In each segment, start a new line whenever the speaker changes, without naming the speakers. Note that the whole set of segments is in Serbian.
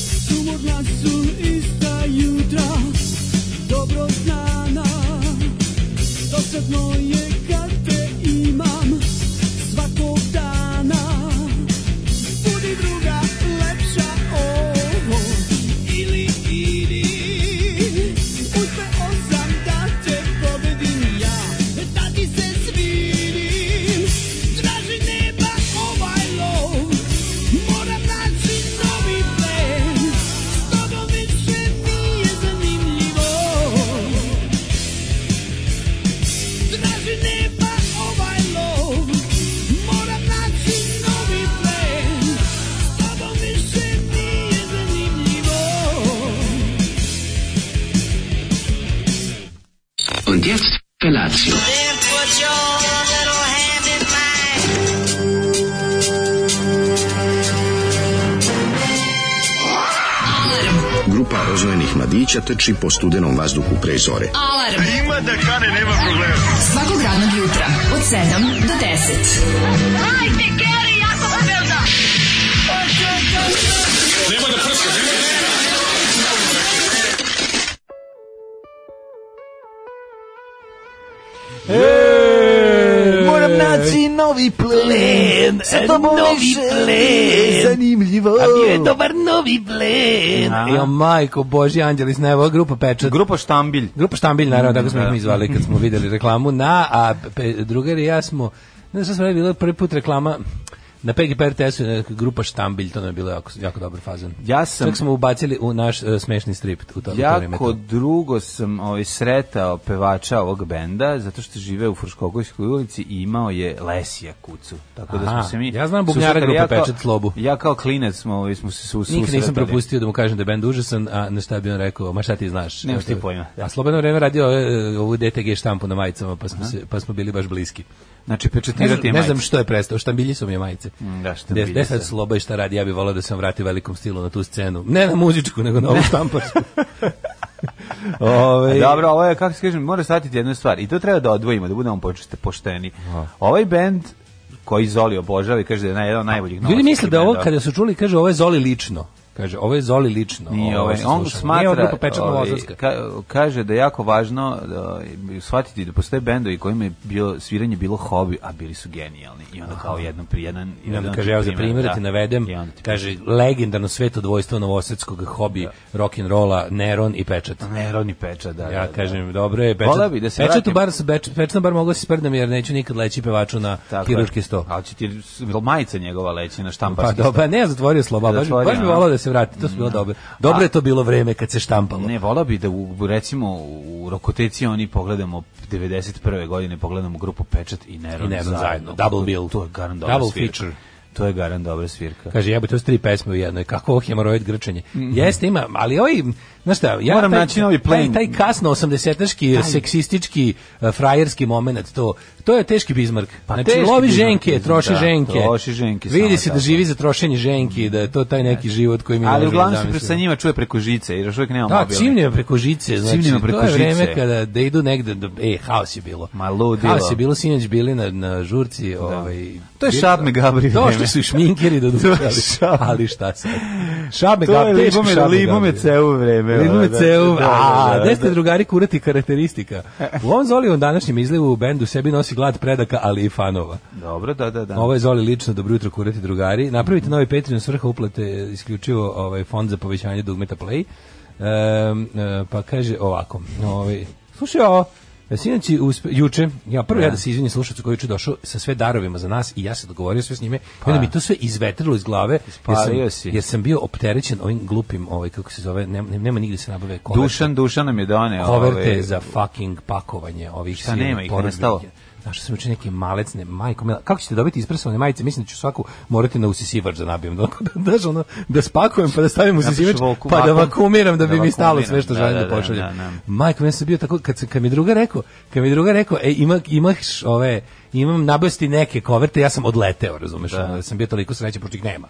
Sigurna su ista jutra Dobro znana Dosadno je kad te imam Svakog dana Budi druga lepša ovo Ili idi Uspeo sam da te pobedim ja Da ti se svidim Traži neba ovaj lov Moram naći novi plen Stoga više nije zanimljivo Traži neba ovaj lov Moram naći novi plen S tobom više nije zanimljivo
Und jetzt Felatio.
Then put your little hand in mine.
Grupa rozvojenih mladića trči po studenom vazduhu pre zore.
Alarm. Ima da kane, nema problema. Svakog radnog jutra, od 7 do 10. Hajde, Geri, jako se velda.
Moram naći novi plen, sa tobom više zanimljivo. A bio je dobar novi plen.
Jo, majko, Boži, Anđeli, ne, ova grupa pečat.
Grupa Štambilj.
Grupa Štambilj, naravno, tako
Da,
smo ih mi zvali kad smo videli reklamu na, a pe, drugari i ja smo, ne znam, sve je bilo prvi put reklama, na PGP RTS-u je neka e, grupa Štambilj, to nam je bilo jako, jako dobar fazan.
Ja sam-
Čak smo ubacili u naš e, smešni strip u to, u to vreme.
Jako drugo sam ovaj, sretao pevača ovog benda, zato što žive u Fruškogojskoj ulici i imao je Lesija kucu. Tako da
Aha,
smo se mi...
ja znam bubnjara
susretali.
grupe
Ja kao-
Pečat Slobu.
Ja kao klinec smo, ovaj, smo se su- susretali.
Nikad nisam propustio da mu kažem da je bend užasan, a na šta bi on rekao, ma šta ti znaš?
Nemaš ti
Eto,
pojma.
A slobodno vreme radio e, ovu DTG štampu na majicama, pa smo, se, pa smo bili baš bliski.
Znači,
Ne znam,
pečetirati je
ne znam
majka.
što je prestao, štambilji su mi je majice.
Da,
De,
štambilji
de
se.
sad sloba i šta radi, ja bih volao da sam vratio velikom stilu na tu scenu. Ne na muzičku, nego na ovu štamparsku. Ove,
Dobro, ovo je, kako se kažem, mora shvatiti jednu stvar. I to treba da odvojimo, da budemo počeste pošteni.
Da.
Ovaj bend koji Zoli obožava i kaže da je naj- jedan od najboljih
Ljudi misle
novosadskih
da ovo,
bendova.
kada su čuli, kaže, ovo je Zoli lično. Kaže, ovo je Zoli lično.
Nije
ovo
ovaj,
što
on
slušamo. Nije
smatra,
ovo grupa Pečat
ovaj,
Novozorska.
ka- kaže da je jako važno da, shvatiti da postoje bendovi kojima je bilo, sviranje bilo hobi, a bili su genijalni. I onda kao jedan pri jedan...
I onda
jedan
kaže, evo za
primer,
primjer da
da.
ti navedem,
I onda ti
kaže, legendarno sveto dvojstvo novosadskog hobi, da. rock'n'rolla, Neron i Pečat.
Neroni peča, da.
Ja
da,
kažem, dobro je,
Voleo
Pečat,
bi da se
pečatu
vratim.
bar, peč, Pečatom bar mogu da se sprdam jer neću nikad leći pevaču na
da. Tako je.
kirurški sto.
Ali će ti majica njegova leći na
Pa
štamparski
dobro, ne, zatvorio sloba, baš, bi-
Zatvorio,
baš bi
a?
volao da se vrati, to su bilo dobro. Dobro je to bilo vreme kad se štampalo.
Ne, volao bi da u, recimo u Rokoteci oni pogledamo 91. godine pogledamo grupu Pečat i Neron,
I Neron
zajedno.
zajedno. Double bill.
To je garant dobra
Double
svirka.
feature.
To je garant dobra svirka.
Kaže, jebo, to su tri pesme u jednoj, kako ovo hemoroid grčenje. Jeste, ima, ali ovaj, znaš šta, ja
Mhm. Moram naći novi
taj,
plan.
taj kasno 80-aški, seksistički, eh, frajerski moment, to, to je teški bizmark.
Pa
znači,
teški
lovi
Bismarck,
ženke, troši
da,
ženke.
troši ženke,
Vidi
samo
se da
tako.
živi za trošenje ženki, da je to taj neki život koji mi da
Ali
možemo
uglavnom se pre-
zamisliti.
sa njima čuje preko žice, jer još uvijek nema
Da,
mobilne.
cimnjeva preko žice, znači,
Cimnjeva preko
to je vreme
žice.
kada da idu negde, da, e, haos je bilo.
Ma, ludilo. Da.
Haos je bilo, sinoć bili na, na žurci, ovaj...
To je Šabne Gabri
Došli
vreme.
su i šminkeri da
To je
dušali,
Šabne.
ali šta sad? Šabne
To je
Gabri, da, teški
libome,
Šabne
libome
Gabri.
ceu vreme.
Libome
ono,
ceu,
da, da,
a,
da,
gde
da.
ste drugari kurati karakteristika? U ovom Zolijevom današnjem izlivu u bendu sebi nosi glad predaka, ali i fanova.
Dobro, da, da, da.
Ovo je Zoli lično, dobro jutro kurati drugari. Napravite novi Patreon svrha uplate e, isključivo ovaj fond za povećanje dugmeta Play. Ehm, e, pa kaže ovako, ovaj slušaj ovo, e, Sinoć je uspe, juče, ja prvo ja da se izvinim slušatelju koji je juče došao sa sve darovima za nas i ja se dogovorio sve s njime, pa. onda mi to sve izvetrilo iz glave,
Ispalio
jer
si.
sam, jer sam bio opterećen ovim glupim, ovaj, kako se zove, nema, nema nigde se nabave koverte.
Dušan, Dušan nam je doneo.
Koverte
ovaj,
za fucking pakovanje ovih
Šta
silnih
nema ih,
porodiljnih.
nestalo?
Našao sam juče neki malec, ne, majko mila. Kako ćete dobiti ispresovane majice? Mislim da ću svaku morati na usisivač da nabijem. Tako da, znaš, ono, da spakujem pa da stavim
Napišu
usisivač,
vakum-
pa da
vakum-
vakumiram da bi
da
mi stalo
vakumiram,
sve što
da,
želim
da,
da,
da,
pošaljem.
da, da.
Majko, meni sam bio tako, kad, sam, kad mi druga rekao, kad mi druga rekao, e, ima, imaš ove, imam nabavsti neke koverte, ja sam odleteo, razumeš, da. ono, da sam bio toliko sreće, pošto ih nema.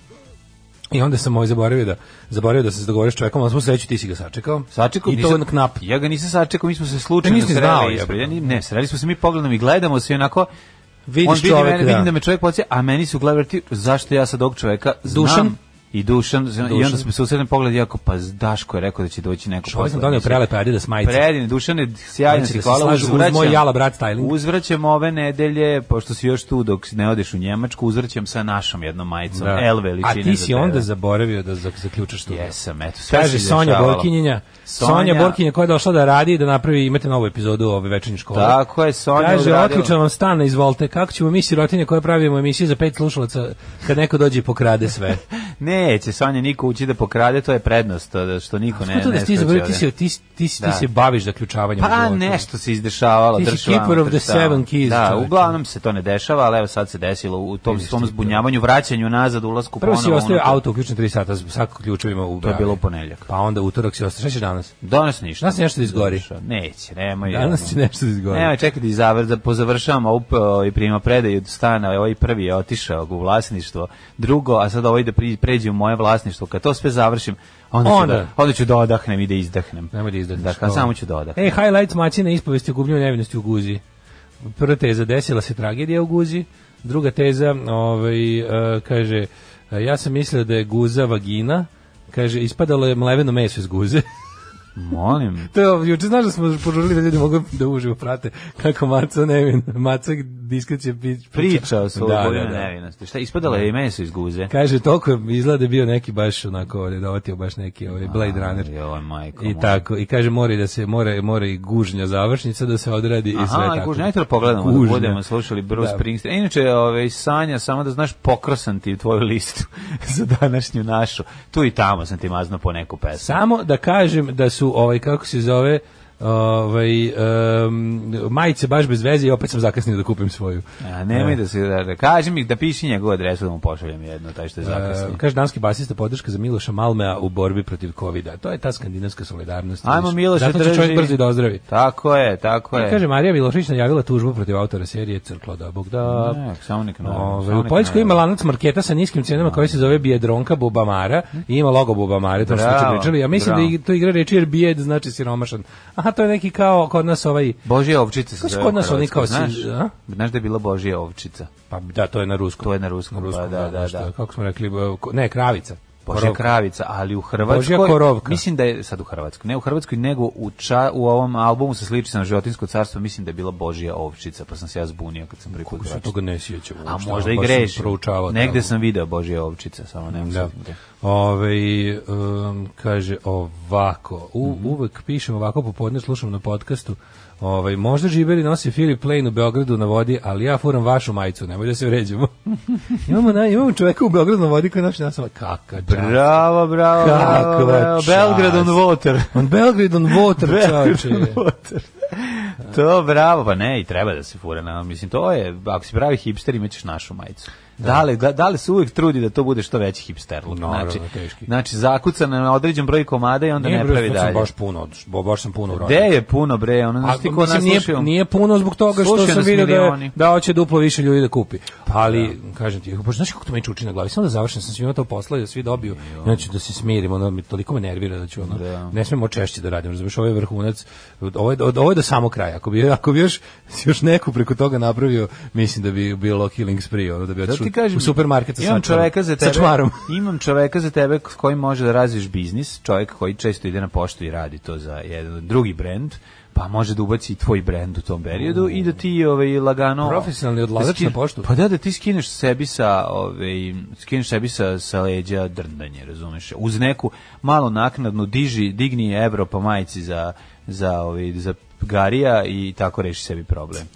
I onda sam ovaj zaboravio da zaboravio da se dogovorio s čovekom, ali smo sreću ti si ga sačekao.
Sačekao,
I to
nisam-
knap.
Ja ga nisam sačekao, mi smo se slučajno
Ja nisi
sreli
znao,
ispred.
jebote.
Ja ni- Ne, sreli smo se mi pogledom i gledamo se i onako
Vidiš
on vidi
čoveka,
mene,
da.
vidim da me čovjek podsjeća, a meni su glavi vrti, zašto ja sad ovog čoveka znam.
Dušan?
I Dušan, i onda
Dušan.
smo se susretni pogled jako, pa Daško je rekao da će doći neko
Ovaj sam donio prelepe Adidas majice.
Predivne, Dušane, sjajan
Znači
si,
da se
hvala,
slažu uz
uzvraćam-
moj jala brat styling.
Uzvraćam ove nedelje, pošto si još tu dok ne odeš u Njemačku, uzvraćam sa našom jednom majicom,
Da.
L veličine
A
za
ti si
tebe.
onda zaboravio da za- zaključaš tu.
Jesam, eto, sve
Kaže
se
Sonja
dešavalo.
Borkinjenja. Sonja,
Sonja
Borkinja koja je došla da radi i da napravi, imate novu epizodu ove večernje škole.
Tako je, Sonja
Kaže,
odradila.
otključan vam stan, izvolite, kako ćemo mi sirotinje koje pravimo emisije za pet slušalaca kad neko dođe i pokrade sve.
Neće, Sonja, niko uči da pokrade, to je prednost, to da- što niko ne...
Ne, to da
ne
si ti
skoči
zaboravio, ti,
ovde.
se, ti, si- ti, si- ti
Da.
se baviš zaključavanjem. u
Pa
životu.
nešto se izdešavalo.
Ti si
drži vam,
keeper of the
drži tamo.
seven keys,
Da,
čoveče.
uglavnom se to ne dešava, ali evo sad se desilo u tom,
Vidiš
tom
ti to.
zbunjavanju, vraćanju nazad, ulasku
Prvo si
ponovo.
ostavio
unutra.
auto uključen 3 sata, sa ključevima u
To je
bravi.
bilo u ponedjeljak.
Pa onda utorak si ostavio. Šta ćeš danas?
Danas ništa.
Danas nešto da izgori.
Neće, nemoj.
Danas će nešto da izgori.
Nemoj, čekaj da izavr, da pozavršavam ovu p- i prima predaju od stana, ovaj prvi je otišao u vlasništvo, drugo, a sad ovaj da pri- pređe u moje vlasništvo, kad to sve završim, onda,
Onda.
Ću, da, onda ću da odahnem i da izdahnem.
Nemoj da izdahneš.
Dakle,
to.
samo ću da odahnem.
Ej, highlight maćine E, ispovesti o gubljenju nevinosti u Guzi. Prva teza, desila se tragedija u Guzi. Druga teza, ovaj, e, kaže, e, ja sam mislio da je Guza vagina, kaže, ispadalo je mleveno meso iz guze.
Molim.
to je, juče znaš da smo požurili da ljudi mogu da uživo prate kako Maca nevin, Maca diskreće priča.
Priča o svojoj
Da, da,
da,
da.
nevinosti. Šta, ispadalo je i meso iz guze?
Kaže, toliko je izgleda da je bio neki baš onako, da je dovatio baš neki ovaj Blade Runner.
Joj, majko
I
moja.
tako, i kaže mora i da se mora mora i gužnja završnica da se odradi i sve
Aha,
tako.
gužnja, ajde da pogledamo, da
Gužnja.
budemo slušali Bruce
Da.
Springsteen. E, Inače, ove, Sanja, samo da znaš, pokrasan ti tvoju listu za današnju našu. Tu i tamo sam ti mazno po neku pesmu.
Samo da kažem da su ovaj kako se zove ovaj em, majice baš bez veze i opet sam zakasnio da kupim svoju.
A, nemoj
E.
da se... Da, da, kaži mi da piši njegovu adresu da mu pošaljem jedno, taj što je zakasnije.
E, kaže danski basista podrška za Miloša Malmea u borbi protiv kovida. To je ta skandinavska solidarnost.
Ajmo, Miloš,
Zato će čovjek brzo i da ozdravi. E,
Tako je, tako je.
Kaže Marija Milošić najavila tužbu protiv autora serije Crklo da Bog da.
Ne, samo nek najavi,
Ove,
Pa, samo
u
nek
Poljskoj
najavi.
ima lanac marketa sa niskim cenama koji se zove Bijedronka Bubamara i ima logo Bubamare, to što smo
Bravo,
pričali. Ja mislim
bravo.
da i- to igra reč jer Bijed znači siromašan. Aha, to je neki kao kod nas ovaj
Božja ovčica se
Kako su
zove
kod
u
nas oni
Hrvatskoj,
kao si-
znaš,
a?
znaš da je bila Božja ovčica.
pa da, to je na ruskom.
To je na ruskom, pa da, da,
nešto,
da.
Kako smo rekli, bo- ko- ne, kravica.
Božja
Korov.
kravica, ali u Hrvatskoj,
Božja korovka.
mislim da je sad u Hrvatskoj, ne u Hrvatskoj, nego u, ča, u ovom albumu sa sličicom Životinsko carstvo, mislim da je bila Božja ovčica, pa sam se ja zbunio kad sam prvi put
Kako se
pročitao.
toga ne sjećam
A
uopšte,
možda i
baš sam
grešim.
proučavao
Negde
tamo.
sam video Božja ovčica, samo ne
Da.
znam. gde.
Ove, um, kaže ovako, u,
Mhm.
uvek pišem ovako popodne, slušam na podcastu, Ovaj možda žiberi nosi Philip Lane u Beogradu na vodi, ali ja furam vašu majicu, nemoj da se vređamo. imamo, na, imamo čoveka u Beogradu na vodi koji naš nasava, kaka čast.
Bravo, bravo,
Kakva
bravo, bravo.
čast.
Belgrad on water.
On Belgrade on water,
Belgrade
čovječe.
on water. To bravo, pa ne, i treba da se fura na, mislim, to je, ako si pravi hipster imaćeš našu majicu. Da li, da, da li se uvijek trudi da to bude što veći hipsterluk?
Naravno,
znači,
teški.
znači zakucana na određen broj komada i onda
Nije
ne
bre,
pravi
sad sam
dalje.
Baš puno, bo, baš sam puno
Gde
uradio.
je puno bre, ono
A,
znači ti ko nas
mislim, nije,
slušaju-
nije puno zbog toga što
Slušaju
sam
nas
vidio da, je,
milioni. Da.
da hoće duplo više ljudi da kupi. Ali, kažem ti, bože, znaš kako to meni čuči na glavi? Samo da završim, sam svima to poslao i da svi dobiju. I onda ću da se smirim, ono, mi toliko me nervira da ću, ono, ne smemo češće da radim, razumiješ, ovo je vrhunac, ovo je, od- ovo je do samo kraja. Ako bi, ako bi još, još neku preko toga napravio, mislim da bi bilo killing spree, ono, da bi
Da
otišao
ti kažem,
u supermarket sa
imam
sačmarom.
čoveka za
Sa
tebe,
čmarom.
imam čoveka za tebe s kojim može da razviješ biznis, čovjek koji često ide na poštu i radi to za jedan drugi brend, pa može da ubaci i tvoj brend u tom periodu i da ti ovaj lagano
Profesionalni odlazak
da skin-
na poštu?
Pa da da ti skineš sebi sa ovaj skineš sebi sa sa leđa drndanje, razumeš? Uz neku malo naknadnu diži digni evro po majici za za ovaj za garija i tako reši sebi problem.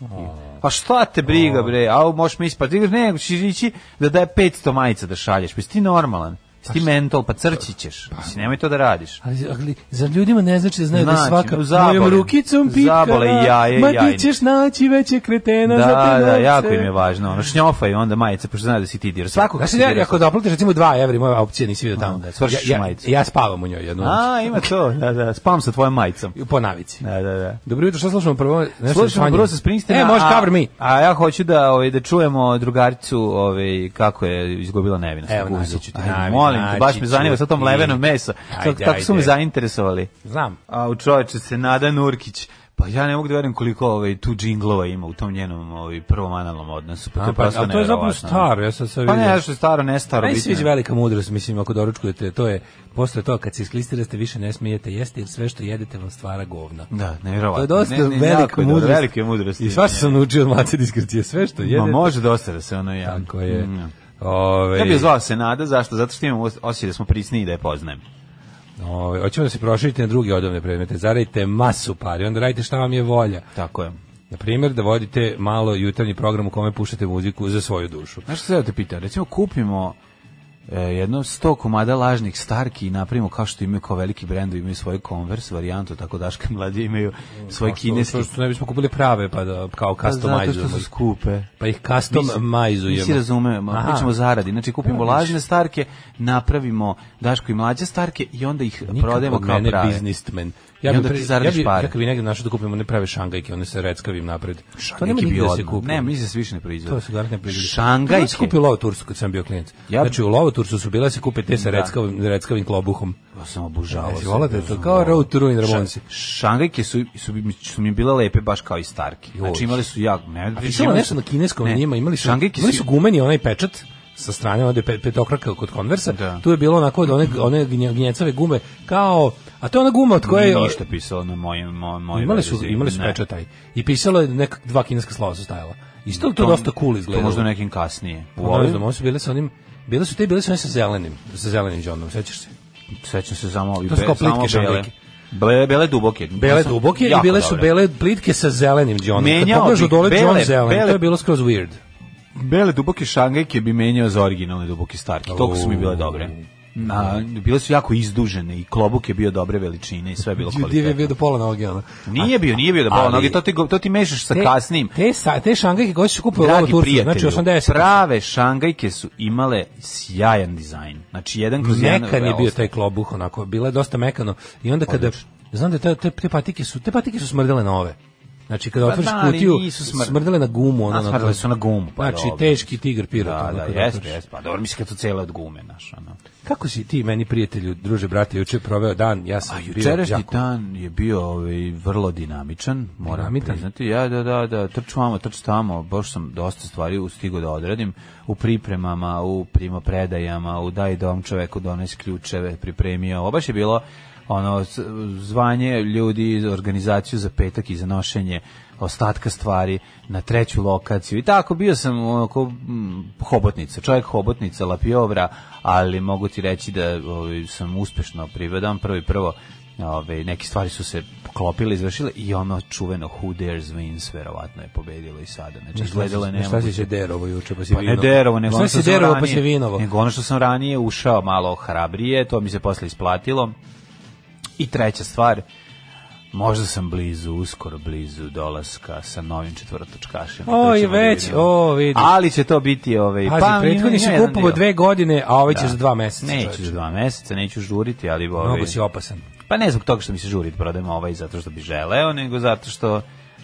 Pa šta te briga bre, a možeš mi ispati, Ti kažeš, ne, ćeš ići da daje 500 majica da šalješ, pa jesi ti normalan, jesi ti mental, pa crći ćeš, Mislim, nemoj to da radiš.
Ali, ali za ljudima ne znači da znaju da
Znači,
svaka
u zabole.
mojom rukicom pitkala,
Zabole i jaje i
ma
jajne.
ti ćeš naći veće kretena za te
Da, da,
novce.
jako im je važno, ono, šnjofa i onda majice, pošto znaju da si ti dir. Svako
Znaš, ja, ja ako doplatiš recimo 2 evri, moja opcija nisi vidio tamo.
Da, svršiš
ja, ja,
majicu.
ja spavam u njoj jednu noć.
A, ima to, da, da, spavam sa tvojom majicom.
Po navici.
Da, da, da.
Dobro jutro, što slušamo prvo? Nešto
Slušamo
Sanje.
Bruce Springsteena.
E, može
a-
cover me.
A ja hoću da ovaj da čujemo drugaricu, ovaj kako je izgubila nevinost.
Evo,
Guzu.
naći ću ti,
Ajde,
navi-
Molim te, baš
naći
me zanima
ću
sa tom
ti.
levenom mesa.
Ajde,
Tako, tako su
ajde.
me zainteresovali.
Znam.
A u čoveče se Nada Nurkić Pa ja ne mogu da verujem koliko ovaj, tu džinglova ima u tom njenom ovaj, prvom analnom odnosu. Pa to
A,
je
pa,
prosto
a to je zapravo
neverovatno.
staro, ja sam sad
Pa ne,
vidio.
što je staro, ne staro.
Meni se
bitno je.
sviđa velika mudrost, mislim, ako doručkujete, to je, posle toga kad se isklistirate, više ne smijete jesti, jer sve što jedete vam stvara govna.
Da, nevjerovatno.
To je dosta
Ne, ne,
velik
jako je dobro,
mudrost.
velike mudrosti.
I svašta sam naučio od mace diskrecije, sve što
Ma
jedete.
može dosta da se ono ja.
Tako je.
Mm.
Ove,
Ja bih je zvao Senada, zašto? Zato što imam os- osjećaj da smo prisniji da je poznajem.
Ove, hoćemo da se proširite na druge odovne predmete. Zaradite masu pari, onda radite šta vam je volja.
Tako je.
Na primjer, da vodite malo jutarnji program u kome puštate muziku za svoju dušu.
Znaš što se ja te pitam? Recimo kupimo e, jedno 100 komada lažnih starki i napravimo kao što imaju kao veliki brendovi, imaju svoju Converse varijantu, tako daška mlađe imaju svoje kineski.
Mm, pa Što, što ne bismo kupili prave, pa da kao
Pa zato što
customizujemo.
su skupe.
Pa ih custom
Mi se- Mi
majzujemo.
se razumemo,
Aha.
mi ćemo zaradi. Znači kupimo lažne starke, napravimo Daško i mlađe starke i onda ih prodajemo
Nikako
kao
mene
prave.
biznismen.
I
Ja
onda
bih
ti
pre- ja
zaradiš
bi,
pare.
ja kad bi negde našao da kupimo ne prave šangajke, one sa reckavim napred. to nema
Neki bi
nigde da se
odmah.
kupi.
Ne, mi se više ne proizvodi.
To se garantne proizvodi. Ja sam
Šangajke.
kupio lovo Tursku kad sam bio klijent.
Ja- Da.
Znači u lovo Tursu su bile se kupe te sa reckavim, reckavim klobuhom.
Ja sam Pa obožavao.
Jesi
sam
volate
bio
to?
sam
Kao
volao.
Road to Ruin
Ša-
Ramonsi.
Šangajke su, su, mi- su mi bile lepe baš kao i starke. Znači imali su jak... Ne,
A
znači,
pisalo
imali
nešto
su-
na kineskom
ne,
njima, imali su,
Šangajke
imali su gumeni onaj pečat sa strane ovde pe- petokraka kod konversa,
Da.
tu je bilo onako od one, one gnje- gnjecave gume, kao, a to je ona guma od koje...
Nije ništa pisalo na mojem... Moj, moj
imali su, imali su pečat taj. I pisalo je neka dva kineska slova su stajala. I to, to dosta cool izgledalo.
To možda nekim kasnije. U
Pa, ne
ovim,
znam, one su bile sa onim, bile su te, bile su one sa zelenim, sa zelenim džondom, sećaš se?
sećam se samo ovi
To su
be-
kao plitke
samo bele.
šangajke.
Bele, bele duboke.
Bele
Ja sam-
duboke i
jako
bile su
dobre.
bele plitke sa zelenim džondom.
Menjao
Menjao Kad
bih
dole
bele-
džon zelen,
bele-
to je bilo skroz weird.
Bele duboke šangajke bi menjao za originalne duboke starke. Toliko su mi bile dobre. Na, bile su jako izdužene i klobuk je bio dobre veličine i sve je bilo
Div je bio
kvalitetno.
do pola noge, ono.
Nije bio, nije bio da bola
Ali-
noge, to ti, go- to ti mešaš sa kasnim.
Te, sa, te šangajke koje su kupili u
Dragi
Turcu, znači
prijatelju,
80.
prave šangajke su imale sjajan dizajn. Znači, jedan kroz jedan...
Mekan je bio
ostao.
taj klobuh, onako, bila je dosta mekano. I onda kada, znam da te, te, te patike su, te patike su smrdele na ove. Znači, kada
Pa
otvoriš
da, ali
kutiju,
nisu smr-
smrdele na gumu. Ono,
A,
onako.
smrdele su na gumu, pa
znači,
dobro.
teški tigar pirot.
Da,
onako,
da,
otvoriš.
jeste, jeste. Pa dobro, mislim kad su cele od gume, znaš, ono.
Kako si ti, meni prijatelju, druže, brate, juče proveo dan, ja sam
A
bio
jučerašnji
đaku.
dan je bio ovaj, vrlo dinamičan, moram
Dinamitan?
priznati. Ja, da, da, da, trču vamo, trču tamo, baš sam dosta stvari stigao da odradim u pripremama, u primopredajama, u daj dom čoveku dones ključeve, pripremio. Ovo baš je bilo ono, s- zvanje ljudi, organizaciju za petak i za nošenje ostatka stvari na treću lokaciju i tako bio sam onako mm, hobotnica, čovjek hobotnica, lapiovra, ali mogu ti reći da ovaj, sam uspešno privedam prvi prvo Ove, neke stvari su se poklopile, izvršile i ono čuveno Who Dares Wins verovatno je pobedilo i sada. Znači, izgledalo je
Na Šta si
nemoguće.
se derovo juče, pa si
Pa ne derovo, nego ono
Šta
što
si
sam
derovo, pa
ranije-
si vinovo.
Nego ono što sam ranije ušao malo hrabrije, to mi se posle isplatilo. I treća stvar, možda sam blizu, uskoro blizu dolaska sa novim četvrtočkašem. To
Oj,
ćemo da
već,
vidimo.
o, vidi.
Ali će to biti ovaj
Pazi, prethodni si
ima jedan
kupovo
dio.
dve godine, a ovaj će
Da.
za dva meseca.
Neću
čoveče.
za dva meseca, neću žuriti, ali ovaj
Mnogo si opasan.
pa ne zbog toga što mi se žuri da prodajem ovaj zato što bi želeo, nego zato što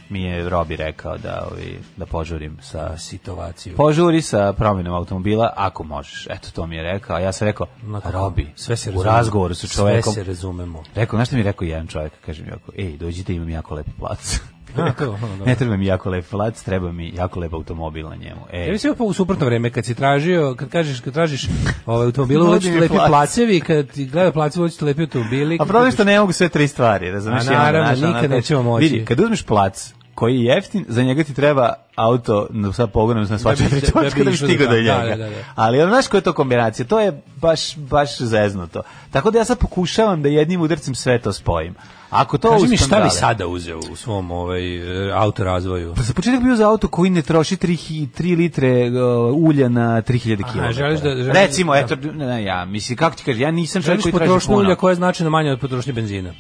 mi je Robi rekao da ovaj, da požurim sa
Situaciju.
Požuri sa promjenom automobila ako možeš. Eto to mi je rekao. A ja sam rekao,
Onako,
Pa, Robi,
sve se
u
razumemo.
razgovoru sa čovekom.
Sve se razumemo.
Rekao, znaš što mi je rekao jedan čovjek? Kaže mi ovako, ej, dođite, imam jako lep plac.
A, to, ono, da. dobro.
ne treba mi jako lep plac, treba mi jako lep automobil na njemu.
Ja
Ej,
mislim pa u suprotno vreme kad si tražio, kad kažeš, kad tražiš ovaj automobil,
Dođe
hoćeš
mi
lepi
plac.
placevi, kad ti gleda placevi, hoćeš lepi automobili.
a
kad
Pa problem je
kažeš-
što ne mogu sve tri stvari, razumiješ?
A naravno, nikad nećemo moći.
Vidi, kad uzmeš plac koji je jeftin, za njega ti treba auto no, sa pogonom na sva
Da bi-
četiri
da- da bi
točka da bi
išao
stigao
do
do
tamo.
njega.
Da, da, da, da.
Ali ono, znaš koja je to kombinacija? To je baš, baš zeznuto. Tako da ja sad pokušavam da jednim udarcem sve to spojim. Ako to
Kaži mi šta
uskandale-
bi sada uzeo u svom ovaj, e, autorazvoju?
Pa za početak bio za auto koji ne troši 3, 3 litre uh, ulja na 3000
Aha,
km.
želiš da- želiš-
Recimo,
da.
eto, ne, ne, ja, mislim, kako ti kažem, ja nisam čovjek
Želiš
koji traži
potrošnju
puno.
ulja koja je značajno manja od potrošnje benzina?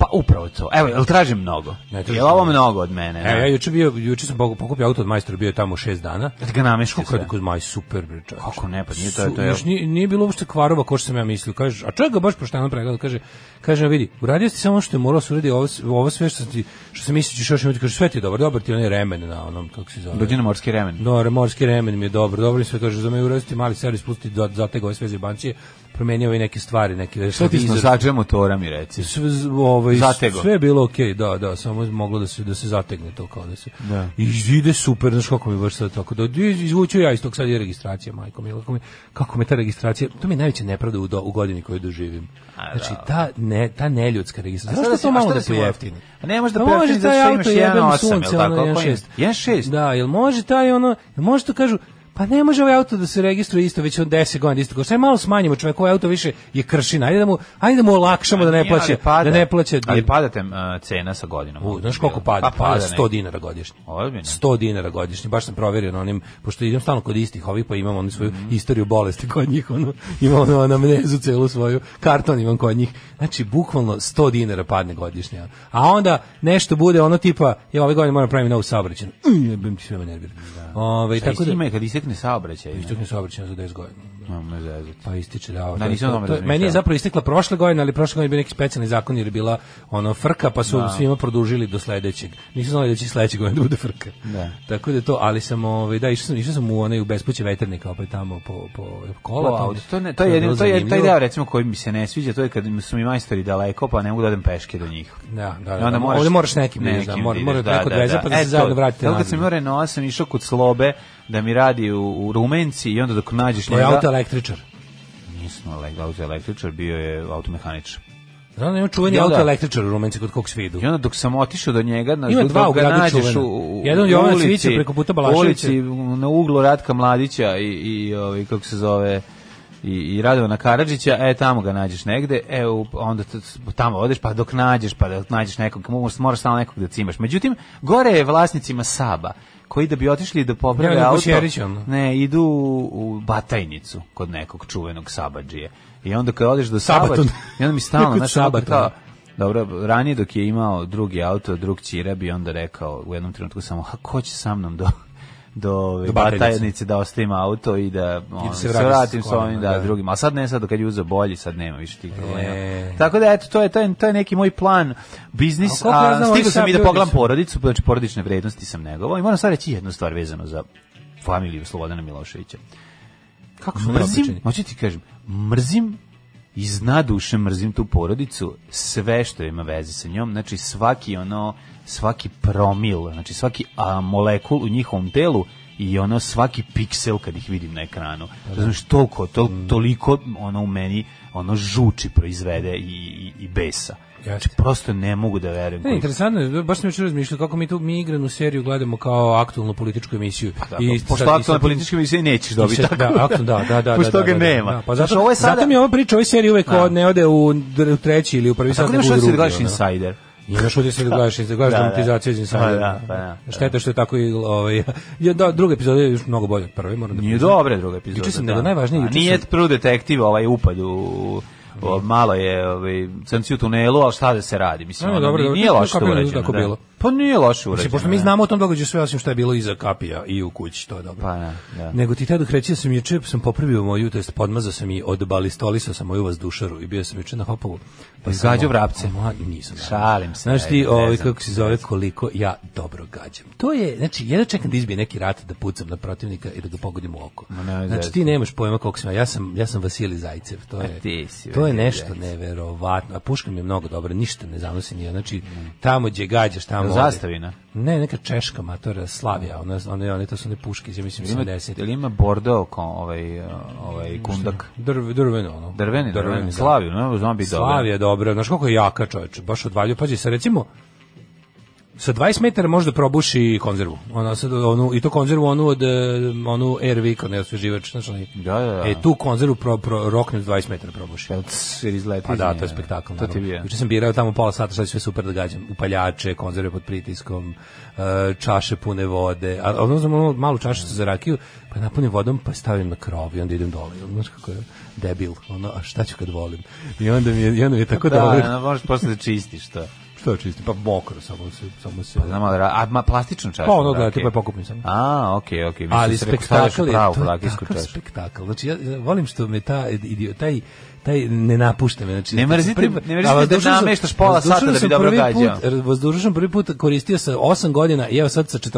Pa upravo to. Evo, jel tražim mnogo?
Ne tražim
jel ovo
mnogo.
mnogo od mene? da?
E, ja juče bio, juče sam poku- pokupio auto od majstora, bio je tamo šest dana.
Da ti ga namešti
Kako je
sve.
kod maj super bre čoveče.
Kako ne, pa nije to-
Su-
to je-
znaš, nije, nije bilo uopšte kvarova kao što sam ja mislio. Kaže, a čovjek ga baš pošteno pregledao, kaže, kaže "A vidi, uradio si samo ono što je morao da se uradi, ovo, s- ovo sve što sam ti što sam mislio da ćeš još imati, kaže sve ti je dobro, dobar ti je onaj remen na onom kako se zove.
Dođi na morski remen.
Dobar, morski remen mi je dobro, dobro mi je sve kaže, za me urasti mali servis pusti za, za te gove sve bancije, promenio ovaj neke stvari, neke
Šta ti nosače motora mi reci?
sve z- ovaj
Zatego.
sve je bilo okej, da, da, samo je moglo da se da se zategne to kao da se. I ide super, znači kako mi baš sad tako da iz- izvuću ja iz tog sad je registracija, majko mila, kako mi kako me ta registracija, to mi je najveća nepravda u, do- u godini koju doživim. Znači ta ne ta neljudska registracija. Zašto
da
da
si-
to
da. a
malo
šta
da
da si
se jeftini? Pa
jeftini? A ne može da pojeftini zato što imaš 1.8, jel tako? Koji- 1.6?
Da, jel može taj ono, jel može to kažu, pa ne može ovaj auto da se registruje isto već od 10 godina isto. Sve malo smanjimo čovjek, ovaj auto više je kršina. Ajde da mu, ajde da mu olakšamo da ne
Nije, ali
plaće,
pada.
da ne plaće.
Ali pada te uh, cena sa godinom.
U, znaš koliko pada?
Pa
Pa,
pada
100
100
dinara godišnje.
Ozbiljno?
100 dinara godišnje. Baš sam proverio na onim, pošto idem stalno kod istih ovih, pa imam onu svoju
Mhm.
istoriju bolesti kod njih, ono, imam ono anamnezu celu svoju, karton imam kod njih. Znači, bukvalno 100 dinara padne godišnje. A onda nešto bude ono tipa, ja ove godine moram praviti novu saobraćenu. Mm, Jebem ti sve me nervira. Ovaj,
Tako
tako
da
da...
ima je kad isekne saobraćaj.
Istok saobraćena za 10 godina.
Imam ne zezati.
Pa ističe, da.
Da,
to-
nisam o
to-
tome
to-
razmišljao.
meni je zapravo istekla prošle godine, ali prošle godine je bio neki specijalni zakon jer je bila ono frka, pa
Da.
su svima produžili do sledećeg. Nisu znali da će i sledećeg godine da bude frka.
Da.
Tako da to, ali sam, ovaj, da, išao sam, išao sam u onaj u bespuće veternika, opet tamo po, po kola.
Wow,
mi-
Pa to, ne, to,
mi
je, jedino-
bilo
to je taj
zanimljivo.
deo recimo koji mi se ne sviđa, to je kad su mi majstori daleko pa ne mogu da odem peške do njih.
Da, da,
I
da. Onda moraš, ovde moraš nekim, nekim da,
nekim
mora,
da
mora
ideš,
da, neko da, odveze, pa da,
E,
se
to,
zajedno vratite.
Tako kad
nazad.
sam imao Renault, sam išao kod Slobe da mi radi u, u Rumenci i onda dok nađeš
To
njega...
je auto električar.
Nisam ele- auto električar, bio je automehaničar.
Znam, ima čuveni
Da,
auto
da.
električar u Rumenci kod kog svi idu.
I onda dok sam otišao do njega, na,
Ima
dok
dva u
ga
gradu
nađeš
čuvena.
u, u,
Jedan od
u
Jovana
ulici,
Cvijića preko puta
u
Balaševića.
ulici, u- na uglu Ratka Mladića i, i ovaj, kako se zove, i, i Radovana Karadžića, e, tamo ga nađeš negde, e, u- onda t- tamo odeš, pa dok nađeš, pa dok nađeš nekog, moraš, moraš stalno nekog da cimaš. Međutim, gore je vlasnicima Saba, koji da bi otišli da poprave
Ja, nego
auto,
Šerić, ono.
ne, idu u, u Batajnicu kod nekog čuvenog Sabađije. I onda kad odeš do
Sabaton.
Sabađije, i onda mi stalno,
Kod
znaš, onako
Sabatona.
kao, dobro, ranije dok je imao drugi auto, drug Ćira bi onda rekao u jednom trenutku samo, a ko će sa mnom do do, ove
Do Batajnice.
batajnice da ostavim auto i da ono,
se
se,
vratim
vratim
s
sa ovim
kolima,
da,
da.
drugim. A sad ne, sad kad je uzeo bolji, sad nema više tih problema.
E.
Tako da eto to je to je, to je neki moj plan biznis,
A koliko ja
a,
znam, ovi
stigao sam
sad
i da
ljudi
pogledam
su-
porodicu, znači porodične vrednosti sam negovao i moram sad reći jednu stvar vezano za familiju Slobodana Miloševića.
Kako su
Mrzim,
mrzim?
hoću ti kažem, mrzim iz dna duše mrzim tu porodicu, sve što ima veze sa njom, znači svaki ono, svaki promil, znači svaki a, molekul u njihovom telu i ono svaki piksel kad ih vidim na ekranu.
Pa da.
Razumeš, toliko, to,
Mm.
toliko ono u meni ono žuči proizvede i, i, i besa. Znači,
Jeste.
prosto ne mogu da verujem.
Ne,
koliko-
interesantno je, baš sam jučer razmišljao kako mi tu mi igranu seriju gledamo kao aktualnu političku emisiju.
Da,
sad-
pošto
sad-
aktualne političke emisije nećeš
i
dobiti
sad-
tako.
Da, aktu- da, da, da.
Pošto
da, da,
toga
da, da,
nema.
Da, pa
Znaš,
zato,
ovo je sada-
zato mi je ova priča, ovoj seriji uvek
Da.
od- ne ode u, dr- u treći ili u prvi sat,
Tako
nego u
nemaš
drugi.
šta da gledaš
ono.
Insider.
Imaš utjecaj da gledaš, da gledaš
Da, da.
dramatizaciju iz Insidera.
Pa da, pa da, da.
Šteta što je tako i ovaj ja, da, druga epizoda je još mnogo bolja od prve, moram da.
Nije
priznam.
dobra druga epizoda. da.
Juče sam, nego najvažnije,
A
juče
Nije
sam-
prvi detektiv ovaj upad u... O, malo je ovaj crnci u tunelu, ali šta da se radi? Mislim,
Ne, ne,
ono,
dobro,
nije,
dobro,
nije
to je
loše
kapiram da je
urađeno.
tako
da.
bilo.
Pa nije loše urađeno.
Mislim, pošto mi
da.
znamo o tom događaju sve osim što je bilo iza kapija i u kući, to je dobro.
Pa da, da.
Nego ti tad kreći sam juče sam popravio moju, to jest podmazao sam i odbalistolisao sam moju vazdušaru i bio sam juče na hopovu. Pa sam-
Izgađao vrapce.
Ma, nisam.
Šalim se,
Znaš ti,
ajde, ne
ovaj,
znam.
kako se zove, koliko ja dobro gađam. To je, znači, jedno čekam da izbije neki rat da pucam na protivnika i da ga pogodim u oko.
nemoj
Znači,
zezati.
ti nemaš pojma koliko sam ja. Ja sam, ja sam Vasilij Zajcev. To je,
ti si
to je
Vasilij
nešto
Zajcev.
neverovatno. A puška mi je mnogo dobra, ništa ne zanosi nije. Znači, tamo gdje gađaš, tamo...
Jel
ode.
zastavina?
Ne, neka češka matora Slavija, ona one one to su ne puške, ja mislim
Ima,
70.
ili ima bordo ko, ovaj, ovaj kundak?
Drv, drveno ono.
Drveni, drveni.
da.
Slaviju, ne, znam bi dobro.
Slavija je dobra, znaš koliko je jaka čoveče, baš odvaljuje. Pazi, sa recimo, sa 20 metara može da probuši konzervu. Ona sad, onu, I to konzervu onu od, e, onu Air Vic, onaj osveživač, znaš onaj.
Da, da, da.
E, tu konzervu pro, pro, roknem s 20 metara probuši.
Jel ts- jer izleti
Pa
iz
da,
nje,
to je spektakl.
To ti je bio.
Juče sam birao tamo pola sata šta će sve super da gađam. Upaljače, konzerve pod pritiskom, e, čaše pune vode. A ono znam ono malu čašicu za rakiju, pa je napunim vodom, pa je stavim na krov i onda idem dole. Znaš kako je debil, ono, a šta ću kad volim? I onda mi je, i onda mi je tako
Da,
dobro.
da, možeš posle da čistiš to.
Što čistim? Pa mokro, samo se, samo se...
Pa Znam, ali, ra- a ma, plastičnu čašu?
Pa ono,
da,
da, tipa je pokupim samo.
A, okej, okej. mislim, da
ali
sam rekao, stavljaš u
spektakl je
pravu
to je
rakijsku
takav
čašu.
spektakl. Znači ja ja volim što me ta idio taj taj ne napušta me. Znači,
Ne mrzite-
prvi-
ne mrzite da
a vazdušan sam-
nameštaš pola
vazdušan
sata da bi
sam
dobro
prvi
gađao.
put- Vazdušan sam prvi put koristio sa 8 godina i evo sad sa 40.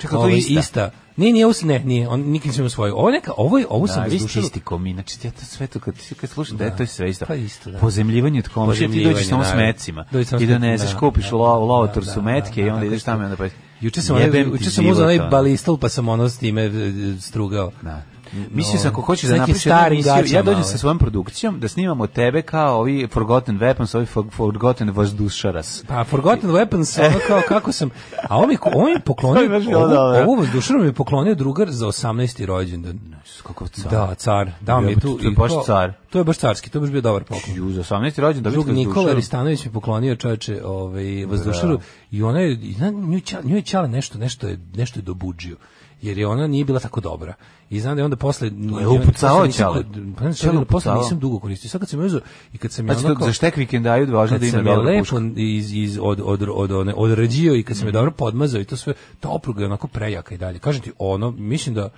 Čekaj, to je
ovaj,
ista?
Nije, nije, ovo se- ne, nije, on nikim se usvojio. Ovo je neka, ovo, je, ovo sam
Da, vi ste
vazdušan.
isti komi, znači ja to sve to kad, kad slušam da, je to je sve isto.
pa isto, da.
Pozemljivanje od komšije, ti
Pozemljivanje,
dođeš samo s
naravno.
mecima
Dođeš samo s
i
mecima,
doneseš,
da,
kupiš
da,
u lo- u lovotor
da,
su
da,
metke
da,
i onda
tako
ideš tamo i onda pa
Juče sam, onaj, juče sam uzao onaj balistal pa sam ono s time e, strugao.
Da.
No,
Mislim se ako hoćeš da
sa nekim
napraviš jednu
starim
emisiju, ja
gaćama,
dođem
ovaj.
sa svojom produkcijom da snimamo tebe kao ovi Forgotten Weapons, ovi for- Forgotten Vazdušaras.
Pa Forgotten Weapons, ono kao kako sam... A on mi, on mi je poklonio,
E. To je baš bilo dobro.
ovu, ovu vazdušinu mi je poklonio drugar za 18. rođendan.
Kako car.
Da, car. Dao mi je
Jebote,
tu.
to je
i
baš
kao-
car.
To je baš carski, to je baš bio dobar poklon.
Ju, za 18. rođen da
Drug
vidite
Nikola
Vazdušaras.
Ristanović mi poklonio čoveče ovaj, vazdušaru i ona je, i na- nju, je Ćale- nju je Ćale nešto, nešto je, nešto je dobuđio jer je ona nije bila tako dobra. I znam da je onda posle...
je upucavao Ćale.
Pa
Ćale
ne, Ćale posle
upucavao.
nisam dugo koristio. Sad kad sam je uzeo i kad sam je
Znači,
ono
to,
kao-
za štek vikendaju važno da
kad
ima
sam je
dobro pušku.
lepo iz, iz, od, od, od, one, odrađio i kad
Mm.
sam je dobro podmazao i to sve, ta opruga je onako prejaka i dalje. Kažem ti, ono, mislim da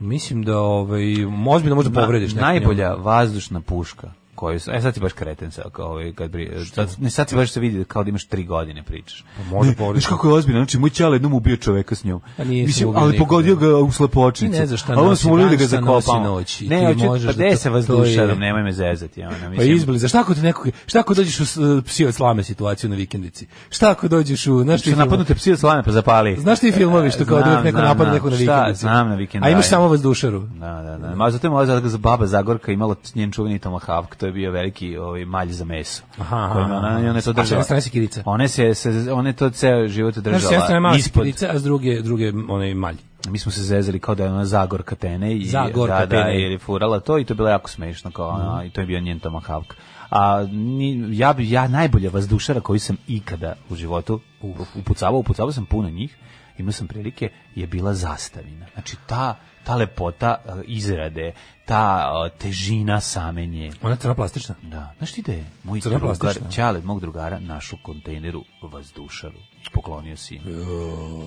mislim da ovaj, ozbiljno možda
Na-
povrediš. nekom
najbolja vazdušna puška koju sam, e sad ti baš kreten sa kao ovaj kad pri, sad, ne sad ti baš se vidi kao da imaš tri godine pričaš.
Pa može
Ne,
povrediš.
Znaš kako je ozbiljno, znači moj ćale jednom ubio čoveka s njom.
Pa nije se
Mislim,
ubio
ali
nikoga.
pogodio ga u slepočnicu.
Ti ne znaš šta
A onda
nosi
smo morali da
dan,
ga
šta nosi
zakopamo.
noć i ti
ne, hoću, pa
možeš da
gde
to-
se
to je-
vazdušarom, nemoj me zezati. Ona,
Pa
mislim,
izbliza. Šta ako te neko, šta ako dođeš u s- eh, psi od slame situaciju na vikendici? Šta ako dođeš u, znaš ti
Što napadnute psi od slame pa zapali.
Znaš ti filmovi što kao da
Znam,
uvijek neko
znam,
napada
znam.
neko na
Šta,
vikendici?
znam na
A
vikendaju.
imaš samo vazdušaru.
Da, da, da. Ma zato je moja zaga- baba Zagorka imala njen čuveni tomahawk, to je bio veliki ovaj malj za meso.
Aha,
Kojim ona, ona je to
A s jedne
držala.
strane si kirica.
One se, se one je to ceo život
Znaš, s jedne strane
držala
mala
ispod.
sikirica, a s druge, druge onaj malj.
Mi smo se zezali kao da je ona Zagorka Tene i
Zagorka
da, da,
Tene.
jer je furala to i to je bilo jako smešno kao ona, i to je bio njen tomahawk. A ni, ja bi ja najbolja vazdušara koju sam ikada u životu upucavao, upucavao sam puno njih. Imao sam prilike je bila zastavina. Znači ta ta lepota e, izrade, ta e, težina same nje.
Ona je crnoplastična.
Da, znaš ti da je moj
Crna
drugar,
plastična. da?
Ćale, mog drugara, našu kontejneru vazdušaru poklonio si. im.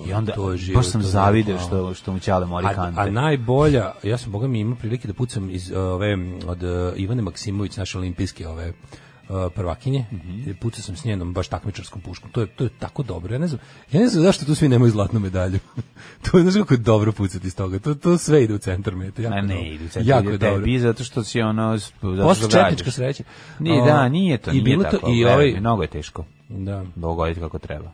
I onda,
to je život,
baš sam
to je
zavideo
tako.
što, što mu Ćale mori
A,
kante.
a najbolja, ja sam boga mi imao prilike da pucam iz e, ove m, od e, Ivane Maksimović naše olimpijske ove e, prvakinje.
Mhm.
Pucao sam s njenom baš takmičarskom puškom. To je to je tako dobro. Ja ne znam, ja ne znam zašto tu svi nemaju zlatnu medalju. to je znači kako je dobro pucati iz toga. To to sve ide u centar mete. Jako
A
dobro.
ne, idu sad
Jako
jako
je dobro.
tebi, zato što si ono... s- zato
Posle
što
četnička
radiš.
sreća.
Nije,
A,
da, nije to,
i
nije
bilo to-
tako.
i
veruj
ovaj-
mi, mnogo je teško
Da.
dogoditi kako treba.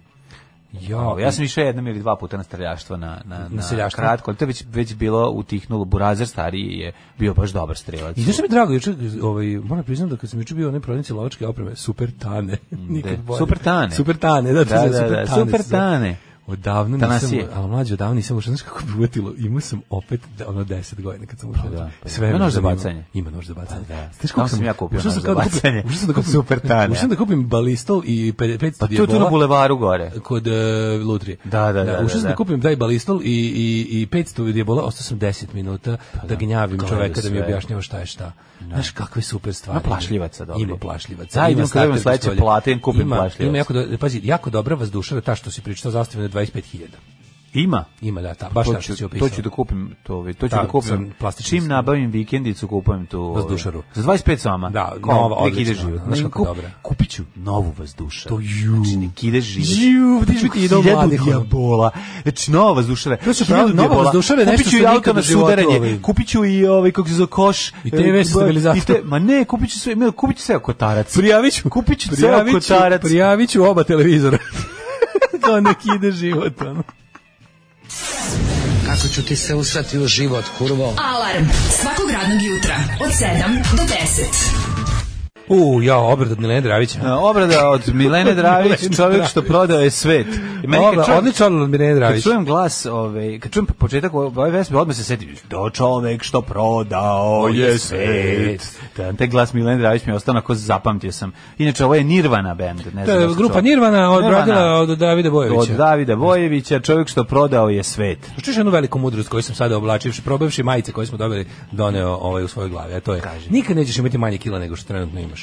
Ja,
Ja sam išao jednom ili dva puta na streljaštvo na, na, na,
streljaštvo?
kratko, ali to je već, već bilo utihnulo. Burazer stariji je bio baš dobar strelac.
I znaš što mi je drago, juče, ovaj, moram priznam da kad sam juče bio u onoj prodavnici lovačke opreme, super tane. Nikad
De.
bolje.
Mm, Super tane.
Super tane, da, to
Da,
se
da,
zove,
da,
super tane.
super
se zove.
tane.
Odavno nisam,
Tanasije.
ali mlađe odavno nisam ušao, znaš kako bi uvetilo, imao sam opet da, ono 10 godina kad sam ušao.
da, pa
Sve
ima
me
nož za
zanima.
bacanje.
Ima nož za bacanje.
Pa da.
Znaš
Tamo
kako
sam ja kupio
ušao
nož
sam
za
kao da kupim-
bacanje.
Ušao sam da kupim,
Super tane.
Ušao sam da kupim balistol i 500
Pa tu je tu na
dijabola
bulevaru gore.
kod e, Lutrije.
Da, da, da, da,
Ušao sam
da.
da kupim taj balistol i, i, i 500 dijabola, ostao sam 10 minuta
Pa
da gnjavim
Gledao
čoveka da mi
sve.
objašnjava šta je šta. Znaš kakve super stvari.
Ima plašljivaca dobrih.
Ima plašljivaca.
Da, idem
ima
kad imam
starter
sledeće
pištolja.
plate, idem kupim
Ima-
plašljivac.
Ima jako, do, pazi, jako dobra vazdušara, ta što si pričao, zastavljena je 25.000.
Ima.
Ima da, ta, baš
to
ta što
ću,
si
to
opisao.
ću da kupim, to, ovaj, to ću
Da,
da kupim.
sam plastični
Čim
sam.
nabavim vikendicu, kupujem tu... ovaj,
Vazdušaru.
Za 25 sama.
Da, nova,
Nek ide
odlična,
život.
da, znaš
Ne,
kako dobra.
Kupit ću novu vazdušaru.
To ju.
Znači, nek ide život.
Ju,
Kupit
vidiš
ću
mi ti ide u
hiljadu
mladih, ono.
dijabola. Znači, nova vazdušara.
To su
hiljadu
pravo, nova
dijabola.
vazdušara je nešto
Kupit ću
što
i auto
nikad
na
u životu,
sudaranje.
ovaj.
Kupit ću i, ovaj, kako se zove, koš.
I TV
e,
stabilizator.
i te- Ma ne, kupit ću sve, ne, kupit ću sve kotarac.
Prijavit ću,
Kupit ću ceo
prijavit ću,
kotarac.
prijavit ću oba televizora. Kao nek ide život, ono.
Kako ću ti se usrati u život, kurvo?
Alarm svakog radnog jutra od 7 do 10.
U, ja, obrad od Milena Dravića.
E, Obrada od Milene Dravić,
Milene
čovjek
Dravić.
što prodao je svet. I meni kad
Obra,
čujem-
odličan obrad od Milena
Kad
Dravić.
čujem glas, ovaj, kad čujem početak ove vesme, odmah se setim, do čovek što prodao je svet. Da, taj glas Milene Dravić mi je ostao, onako zapamtio sam. Inače, ovo je Nirvana band. Ne
To
znam
je
da li si
grupa
čuo.
Nirvana
Nirvana.
odradila od Davida
Od Da-
Bojevića.
Davida Bojevića, čovjek što prodao je svet.
Čuješ jednu veliku mudrost koju sam sada oblačivši, probavši majice koje smo dobili, doneo ovaj, u svojoj glavi, a to je, nikad nećeš imati manje kila nego što trenutno imaš.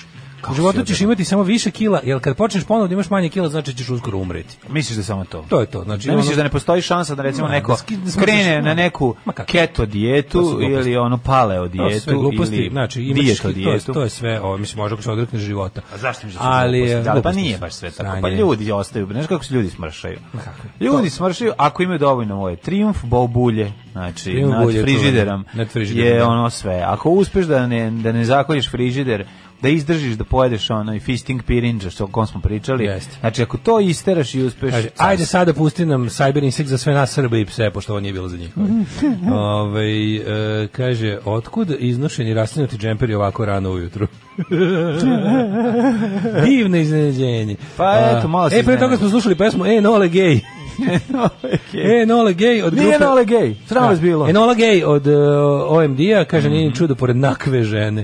U životu ćeš imati samo više kila, jer kad počneš ponovno da imaš manje kila, znači ćeš uskoro umreti.
Misliš da je samo to?
To je to. Znači,
ne misliš
ono-
da ne postoji šansa da recimo
Ma,
neko
da ski- da smrtiš-
krene
ma,
na neku
ma kako?
keto
To
dijetu
su gluposti.
ili ono paleo
To su sve
dijetu
gluposti,
ili
znači imaš
dijeto
to, je,
dijetu.
to je sve, ovo, mislim, možda ako se odrekneš života.
A zašto mi da su
Ali,
gluposti?
e,
Da, pa
gluposti
nije
su.
baš sve tako. Pa
Sranje. Pa
ljudi ostaju, znaš kako se ljudi smršaju.
kako?
Ljudi smršaju ako imaju dovoljno moje trijumf bulje, znači
Trijumf
nad
bulje, to je,
frižiderom.
nad frižiderom,
je
da.
ono sve. Ako uspeš da ne da ne zakoljiš frižider, da izdržiš da pojedeš ono i fisting pirinđa što o kom smo pričali.
Jeste.
Znači ako to isteraš i uspeš,
Kaže, ajde sada pusti nam Cyber Insect za sve nas Srbe i pse, pošto ovo nije bilo za njih. Ove, e, kaže, otkud iznošeni rastinuti džemperi ovako rano ujutru? Divno iznenađenje.
Pa,
A,
eto, malo se
E, pre toga
iznenadio.
smo slušali pesmu E, Nole Gay. E, Nole Gay od
Nije
grupe... Da.
Enola Gay, sram vas bilo. Mhm.
Enola Gay od uh, OMD-a, kaže, nije ni čudo pored nakve žene.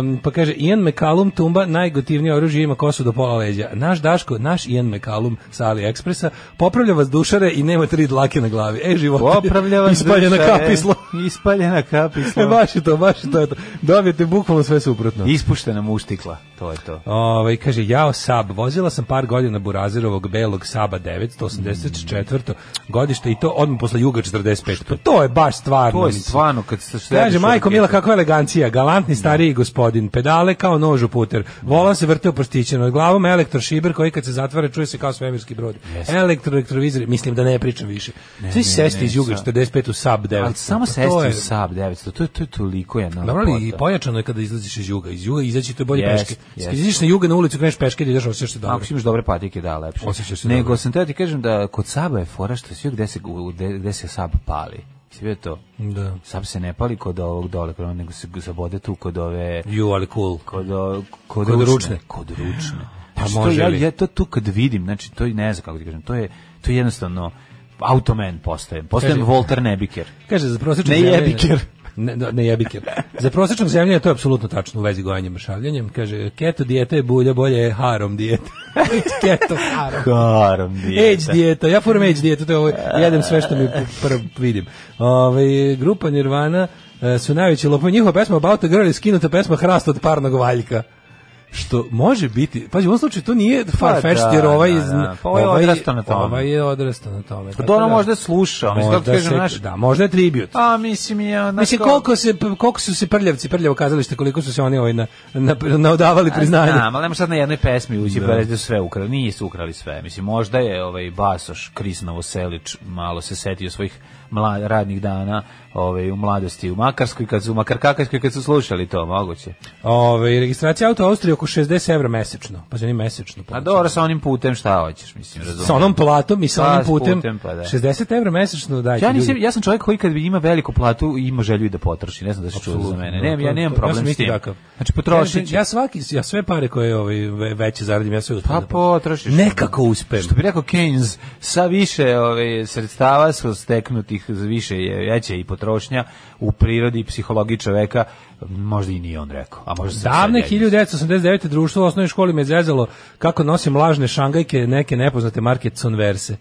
Um, pa kaže, Ian McCallum tumba najgotivnije oružje ima kosu do pola leđa. Naš Daško, naš Ian McCallum sa AliExpressa, popravlja vas dušare i nema tri dlake na glavi. E, život,
Popravlja vas Da.
ispaljena
duša,
kapislo.
e, Ispaljena
E,
kapisla.
baš je to, baš je to. eto. Dobijete bukvalno sve suprotno.
Ispuštena muštikla, to je to.
Ovaj kaže jao Sab, vozila sam par godina Burazerovog belog Saba 984. godište i to odmah posle Juga 45. Pa to je baš stvarno.
To je
mislim.
stvarno kad da se Da. središ
Kaže, majko
orkestu.
Mila, kakva elegancija, galantni stariji gospodin, pedale kao nož u puter, volan se vrteo prstićen, od glavom elektrošiber koji kad se zatvara čuje se kao svemirski brod. Elektro, elektrovizor, mislim da ne pričam više. Svi sesti
ne,
iz Juga
sa-
45 u Sab 900.
Ali samo
Pa to
sesti
je-
u Sab 900, to je, to je toliko jedna
Dobro, ali i
lepota.
pojačano je kada izlaziš iz juga. Iz juga izaći to je bolje
Jest,
peške. Yes.
jest.
Kad izađeš na juga na ulicu, kreneš peške i ideš, osjećaš se dobro.
Ako si imaš dobre patike, da, lepše.
Osjećaš se
Nego
dobro.
sam teo ti kažem da kod Saba je fora što svi gde se, gu- gde, gde se Sab pali. Si vidio to?
Da.
Sab se ne pali kod ovog dole, kod onog, nego se zabode tu kod ove...
You ali cool.
Kod, o- kod,
Kod
ručne.
ručne.
Kod ručne.
Pa
Znači, to
može
ja,
li?
ja to tu kad vidim, znači to i ne znam kako ti kažem, to je, to je jednostavno automen postajem. Postajem
Kaži-
Volter Nebiker.
Kaže, za
Ne
prosječnog zemljana-
jebiker.
Ne, da, ne jebiker. Za prosječnog zemljana to je apsolutno tačno u vezi gojanjem i šavljanjem. Kaže, keto dijeta je bulja, bolje je harom dijeta. keto harom.
Karam
Age dijeta, ja furam age dijetu, to je ovo, jedem sve što mi prvo vidim. Ove, grupa Nirvana e, su najveći lopovi. Njihova pesma About a Girl je skinuta pesma Hrast od parnog valjka. Što može biti, pazi u ovom slučaju to nije farfetched
da,
jer ovaj,
da,
iz-
da. Pa ovaj je odrastao na tome.
Ovaj je odrastao na tome.
Pa
tako
dobro,
da-
možda je slušao, mislim, kako ti
možda,
kažem,
se-
znaš,
da, možda je tribut.
a mislim je... znaš,
Mislim,
kao-
koliko, se, koliko su se prljavci, prljavo kazalište, koliko su se oni ovaj na, na, naodavali priznanje.
Znam, ali nema sad na jednoj pesmi ući pa reći da su sve ukrali. Nisu ukrali sve. Mislim, možda je ovaj Basoš Kris Novoselić malo se setio svojih mla, radnih dana ovaj, u mladosti u Makarskoj, kad su, u Makarkakajskoj, kad su slušali to, moguće.
Ove, registracija auta u Austriji je oko 60 evra mesečno. Pa oni mesečno.
A
plaćaju.
dobro, sa onim putem šta hoćeš, mislim, razumiješ.
Sa onom platom i sa
Pa,
onim
s
putem,
putem, pa da.
60 evra mesečno dajte
Ja, nisam,
ljudi.
ja sam čovjek koji kad ima veliku platu ima želju i da potroši, ne znam da se čuje za
Apsolutno,
mene.
da,
Nemam,
to-
ja
to-
nemam
ja
problem
sam
s
isti
tim.
takav.
Znači potrošit ću.
Ja, ja svaki, ja sve pare koje ovaj, ve- veće zaradim, ja sve uspem.
Pa
da potrošim.
potrošiš.
Nekako uspem.
Što bi rekao Keynes, sa više ove, sredstava su steknutih, za više je veća i potrošnja u prirodi i psihologiji čoveka, možda i nije on rekao. A možda sam
Davne
sad ja-
1989. društvo u osnovnoj školi me zezalo kako nosim lažne šangajke neke nepoznate marke Converse.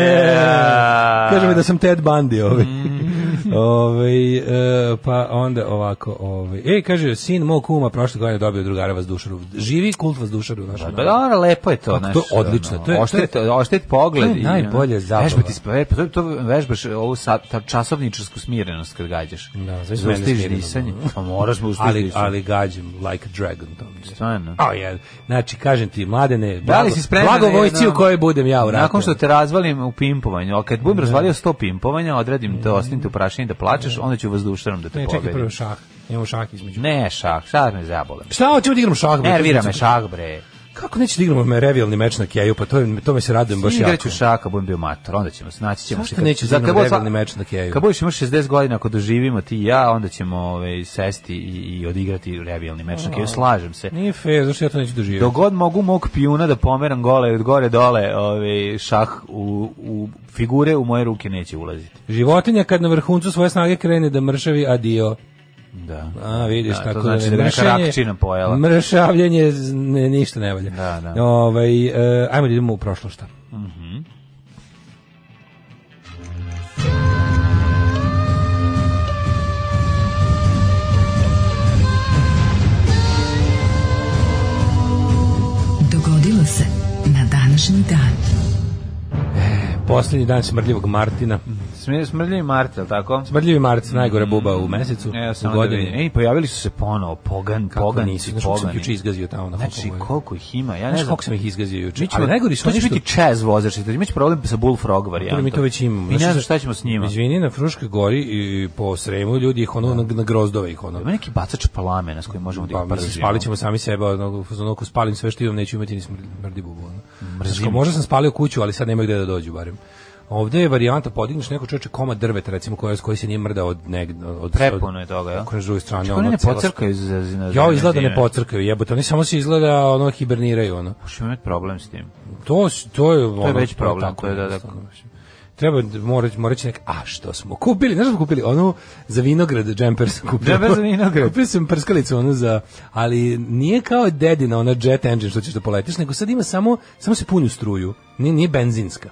Yeah.
Kaže mi da sam Ted Bundy ovaj.
Mm.
ovaj e, pa onda ovako, ovaj. E, kaže, sin mog kuma prošle godine dobio drugara vazdušaru. Živi kult vazdušara u našem
Pa
narodu.
dobro, lepo je to.
Kako to je
znaš,
odlično,
ono,
to je- to je-
oštet, oštet pogled.
to je
i,
najbolje
ono,
zabava.
Vežba ti sp- ve- to, to vežbaš ovu sa, ta časovničarsku smirenost kad gađaš.
Da, znači
Zaustiš
mene
disanje.
smirenost.
Pa moraš mu ustiš
Ali,
disanje.
ali gađam, like a dragon. To mi je.
Stvarno.
A, je. Znači, kažem ti, mladene,
Da
blago,
li si spreman?
blago
na
vojsci u
jednom-
kojoj budem ja u ratu. Da.
Nakon što te razvalim u pimpovanju, a kad budem razvalio 100 pimpovanja, odredim te, ostanim te u prašini da plačeš, onda ću vazdušarom da te
Mm. Ne, čekaj
pobedim.
prvo šah. Imamo šah između.
Ne, šah, šta me zabole.
Šta hoćemo da igramo šah? bre?
Nervira
To
me
znači-
šah, bre.
Kako neće da igramo me revijalni meč na Keju? Pa to, je- to me se radujem baš
Baš
jako.
igraću šaka, budem bio mator, onda ćemo se naći ćemo
Zašto
kad-
nećeš
za-
da
kad
igramo
budem sva-
rebalni meč na Keju?
Kad budeš imao 60 godina, ako doživimo ti i ja, onda ćemo ovaj, sesti i, i odigrati rebijalni meč na Keju, slažem se.
Nije fair, zašto ja to neću doživjeti?
Dok god mogu mog pijuna da pomeram gole od gore dole, ovaj, šah u, u figure u moje ruke neće ulaziti.
Životinja kad na vrhuncu svoje snage krene da mršavi, adio.
Da.
A, vidiš,
Da, to
tako
znači
je.
da je neka
Mršenje-
rakčina pojela.
Mršavljenje, z- ne, ništa ne valja.
Da, da.
Ovaj, e, ajmo da idemo u prošlo šta.
Thank
desilo se na današnji dan.
Poslednji dan smrdljivog Martina.
Sme- Smrdljivi Mart, je li tako?
Smrdljivi Mart, najgore
Mm.
buba u mesecu,
Evo
u
samo da
godini.
vidim. Ej, pojavili su se ponovo, pogan,
Kako
poganci,
nisu, znaš koliko sam
pogani.
ih juče izgazio tamo na
Znači,
Hopovu.
koliko ih ima, ja ne
Znaš
znam.
koliko sam ih izgazio juče?
Mi ćemo,
Ali najgori su
to će
oni što...
biti čez vozač, imaće problem sa Bullfrog
Dobro,
varijantom.
mi to već imamo.
I
Znaš
ne znam šta ćemo s njima. Da.
Izvini, na Fruškoj gori i po Sremu ljudi ih ono na, na grozdove ih ono.
Ima neki bacač palamena s kojim možemo da
Pa
ih
mislim,
pržimo.
spalit ćemo sami sebe, ono, u fazonu, ako spalim sve što imam, neću imati ni smrdi, mrdi bubu. Ono.
Mrzim.
Znaš, kao, možda sam spalio kuću, ali sad nema gde da dođu, barem. Ovde je varijanta, podigneš neko čoveče komad drveta, recimo, koja, koji se nije mrda od negde. Od,
Prepuno je toga, ja?
Kako na drugoj strani.
Čak oni ne
cela
pocrkaju za za- za-
Ja
za
izgleda da ne
zime.
pocrkaju, jebote, oni samo se izgleda ono hiberniraju ono.
Možemo imati problem s tim.
To s- to je ono,
već problem,
tako,
to je da- da-
jednostavno, mislim. Treba morat moraće nek a što smo kupili, ne znam kupili ono za vinograd džemper sam kupio.
Džemper za vinograd.
Kupio sam prskalicu ono za ali nije kao dedina ona jet engine što ćeš da poletiš, nego sad ima samo samo se punju struju. Nije nije benzinska.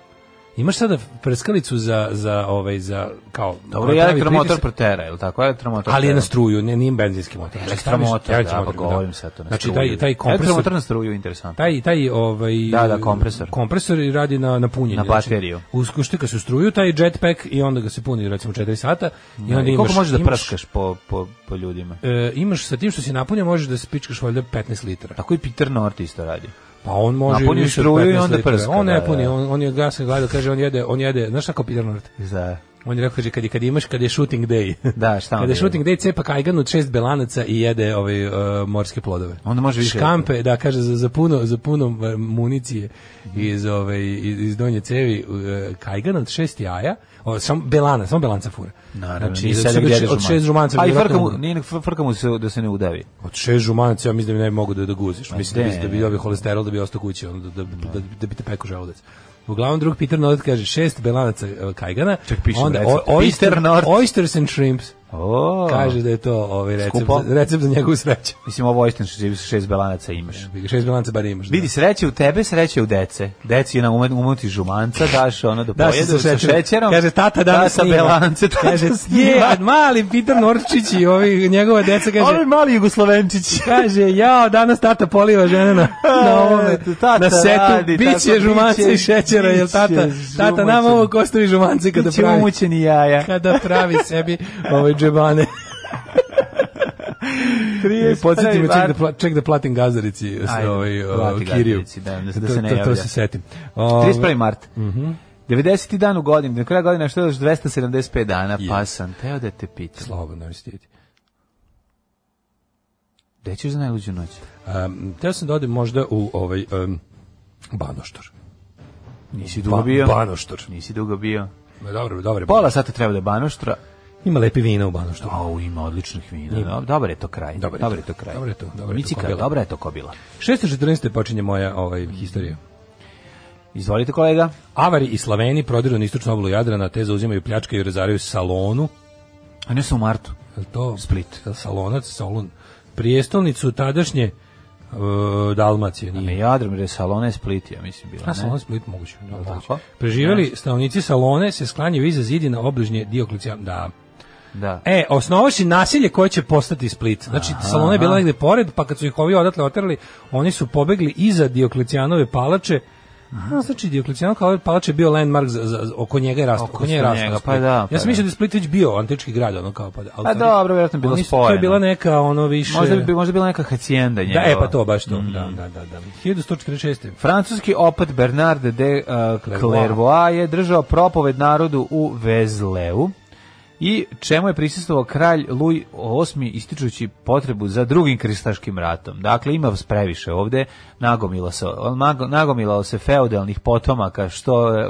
Imaš sada prskalicu za za ovaj za kao
Dobro,
koja
i
pravi
elektromotor
pritisak-
protera, je li tako? Elektromotor
ali je na
tera.
struju, ne, nije benzinski motor. Znači,
Elektromotor,
staviš
da, pa
elektromotor,
govorim sad to. na
Znači,
struju.
taj, taj kompresor,
Elektromotor na struju, interesantno.
taj, taj ovaj,
Da, da, kompresor.
kompresor i radi na, na punjenje.
Na
znači,
bateriju.
Uskuštika se u struju, taj jetpack i onda ga se puni recimo 4 sata. I onda
I
imaš,
koliko možeš da
imaš,
prskaš po, po, po ljudima?
e, imaš sa tim što si napunio, možeš da spičkaš valjda 15 litara.
Tako i Peter North isto radi.
Pa on može
Da. Napuni
i više od
struju i
15
onda
litara.
prska,
On
da,
ne
da.
puni, on, on je gasa gleda, kaže, on jede, on jede, znaš šta kao Peter North?
Za...
On je rekao, kaže, kad, je- kad imaš, kad je shooting day.
Da, šta
Kada
onda
je shooting day cepa kajgan od šest belanaca i jede ovaj, e, morske plodove.
Onda može više.
Škampe, da, kaže, za, za puno, za puno e, municije iz, ovaj, iz, iz donje cevi e, kajgan od šest jaja, o, samo belana, samo belanca fura.
Naravno,
znači,
i
od,
sad
šest-
gdje je
od šest žumanca.
A i
vjerojatno-
frka mu, nije, nek- frka mu se, da se ne udavi.
Od šest žumanca, ja mislim da bi ne bi mogu da, da guziš. Mislim da,
de.
mislim da bi dobio holesterol, da bi ostao kući, ono, da, da, da, da bi te peko želudac. Uglavnom drug Peter North kaže šest belanaca e, kajgana,
Čak piše u
onda
receptu.
o- oyster,
Peter North.
oysters and shrimps.
O,
Kaže da je to ovaj recept,
Skupo?
za, recept za njegovu sreću. Da
Mislim, ovo Oystein što živi sa šest belanaca imaš.
Bi ga Šest bilanca bar imaš. da.
Vidi, sreće u tebe, sreće u dece. Deci nam umet, umeti žumanca, daš ono da
Da,
pojedu
se sa šećerom. Kaže, tata danas
tata
snima.
belance, tata
Kaže,
snima.
je, a mali Peter Norčić i ovi, njegova deca
Ovi
kaže,
mali Jugoslovenčići.
Znači, kaže, jao, danas tata poliva žene na, na ovome,
E, tata
na setu,
radi,
biće
tako,
žumanca
biće,
i šećera, jel tata,
biće
tata nama
žumanca.
ovo kostovi žumanci kada
Biće
pravi,
umućeni jaja.
kada pravi sebi ove džebane.
E,
Podsjeti me, ček da, pla, ček da platim gazarici s
Ajde,
ovaj, o,
plati
kiriju.
gazarici, da, da se
To-
ne
to- To
javlja.
se setim.
31. mart.
Mhm.
90. dan u godini, do kraja godine što je još 275 dana, pa sam teo da te pitam.
Slobodno je stijeti.
Gde ćeš za najluđu noć?
Um, teo sam da odem možda u ovaj um, Banoštor.
Nisi dugo bio?
Banoštor.
Nisi dugo bio.
Ma Dobro, dobro.
Pola sata treba da banoštra.
Ima lepi vina u Banoštoru.
Au, ima odličnih vina. Dob- Dobar je to kraj.
Dobar je
Dobar je
to.
to kraj.
Dobar je to, dobar je to
Micika,
kobila.
dobra je to kobila.
614. počinje moja ovaj, historija.
Izvolite kolega.
Avari i Slaveni prodiru na istočnu obalu Jadrana, te zauzimaju pljačke i razaraju Salonu.
A ne su u martu.
Je li to?
Split.
Je li Salonac, Solun. Prijestolnicu tadašnje e, Dalmacije.
Ne,
Nije.
Jadrom, jer je Salone Split, ja mislim, bila.
A
ne?
Salon Split moguće. da,
Tako.
moguće. Preživjeli stanovnici Salone se sklanjaju iza zidi na obližnje Dioklecijan. Da,
Da.
E, osnovaši nasilje koje će postati Split. Znači, Salona je bila negde pored, pa kad su ih ovi odatle oterali, oni su pobegli iza Dioklecijanove palače. A, znači, Dioklecijanova palače je bio landmark, za, za, oko njega je rastao. Oko,
Oko
nje je rastao
njega,
Split.
pa da, pa
ja sam
da.
mislio da je Split već bio antički grad, ono kao pa da. ali
Pa
to-
dobro, vjerojatno je bilo
oni su- To je
spojeno.
bila neka, ono, više...
Možda bi možda bila neka hacijenda
Da,
njegova. Mhm.
e, pa to, baš to. Da, da, da, da. 1146.
Francuski opat Bernard de uh, Clairvoy je držao propoved narodu u Vezleu i čemu je prisustvovao kralj Luj VIII ističući potrebu za drugim kristaškim ratom. Dakle, ima previše ovde, nagomilo se, nago- nagomilao se feudalnih potomaka, što e,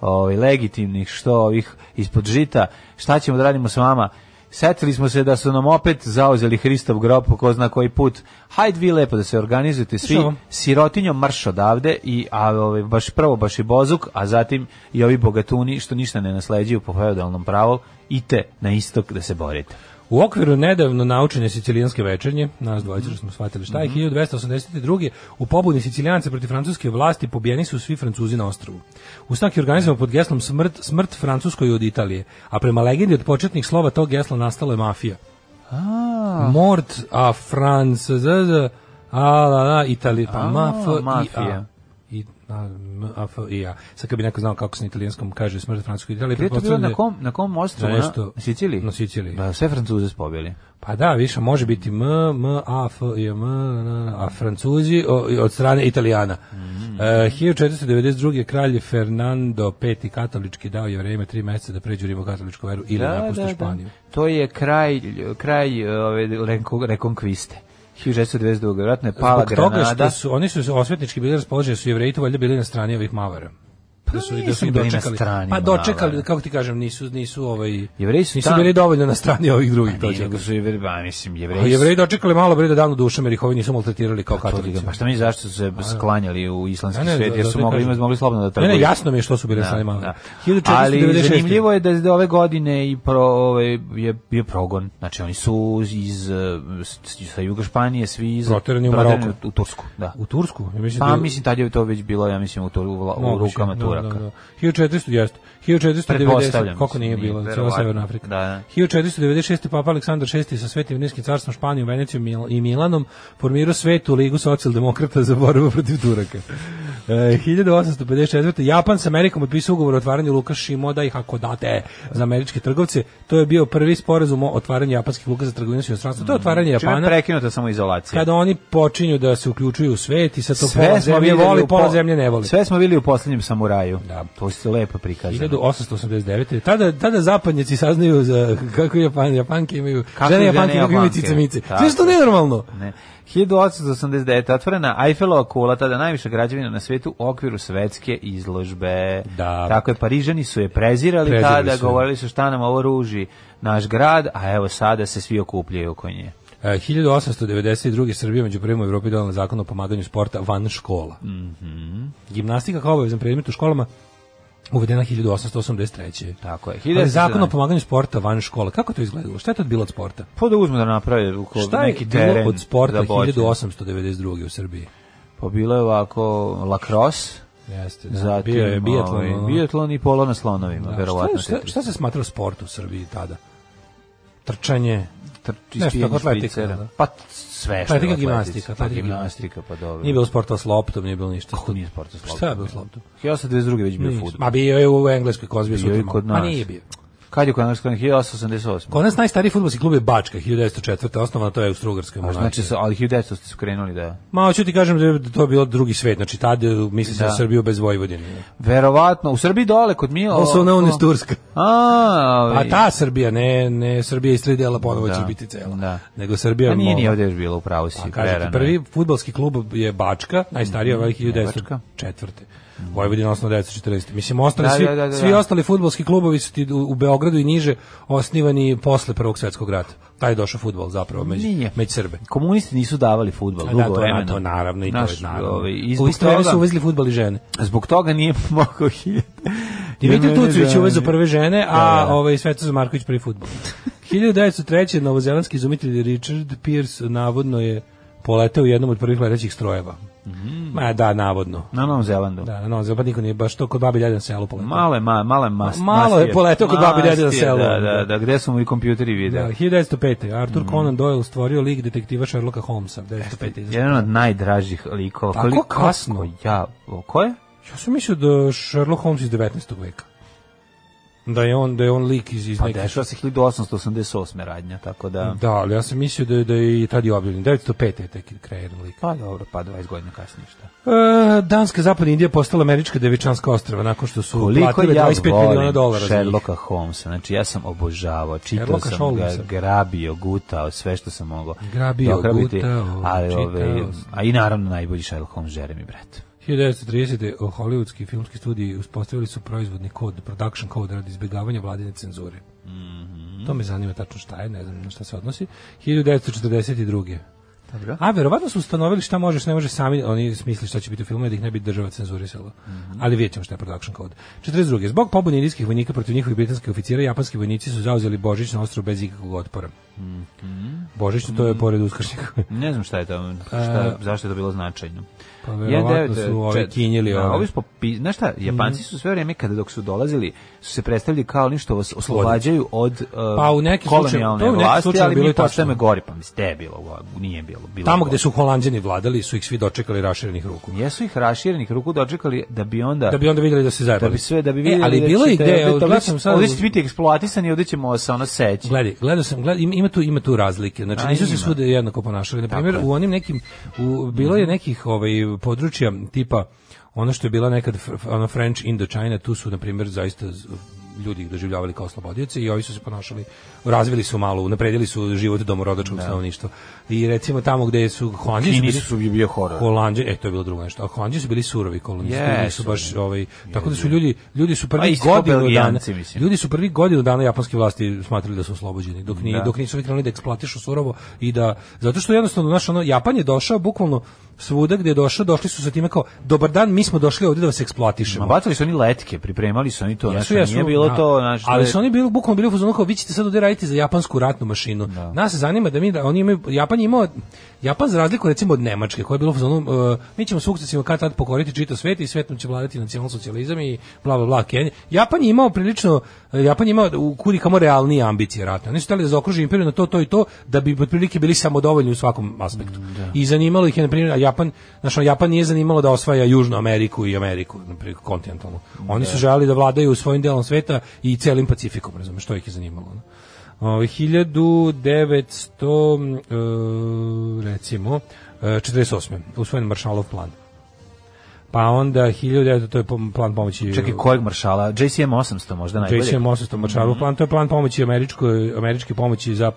ovaj, legitimnih, što ovih ispod žita, šta ćemo da radimo s vama, Setili smo se da su nam opet zauzeli Hristov grob po ko zna koji put. Hajde vi lepo da se organizujete svi
Slušamo.
sirotinjom marš odavde i a ovaj baš prvo baš i bozuk, a zatim i ovi bogatuni što ništa ne nasleđuju po feudalnom pravu, ite na istok da se borite.
U okviru nedavno naučene sicilijanske večernje, nas dvojica što smo shvatili šta je,
Mhm.
1282. u pobuni sicilijanca protiv francuske vlasti pobijeni su svi francuzi na ostrovu. Ustanak je organizovan pod geslom smrt, smrt francuskoj od Italije, a prema legendi od početnih slova tog gesla nastala je mafija. Mort a France, z, z, a la la Italija, pa maf, i a.
mafija.
i a, m, a, f, i a. Sad kad bi neko znao kako se na italijanskom kaže smrt francuskoj Italiji,
Gde je to bilo
pretpostavljam da
na
je-
kom, na kom ostrvu?
Na
Na,
nešto-
na Siciliji?
na Siciliji.
Da, sve Francuze spobili.
Pa da, više može biti M, M, A, F, I, M, N, N, a Francuzi o, i od strane Italijana.
Mm.
E, 1492. kralj Fernando V. katolički dao je vreme tri meseca da pređu rimokatoličku veru ili da, napuste Španiju.
To je kraj, kraj ove, renko- rekonkviste. 1692. Vjerojatno je pala
Zbog toga
Granada.
što su, oni su osvetnički bili raspoloženi, su jevreji tu valjda bili na strani ovih mavara. Da su, da su
Pa nisu
ih
bili na
dočekali.
strani
pa dočekali,
Mavara.
kako ti kažem, nisu, nisu, ovaj,
Jevreji su
nisu
tam- Pa
bili dovoljno na strani ovih drugih. to
Nije,
ću
nego su jevreji, ba, mislim,
A
jevreji,
jevreji dočekali malo bre da danu dušom jer ih ovi nisu maltretirali kao
Pa to ti
katolici. da.
ga- Pa šta mi zašto su se sklanjali u islamski
Ne, da, ne,
svet, jer
zato
su
ti
mogli,
kažem.
imati, mogli slobodno da
Ne,
trguju.
ne, jasno mi je što su bili na strani
Da.
mavara.
Ali
1496.
zanimljivo je da je ove godine i pro, ove, je bio progon. Znači oni su iz, eh, s- sa juga Španije svi iz,
Proterani u
proterani
Maroko.
u Tursku. Da.
U Tursku? Ja mislim
Pa
da-
mislim tad je to već bilo, ja mislim, u, Tur- u, vla- u
Moguće,
rukama
da,
Turaka.
Da, da. 1400, jeste. 1490,
Pretpostavljam,
koliko nije
mislim,
bilo,
nije,
cijela Severna
verovatno.
Afrika.
Da, da.
1496. Papa Aleksandar VI sa Svetim Rimskim carstvom Španijom, Venecijom Mil- i Milanom formirao Svetu ligu socijaldemokrata za borbu protiv Turaka. E, 1854. Japan s Amerikom potpisao ugovor o otvaranju luka Shimoda i Hakodate za američke trgovce. To je bio prvi sporazum o otvaranju japanskih luka za trgovinu s inostranstvom. To je otvaranje
Čime Znači, je
Japana
prekinuta samo izolacija.
kada oni počinju da se uključuju u svet i sad to pola
Sve smo
zemlje
videli
voli,
u po-
pola zemlje ne voli.
Sve smo videli u posljednjem samuraju.
Da.
To se lepo prikazano.
1889. Tada, tada zapadnjaci saznaju za kako Japan, Japanke imaju,
Kako
žene
žene
Japanke kako imaju
Japanke.
cicamice.
Tako
Sve što
je.
nenormalno.
Ne. 1889. otvorena Eiffelova kula, tada najviša građevina na svetu u okviru svetske izložbe.
Da.
Tako je, Parižani su je prezirali,
Prezirali
tada,
su je.
govorili su šta nam ovo ruži naš grad, a evo sada se svi okupljaju oko nje.
E, 1892. Srbija među prvima u Evropi donala zakon o pomaganju sporta van škola.
Mhm.
Gimnastika kao obavezan predmet u školama uvedena 1883.
Tako je.
Ali zakon o
1917.
pomaganju sporta van škola, kako je to izgledalo? Šta je to bilo od sporta?
Pa da uzmu da naprave u ko-
Šta je
neki teren
bilo od sporta
za boćanje.
1892. u Srbiji?
Pa bilo je ovako lakros,
Jeste, da.
zatim
bio je biatlon.
ovaj,
ono.
biatlon i polo na slonovima,
Da,
verovatno.
Šta, je- šta, šta se smatralo sport u Srbiji tada? Trčanje.
trči
Nešto
iz
tako atletika,
špicera.
da.
Pa t- sve što je
Atletika,
atletika,
gimnastika,
Pa
atletika,
gimnastika, pa dobro.
Nije bilo sporta s loptom, nije bilo ništa.
Kako nije sporta s loptom?
Šta je bilo s loptom?
1822. već bio
Ništa.
fudbal.
Ma bio je u Engleskoj Kozbije
Bio je
sutra.
kod
Ma
nas.
nije bio.
Kad je kod nas kod nas? 1888.
Kod nas najstariji fudbalski klub je Bačka, 1904. Osnovano to je u Strugarskoj
A
monarhiji.
Znači, sa- ali 1900 ste su krenuli da...
Ma hoću ti kažem da je to bilo drugi svet. Znači tad je, misli se
Da.
na Srbiju bez Vojvodine.
Verovatno, u Srbiji dole kod mi...
Also known as Turska.
A,
A ta Srbija, ne, ne Srbija iz tri dela ponovo
Da.
će biti cela.
Da.
Nego Srbija...
Pa nije
mora-
ni ovdje još bilo, upravo si.
Pa kažete,
prerano je. Mhm.
prvi fudbalski klub je Bačka, najstarija mm,
Bačka.
1904. Vojvodina osnovno 1940. Mislim, ostali,
Da,
svi,
da, da, da,
svi
da.
ostali fudbalski klubovi su ti u, u Beogradu i niže osnivani posle Prvog svjetskog rata. Taj je došao fudbal zapravo među,
Nije.
među Srbbe.
Komunisti nisu davali futbol
Da,
dugo
to,
vremena.
na, to naravno i to
Naš,
je naravno.
ovaj, i
U
zbog
Istreli
toga-
su uvezli fudbal i žene.
Zbog toga nije mogao hiljada.
Dimitrij Tucović je uvezu
uvezu
prve žene, a
Da, da.
ovaj Svetozar Marković prvi fudbal. 1903. novozelandski izumitelj Richard Pierce navodno je poleteo u jednom od prvih letećih strojeva.
Mm.
Ma da, navodno.
Na Novom Zelandu.
Da, na Novom Zelandu, pa niko nije baš to kod babi dede na selu poletao.
Malo je, ma, malo je mas,
Malo je
mastije.
poletao kod babi dede na
Mastije,
selu.
Da, da, da, gde su mu i kompjuteri
Da,
videli.
1905.
Mm.
Arthur Conan Doyle stvorio lik detektiva Sherlocka Holmesa. 1905. izašao.
Jedan od najdražih likova.
Tako
Koliko-
kasno.
kako Ja, o, ko je?
Ja sam mislio da Sherlock Holmes iz 19. veka. Da je on, da je on lik iz, iz
Pa
neke-
dešava se 1888. radnja, tako da...
Da, ali ja sam mislio da, je- da je i tad i objavljen. 905. je tek kreiran lik.
Pa dobro, pa 20 godina kasnije šta.
E, Danska, zapadna Indija postala američka devičanska ostrava nakon što su
Koliko
platile
ja
25 miliona
volim
dolara za njih.
Sherlocka Holmesa, znači ja sam obožavao, čitao
Sherlocka
sam
Holmesa.
ga, grabio, gutao, sve što sam mogao.
Grabio,
dograbiti,
gutao,
ali,
čitao
ove,
sam.
a i naravno najbolji Sherlock Holmes, Jeremy Brett.
1930. hollywoodski filmski studiji uspostavili su proizvodni kod, production kod radi izbjegavanja vladine cenzure. To me zanima tačno šta je, ne znam na šta se odnosi. 1942.
Dobro.
A verovatno su ustanovili šta može, šta ne može sami, oni smisli šta će biti u filmu, da ih ne bi država cenzurisala. Ali vidjet ćemo šta je production code. 42. Zbog pobune indijskih vojnika protiv njihovih britanskih oficira, japanski vojnici su zauzeli Božić na ostru bez ikakvog otpora. Mm Božićno, to je pored Uskršnjaka.
Ne znam šta je to, šta, zašto je to bilo značajno.
E, Pa verovatno
1994.
su ovi kinjili
Da,
ove. Mhm.
Ovi su popi- znaš šta, Japanci su sve vrijeme kada dok su dolazili, su se predstavili kao oni što vas oslobađaju od uh,
Pa u nekim
kolonijalne
slučaju- to u nekim
vlasti,
slučaju
ali
bilo
mi
i tačno.
postajemo gori, pa mislim, te je bilo, go- nije bilo. bilo je
Tamo
gore.
gde su Holanđani vladali su ih svi dočekali raširenih ruku.
Jesu ih raširenih ruku dočekali da bi onda...
Da bi onda vidjeli da se zajebali.
da bi sve da bi
E,
vidjeli
ali
da
bilo je
ćete-
gde,
da bi- da
evo,
bi-
gledao sam sad-
ovdje ćete biti eksploatisani i ovdje ćemo se ono seći
Gledaj, gledao sam, gled, ima, ima tu ima tu razlike. Znači
A,
nisu se
ima.
svuda jednako ponašali. Na primjer,
Tako je. Mhm.
u onim nekim u, bilo je nekih ovaj područja tipa ono što je bila nekad fr- fr- ono French Indochina, tu su na primjer zaista z- ljudi ih doživljavali kao oslobodioce i ovi su se ponašali, razvili su malo, napredili su život domorodačkog stanovništva. I recimo tamo gdje su Holandiji
Da. Kini su bi bio horor
Holandje, e to je bilo drugo nešto. A Holandje su bili surovi kolonisti, ljudi su
Jesu,
baš ovaj tako da su ljudi ljudi su
A
prvi
isto kao
godinu dana
Belgijanci, mislim.
ljudi su prvi godinu dana japanske vlasti smatrali da su oslobođeni dok ni
Da.
dok nisu ovi krenuli da eksploatišu surovo i da zato što jednostavno naš ono Japan je došao bukvalno svuda gdje je došao, došli su sa time kao dobar dan, mi smo došli ovdje da vas
Ma
eksploatišemo.
bacali su oni letke, pripremali su oni to,
Jesu,
znači
jesu,
nije bilo
da.
to, znači
ali su oni bili bukvalno bili u fazonu kao vi ćete sad ovdje raditi za japansku ratnu mašinu. Nas zanima da mi da oni imaju Japan je imao Japan za razliku recimo od Nemačke koja je bila u fazonu e, mi ćemo sukcesivno kad tad pokoriti čitav svet i svetom će vladati nacionalsocijalizam i bla bla bla Kenija. Japan je imao prilično e, Japan je imao u kudi kamo realnije ambicije ratne. Oni su hteli da zaokruže imperiju na to to i to da bi otprilike bili samodovoljni u svakom aspektu. I zanimalo ih je na primjer a Japan, znači Japan nije zanimalo da osvaja Južnu Ameriku i Ameriku na primjer kontinentalnu. Oni su želeli da vladaju svojim delom sveta i celim Pacifikom, razumeš, što ih je zanimalo. ono. Ovaj, 1900 e, recimo e, 48. usvojen Maršalov plan. Pa onda 1900 to je pom- plan pomoći
čekaj kojeg maršala, JCM 800 možda najbolje.
JCM 800 Maršalov plan, to je plan pomoći američkoj američke pomoći za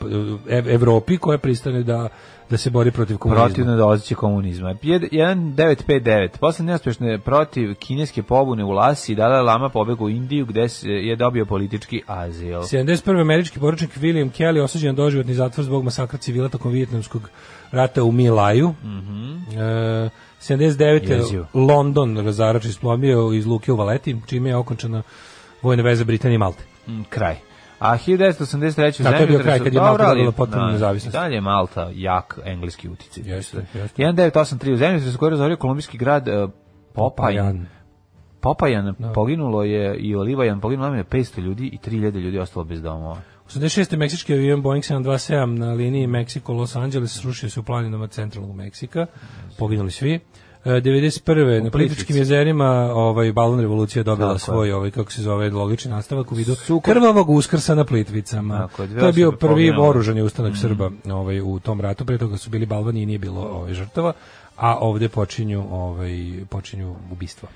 Evropi koja pristane da da se bori protiv komunizma.
protivno dolazeće komunizma. 1959. Posle neuspešne protiv kineske pobune u Lasi, Dalai Lama pobegao u Indiju gde se- je dobio politički azil.
71. američki poručnik William Kelly osuđen na doživotni zatvor zbog masakra civila tokom vijetnamskog rata u Milaju. E, 79.
Jezivo.
London razarač isplomio iz luke u Valeti, čime je okončana vojna veza Britanije i Malte.
Mm, Kraj. A 1983. u
Da, to je bio
zemljotresu-
kraj, kad je
Dobro,
Malta
ali-
dobila potpunu
da,
nezavisnost.
i Dalje je Malta jak engleski uticaj.
Jeste, jeste.
1983. u zemljotresu koji je razorio kolumbijski grad e, Popajan.
Popajan. Da.
Popajan poginulo je i Olivajan poginulo nam je 500 ljudi i 3000 ljudi ostalo bez domova.
86. meksički avion Boeing 727 na liniji Meksiko-Los Angeles srušio se u planinama centralnog Meksika. Poginuli svi. E, 91. na Plitvičkim jezerima ovaj balon revolucije dobila
Tako je.
svoj ovaj kako se zove logični nastavak u vidu
Sukob-
krvavog uskrsa na Plitvicama.
Tako je, dve
to je bio
osobe
prvi
poginule.
oružani
Mm.
ustanak Srba ovaj u tom ratu pre toga su bili Balvani i nije bilo ovaj žrtava, a ovdje počinju ovaj počinju ubistva.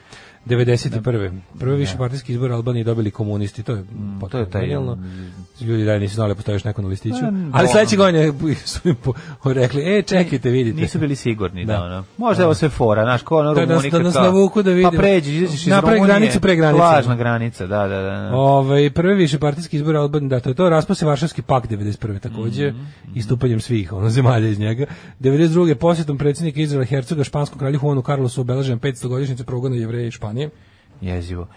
91.
Da.
Prvi višepartijski izbor Albanije dobili komunisti, to je potpuno
Mm, taj,
genijalno.
mm,
Ljudi da nisu znali da postoji još neko na listiću.
Pa, dobro.
Ali sledeće godine su im po- rekli, e, čekajte, vidite.
Nisu bili sigurni da,
Da.
ono. Možda je ovo sve fora, znaš, ko ono
Da nas-
Rumunika
da nas
kao-
navuku da vidimo.
Pa pređi, izađeš iz
Napravi
Rumunije,
granicu pre granice.
Lažna granica, da, da, da. da.
Ovaj prvi višepartijski izbor Albanije, da to je to, raspao se Varšavski pakt 91. takođe istupanjem svih ono zemalja iz njega. 92. posjetom predsjednika Izraela Hercega španskom kralju Juanu Carlosu obeležen 500 godišnjicu progona Jevreja i Španije.
Jezivo.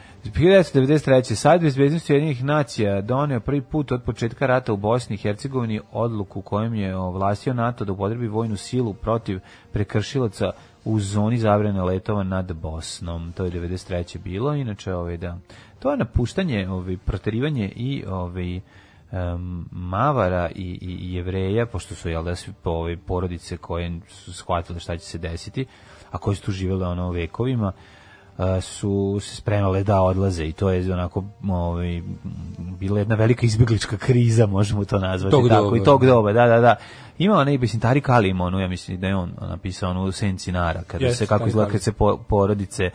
1993. Sad bezbednosti jednih nacija doneo prvi put od početka rata u Bosni i Hercegovini odluku kojom je ovlastio NATO da upotrebi vojnu silu protiv prekršilaca u zoni zabrane letova nad Bosnom. To je 93. bilo, inače ovaj da. To je napuštanje, ovaj proterivanje i ovaj em, Mavara i, i, i jevreja, pošto su jel da svi po, ovaj, porodice koje su shvatile šta će se desiti, a koje su tu živele ono vekovima, a, su se spremale da odlaze i to je onako ovaj, m, bila jedna velika izbjeglička kriza, možemo to nazvati
Tog
tako,
doba.
i tog doba, da, da, da. Ima onaj mislim Tarik Alim, onu, ja mislim da je on napisao onu u Senci Nara, kada
Jeste,
se kako
Tarik
izgleda,
Alim.
kad se po- porodice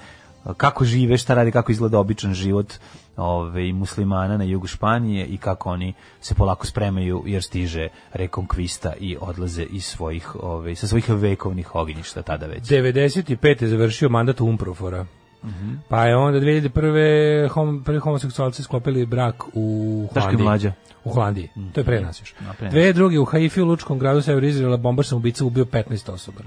kako žive, šta radi, kako izgleda običan život ove, muslimana na jugu Španije i kako oni se polako spremaju jer stiže rekonkvista i odlaze iz svojih, ove, sa svojih vekovnih ognjišta tada već.
95. je završio mandat Umprofora.
Mhm.
Pa je onda 2001. Hom, prvi homoseksualci sklopili brak u
Daško i
Holandiji.
mlađa.
U Holandiji. To je pre nas još.
A, pre nas.
2002. u Haifi u Lučkom gradu Sever Izraela bombar sam ubica ubio 15 osoba.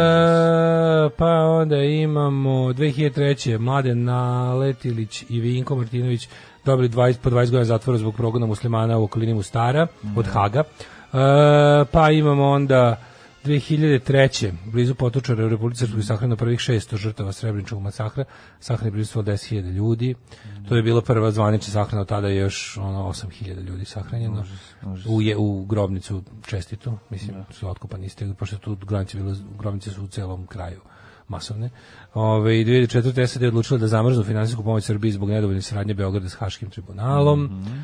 E, pa onda imamo 2003. Mladen Naletilić i Vinko
Mhm.
Martinović dobili 20, po 20 godina zatvora zbog progona muslimana u okolini Mustara od Haga. E, pa imamo onda 2003. blizu Potočara u Republici Srpskoj sahrano prvih 600 žrtava Srebreničkog masakra. Sahran je blizu 10.000 ljudi. To je bila prva zvanična sahrana, od tada je još ono, 8.000 ljudi sahranjeno. U, je, u grobnicu čestitu, mislim, su otkopani iz tega, pošto tu granice, bile, grobnice su u celom kraju masovne. Ove, i 2004. SAD je odlučila da zamrznu finansijsku pomoć Srbiji zbog nedovoljne saradnje Beograda s Haškim tribunalom.
Mhm.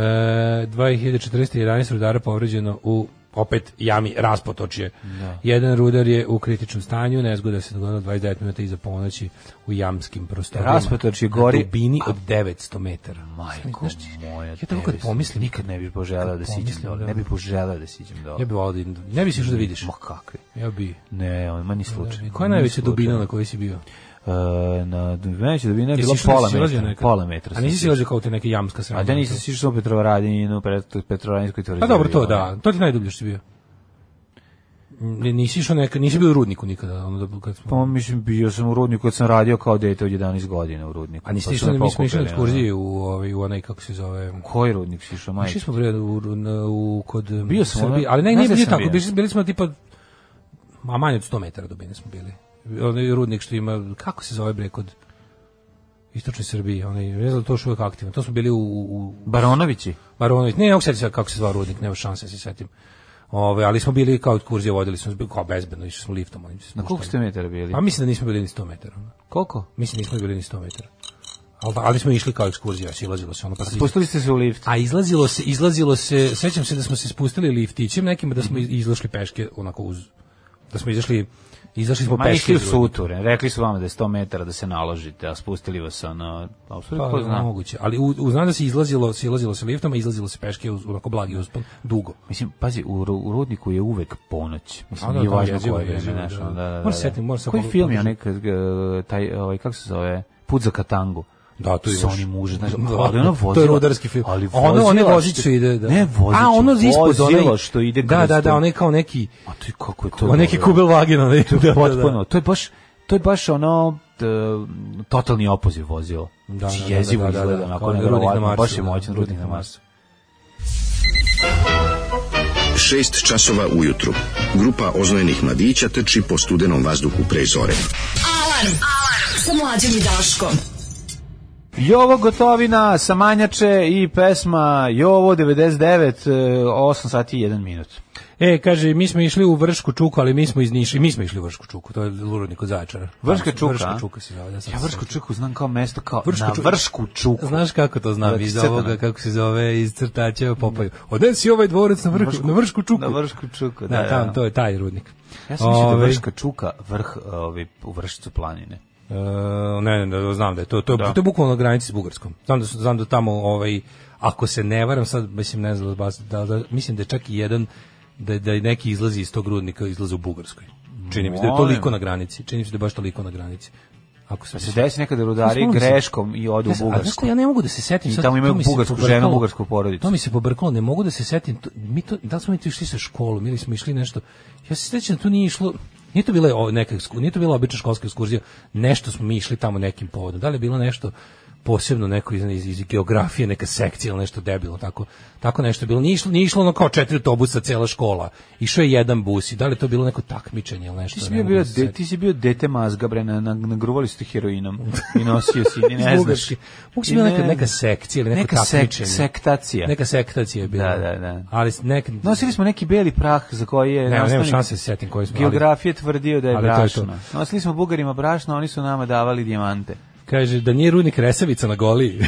E, 2014. 11 rudara povređeno u opet jami raspotočje.
Da.
Jedan rudar je u kritičnom stanju, nezgoda se dogodila 29 minuta iza ponoći u jamskim prostorima.
Raspotočje gori.
Na dubini od 900 metera.
Majko
Znaš ti,
moja,
ja tako kad
tebi se-
pomislim,
nikad ne bih poželeo
kad
da siđem
pomislim,
dole.
da.
Ne bih poželeo da siđem dole.
Ja bi volao da idem- ne bi si išao da vidiš.
Ma Znači, kakvi?
Ja bi.
Ne, on ma ni slučajno.
Da, Koja je
Ni
najveća
slučajno.
dubina na kojoj si bio?
E, na najveća dubina je
Jesi
bila
išao da
pola
si silazio
metra.
nekad?
Pola metra.
A
sam
nisi
sišao.
silazio kao te neke jamska sranja?
A da nisi sišao u Petrovaradinu, Pet- Petrovaradinskoj tvrdi.
Pa dobro, to da. To ti najdublje što si bio. Ne, nisi išao neka, nisi bio u rudniku nikada, ono da kad smo...
Pa mislim, bio sam u rudniku kad sam radio kao dete od 11 godina u rudniku.
a
Pa
niste
su
išli,
me
mi smo išli
pokupili,
na ekskurzije u, ovaj, u onaj, kako se zove...
ono. Koji rudnik si išao, majče?
Išli smo bre u, na- u kod
Bio sam
Srbije,
ono-
ali
znaš
ne, nije
gde
bilo
sam
tako,
bio?
bili, bili smo tipa a manje od 100 metara dubine smo bili. Onaj rudnik što ima, kako se zove bre kod istočne Srbije, onaj, ne znam to što uvek aktivno. To smo bili u, u
Baronovići?
Maronović, ne, mogu se sjetiti sad kako se zvao rudnik, nema šanse da se setim. Ove, ali smo bili kao ekskurzije, vodili smo, bili kao bezbedno, išli smo liftom. Onim,
Na koliko ste metara bili?
A mislim da nismo bili ni 100 metara. ono.
Koliko?
Mislim da nismo bili ni 100 metara. Ali, ali smo išli kao ekskurzija, silazilo se ono. Pa se
Spustili ste se u lift.
a izlazilo se, izlazilo se, sećam se da smo se spustili liftićem nekim, da
Mhm.
smo iz- izašli peške, onako uz, da smo izašli, izašli smo
Ma
peške.
išli u
iz rudnika.
suture, rekli su vama da je 100 metara da se naložite, a spustili vas ono, a u stvari
Pa,
ko zna.
moguće, ali u, u, znam da se izlazilo, se izlazilo se liftom, a izlazilo se peške uz onako blagi uspon, dugo.
Mislim, pazi, u, ru- u rudniku je uvek ponoć. Mislim,
A da,
nije
da,
važno
jezivo,
koje vreme,
jezivo,
znaš,
da.
ono, da, da, da.
Moram se setim, moram sad
Koji
pogledati.
film je onaj, kad ga, taj, ovaj, kako se zove, Put za katangu?
Da, to je
Sa
još-
onim mužem, znaš,
Da,
ali ono vozilo.
to je rudarski film.
Ali
ono,
vozilo
one
što-
voziću ide, da.
Ne, voziću.
A ono za ispod,
vozilo
onaj-
što ide
Da,
kroz
da,
to.
da, onaj kao neki,
A to je kako je to?
kao neki
dobro.
kubel vagin, onaj. Da, da, da.
potpuno. To je baš to je baš ono t- totalni opoziv vozila. Da,
da, da,
Jezivo
da, da,
izgleda,
da,
onako
kao onaj
nevjerovatno,
rudnik na Marsu,
baš je
da,
moćan rudnik na Marsu.
6 časova ujutru. Grupa oznojenih mladića trči po studenom vazduhu pre zore.
Alarm! Alarm! Sa mlađom i Daškom.
Jovo Gotovina, Samanjače i pesma Jovo 99, e, 8 sati i 1 minut.
E, kaže, mi smo išli u Vršku čuku, ali mi smo iz Niša, i mi smo išli u Vršku čuku, to je ludnik od Zaječara.
Vrška
Tamo se-
čuka,
Vrška
a?
čuka se zove, da sad
Ja
se
Vršku
sećam.
čuku znam kao mesto, kao
Vršku
na
čuku.
Vršku čuku.
Znaš kako to znam
Znači,
iz
crtano.
ovoga kako se zove iz crtačeva popaju. Odnesi ovaj dvorac na vršku, na vršku čuku.
Mm. Na Vršku čuku, da,
Da, tam,
da.
to je taj rudnik.
Ja sam mislio da je
Ovaj,
Vrška čuka vrh ovaj, u vršcu planine.
e, ne, ne, ne, znam da je to to,
Da.
to je bukvalno na granici s Bugarskom. Znam da su- znam da tamo ovaj ako se ne varam sad mislim ne znam da, bas- da, da mislim da je čak i jedan da da je neki izlazi iz tog rudnika izlaze u Bugarskoj. Čini mi se da je
Molim.
toliko na granici. Čini mi se da je baš toliko na granici. Ako se
Se desi nekada da rudari
Mislim,
greškom i odu u
Ne znam, a znaš
Bugarsku.
šta, ja ne mogu da se setim
I
sad,
tamo
to
imaju
mi se
bugarsku
pobrkalo.
ženu, bugarsku porodicu.
To mi se pobrkalo, ne mogu da se setim. To, mi to, da li smo mi tu išli sa školom ili smo išli nešto? Ja se sećam, da tu nije išlo... Nije to bila o- neka eksku- nije to bila obična školska ekskurzija. Nešto smo mi išli tamo nekim povodom. Da li je bilo nešto posebno neko iz, iz, iz geografije, neka sekcija ili nešto debilno, tako, tako nešto je bilo. Nije išlo, nije išlo ono kao četiri autobusa cela škola. Išao je jedan bus i da li je to bilo neko takmičenje ili nešto?
Ti si
ne
bio,
mogu
bio
da se
de,
setim.
ti si bio dete mazga bre na, na nagruvali ste heroinom i nosio si i
Iz
ne znaš.
Bugarske. Mogu si
I
bila
ne
neka,
znaš.
neka sekcija ili neko
Neka sek-
takmičenje.
sektacija.
Neka sektacija je bila.
Da, da, da.
Ali nek,
Nosili smo neki beli prah za koji je
Ne, nemam
nastavnik
šanse da se setim koji smo, ali-
Geografije tvrdio da je
ali to je
brašno.
to.
Nosili smo bugarima brašno, oni su nama davali dijamante.
kaže da nije rudnik Resavica na Goliji.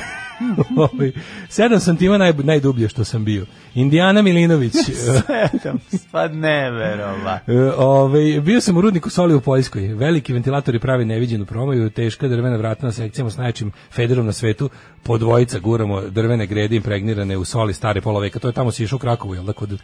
Ovaj, Sedam sam tima naj, najdublje što sam bio. Indijana Milinović.
pa ne, verova.
E, ovaj, bio sam u rudniku soli u Poljskoj. Veliki ventilatori pravi neviđenu promaju, teška drvena vrata na sekcijama s najjačim federom na svetu. Po dvojica guramo drvene grede impregnirane u soli stare pola veka. To je tamo si išao u Krakovu, jel da? Kod,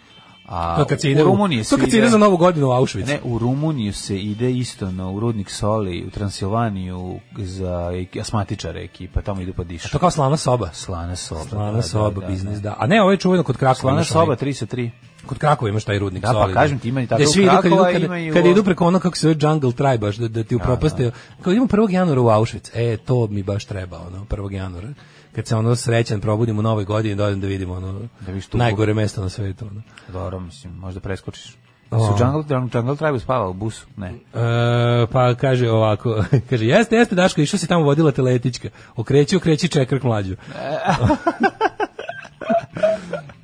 A
to kad se
u
ide, u-
Rumuniji
to
se
kad se
ide-
ide za novu godinu u Auschwitz.
Ne, u Rumuniju se ide isto na u rudnik soli, u Transilvaniju za ek- asmatičare ekipa, tamo idu pa dišu.
To kao slavna soba.
Slana soba.
Slana
da, da,
soba,
da,
biznis, da. A ne, ovo je čuveno kod Krakova.
Slana
imaš
soba
onaj-
3 sa 3.
Kod Krakova imaš taj rudnik
Da, pa
solidni.
kažem ti, ima i tako
Gde
u
svi idu kad idu,
Krakova,
kad,
ima i Da, u-
kad idu preko ono kako se zove Jungle Tribe, baš da, da ti upropaste. Kao idemo 1. januara u Auschwitz. E, to mi baš treba, ono, 1. januara. kad se ono srećan probudim u novoj godini dođem da vidim ono
Da vidiš tu-
najgore mesto na svetu. Ono.
Dobro, mislim, možda preskočiš.
O.
Su Jungle, Jungle, Jungle Tribe spava u busu? Ne.
E, pa kaže ovako, kaže, jeste, jeste Daško, išao si tamo vodila teletička. Okreći, okreći čekrk mlađu.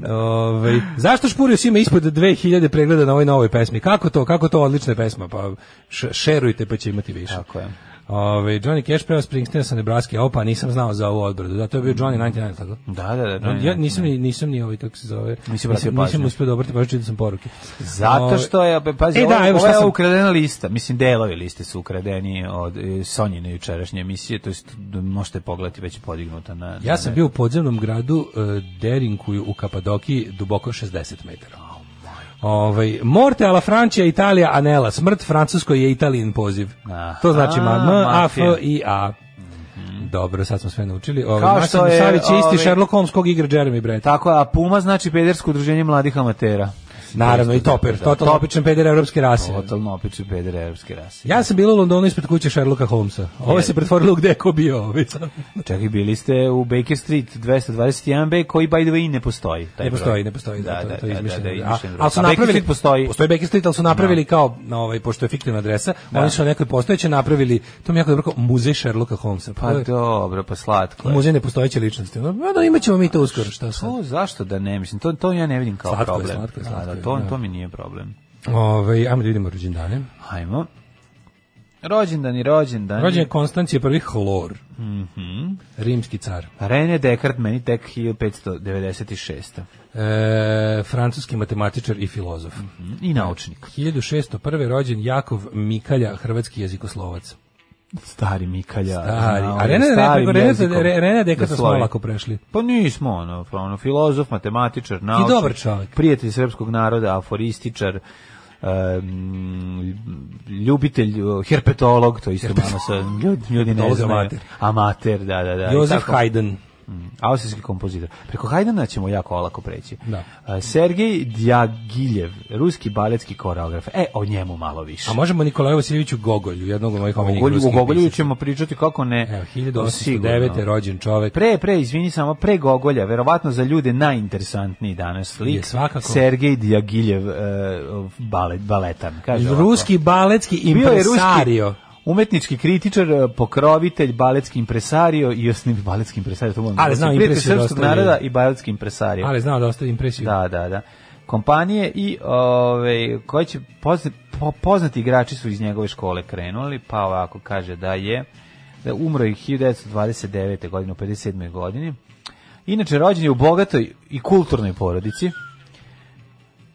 Ove, Ovaj, zašto Špurius ima ispod 2000 pregleda na ovoj novoj pesmi? Kako to? Kako to odlična pesma? Pa š- šerujte pa će imati više.
Tako je.
Ove, Johnny Cash peva Springsteen sa Nebraska, opa, nisam znao za ovu odbradu. Da, to je bio Johnny 99, tako?
Da, da, da.
Ja nisam ni nisam ni ovaj kako se zove.
Nisi obratio
nisam, nisam
pažnju.
uspeo da obratim pažnju, čitao sam poruke.
Zato
Ove,
što je, pa, pazi,
E,
ovo,
da, evo
ovo
šta
je
sam-
ukradena lista, mislim, delovi liste su ukradeni od e, Sonjine jučerašnje emisije, to jest d- možete pogledati već je podignuta na... na-
Ja sam bio u podzemnom gradu uh, Derinkuju u Kapadokiji, duboko 60 metara.
Oh,
Ovaj, morte alla Francia, Italija, anela. Smrt Francuskoj je Italijin poziv.
Aha,
to znači ma, M, A, F
mafija. Mhm.
i A. Dobro, sad smo sve naučili. Ovaj,
Kao
Maksim
što je,
Savić je isti
ovaj-
Sherlock Holmes kog igra Jeremy Brett.
Tako, je, a Puma znači pedersko udruženje mladih amatera.
Naravno, i
da.
Toper, totalno opičan peder evropske rase.
Totalno opiče peder evropske rase.
Ja sam bila u Londonu ispred kuće Sherlocka Holmesa. Ovo se pretvorilo u gde je ko bio. Ovaj. sad.
Čekaj, bili ste u Baker Street 221B, koji by the way ne postoji. taj
Ne postoji,
broj.
ne postoji, da,
Da,
to,
da,
to je
da, da,
izmišljeno.
da,
A-
izmišljen broj.
ali su
A Baker
napravili,
Street postoji. Da.
Postoji Baker Street, ali su napravili kao, na ovaj, pošto je fiktivna adresa, oni su na nekoj postojećoj napravili, to mi je jako dobro kao muzej Sherlocka Holmesa.
Pa
to je
dobro, pa slatko. je.
muzej nepostojeće ličnosti. No, da imat ćemo mi to uskoro, šta sad.
To, zašto da ne, mislim, to, to ja ne vidim kao
Slatko je,
problem.
slatko je,
Da,
slatko je,
da, to,
da.
to mi nije problem.
Ove, ajmo da vidimo rođendane.
Hajmo. Rođendan i rođendan.
Rođen je Konstancije prvi Hlor.
Mhm.
Rimski car.
René Descartes, meni tek 1596.
E, francuski matematičar i filozof.
I naučnik.
1601. rođen Jakov Mikalja, hrvatski jezikoslovac.
Stari Mikalja.
Stari.
znao
A
je
Rene,
starim
Rene, Rene,
jezikom
Rene, Rene Dekata
da
smo
slavi.
lako prešli.
Pa nismo, ono, pa ono, filozof, matematičar, naučnik.
dobar čovjek.
Prijatelj srpskog naroda, aforističar, em, ljubitelj, eh, herpetolog, to isto malo sa ljudi, ljudi ne
Herpetolog
znaju.
amater.
Amater, da, da, da. i
Jozef
tako.
Haydn.
Mm, Austrijski kompozitor. Preko Hajdana ćemo jako olako preći.
Da.
A, Sergej Djagiljev, ruski baletski koreograf. E, o njemu malo više.
A možemo Nikolaju Vasiljeviću Gogolju, jednog od mojih
O
omiljenih
Gogolju,
ruskih
o Gogolju
pisaca.
ćemo pričati kako ne.
Evo,
Sigurno.
1809. rođen čovek.
Pre, pre, izvini samo, pre Gogolja, verovatno za ljude najinteresantniji danas lik.
Je, svakako.
Sergej Djagiljev, e, balet, baletan. Kaže ovako.
Ruski baletski
Bio je ruski
impresario.
umetnički kritičar, e, pokrovitelj, baletski impresario i osniv baletski impresario. To moram da
Ali znam
kažem. Prijatelj
impresiju da
srpskog
ostavljaju.
naroda i baletski impresario.
Ali znao da ostavi impresiju.
Da, da, da. Kompanije i ove, koji će pozna- po- poznati igrači su iz njegove škole krenuli, pa ovako kaže da je da je umro je 1929. godine, u 57. godini. Inače, rođen je u bogatoj i kulturnoj porodici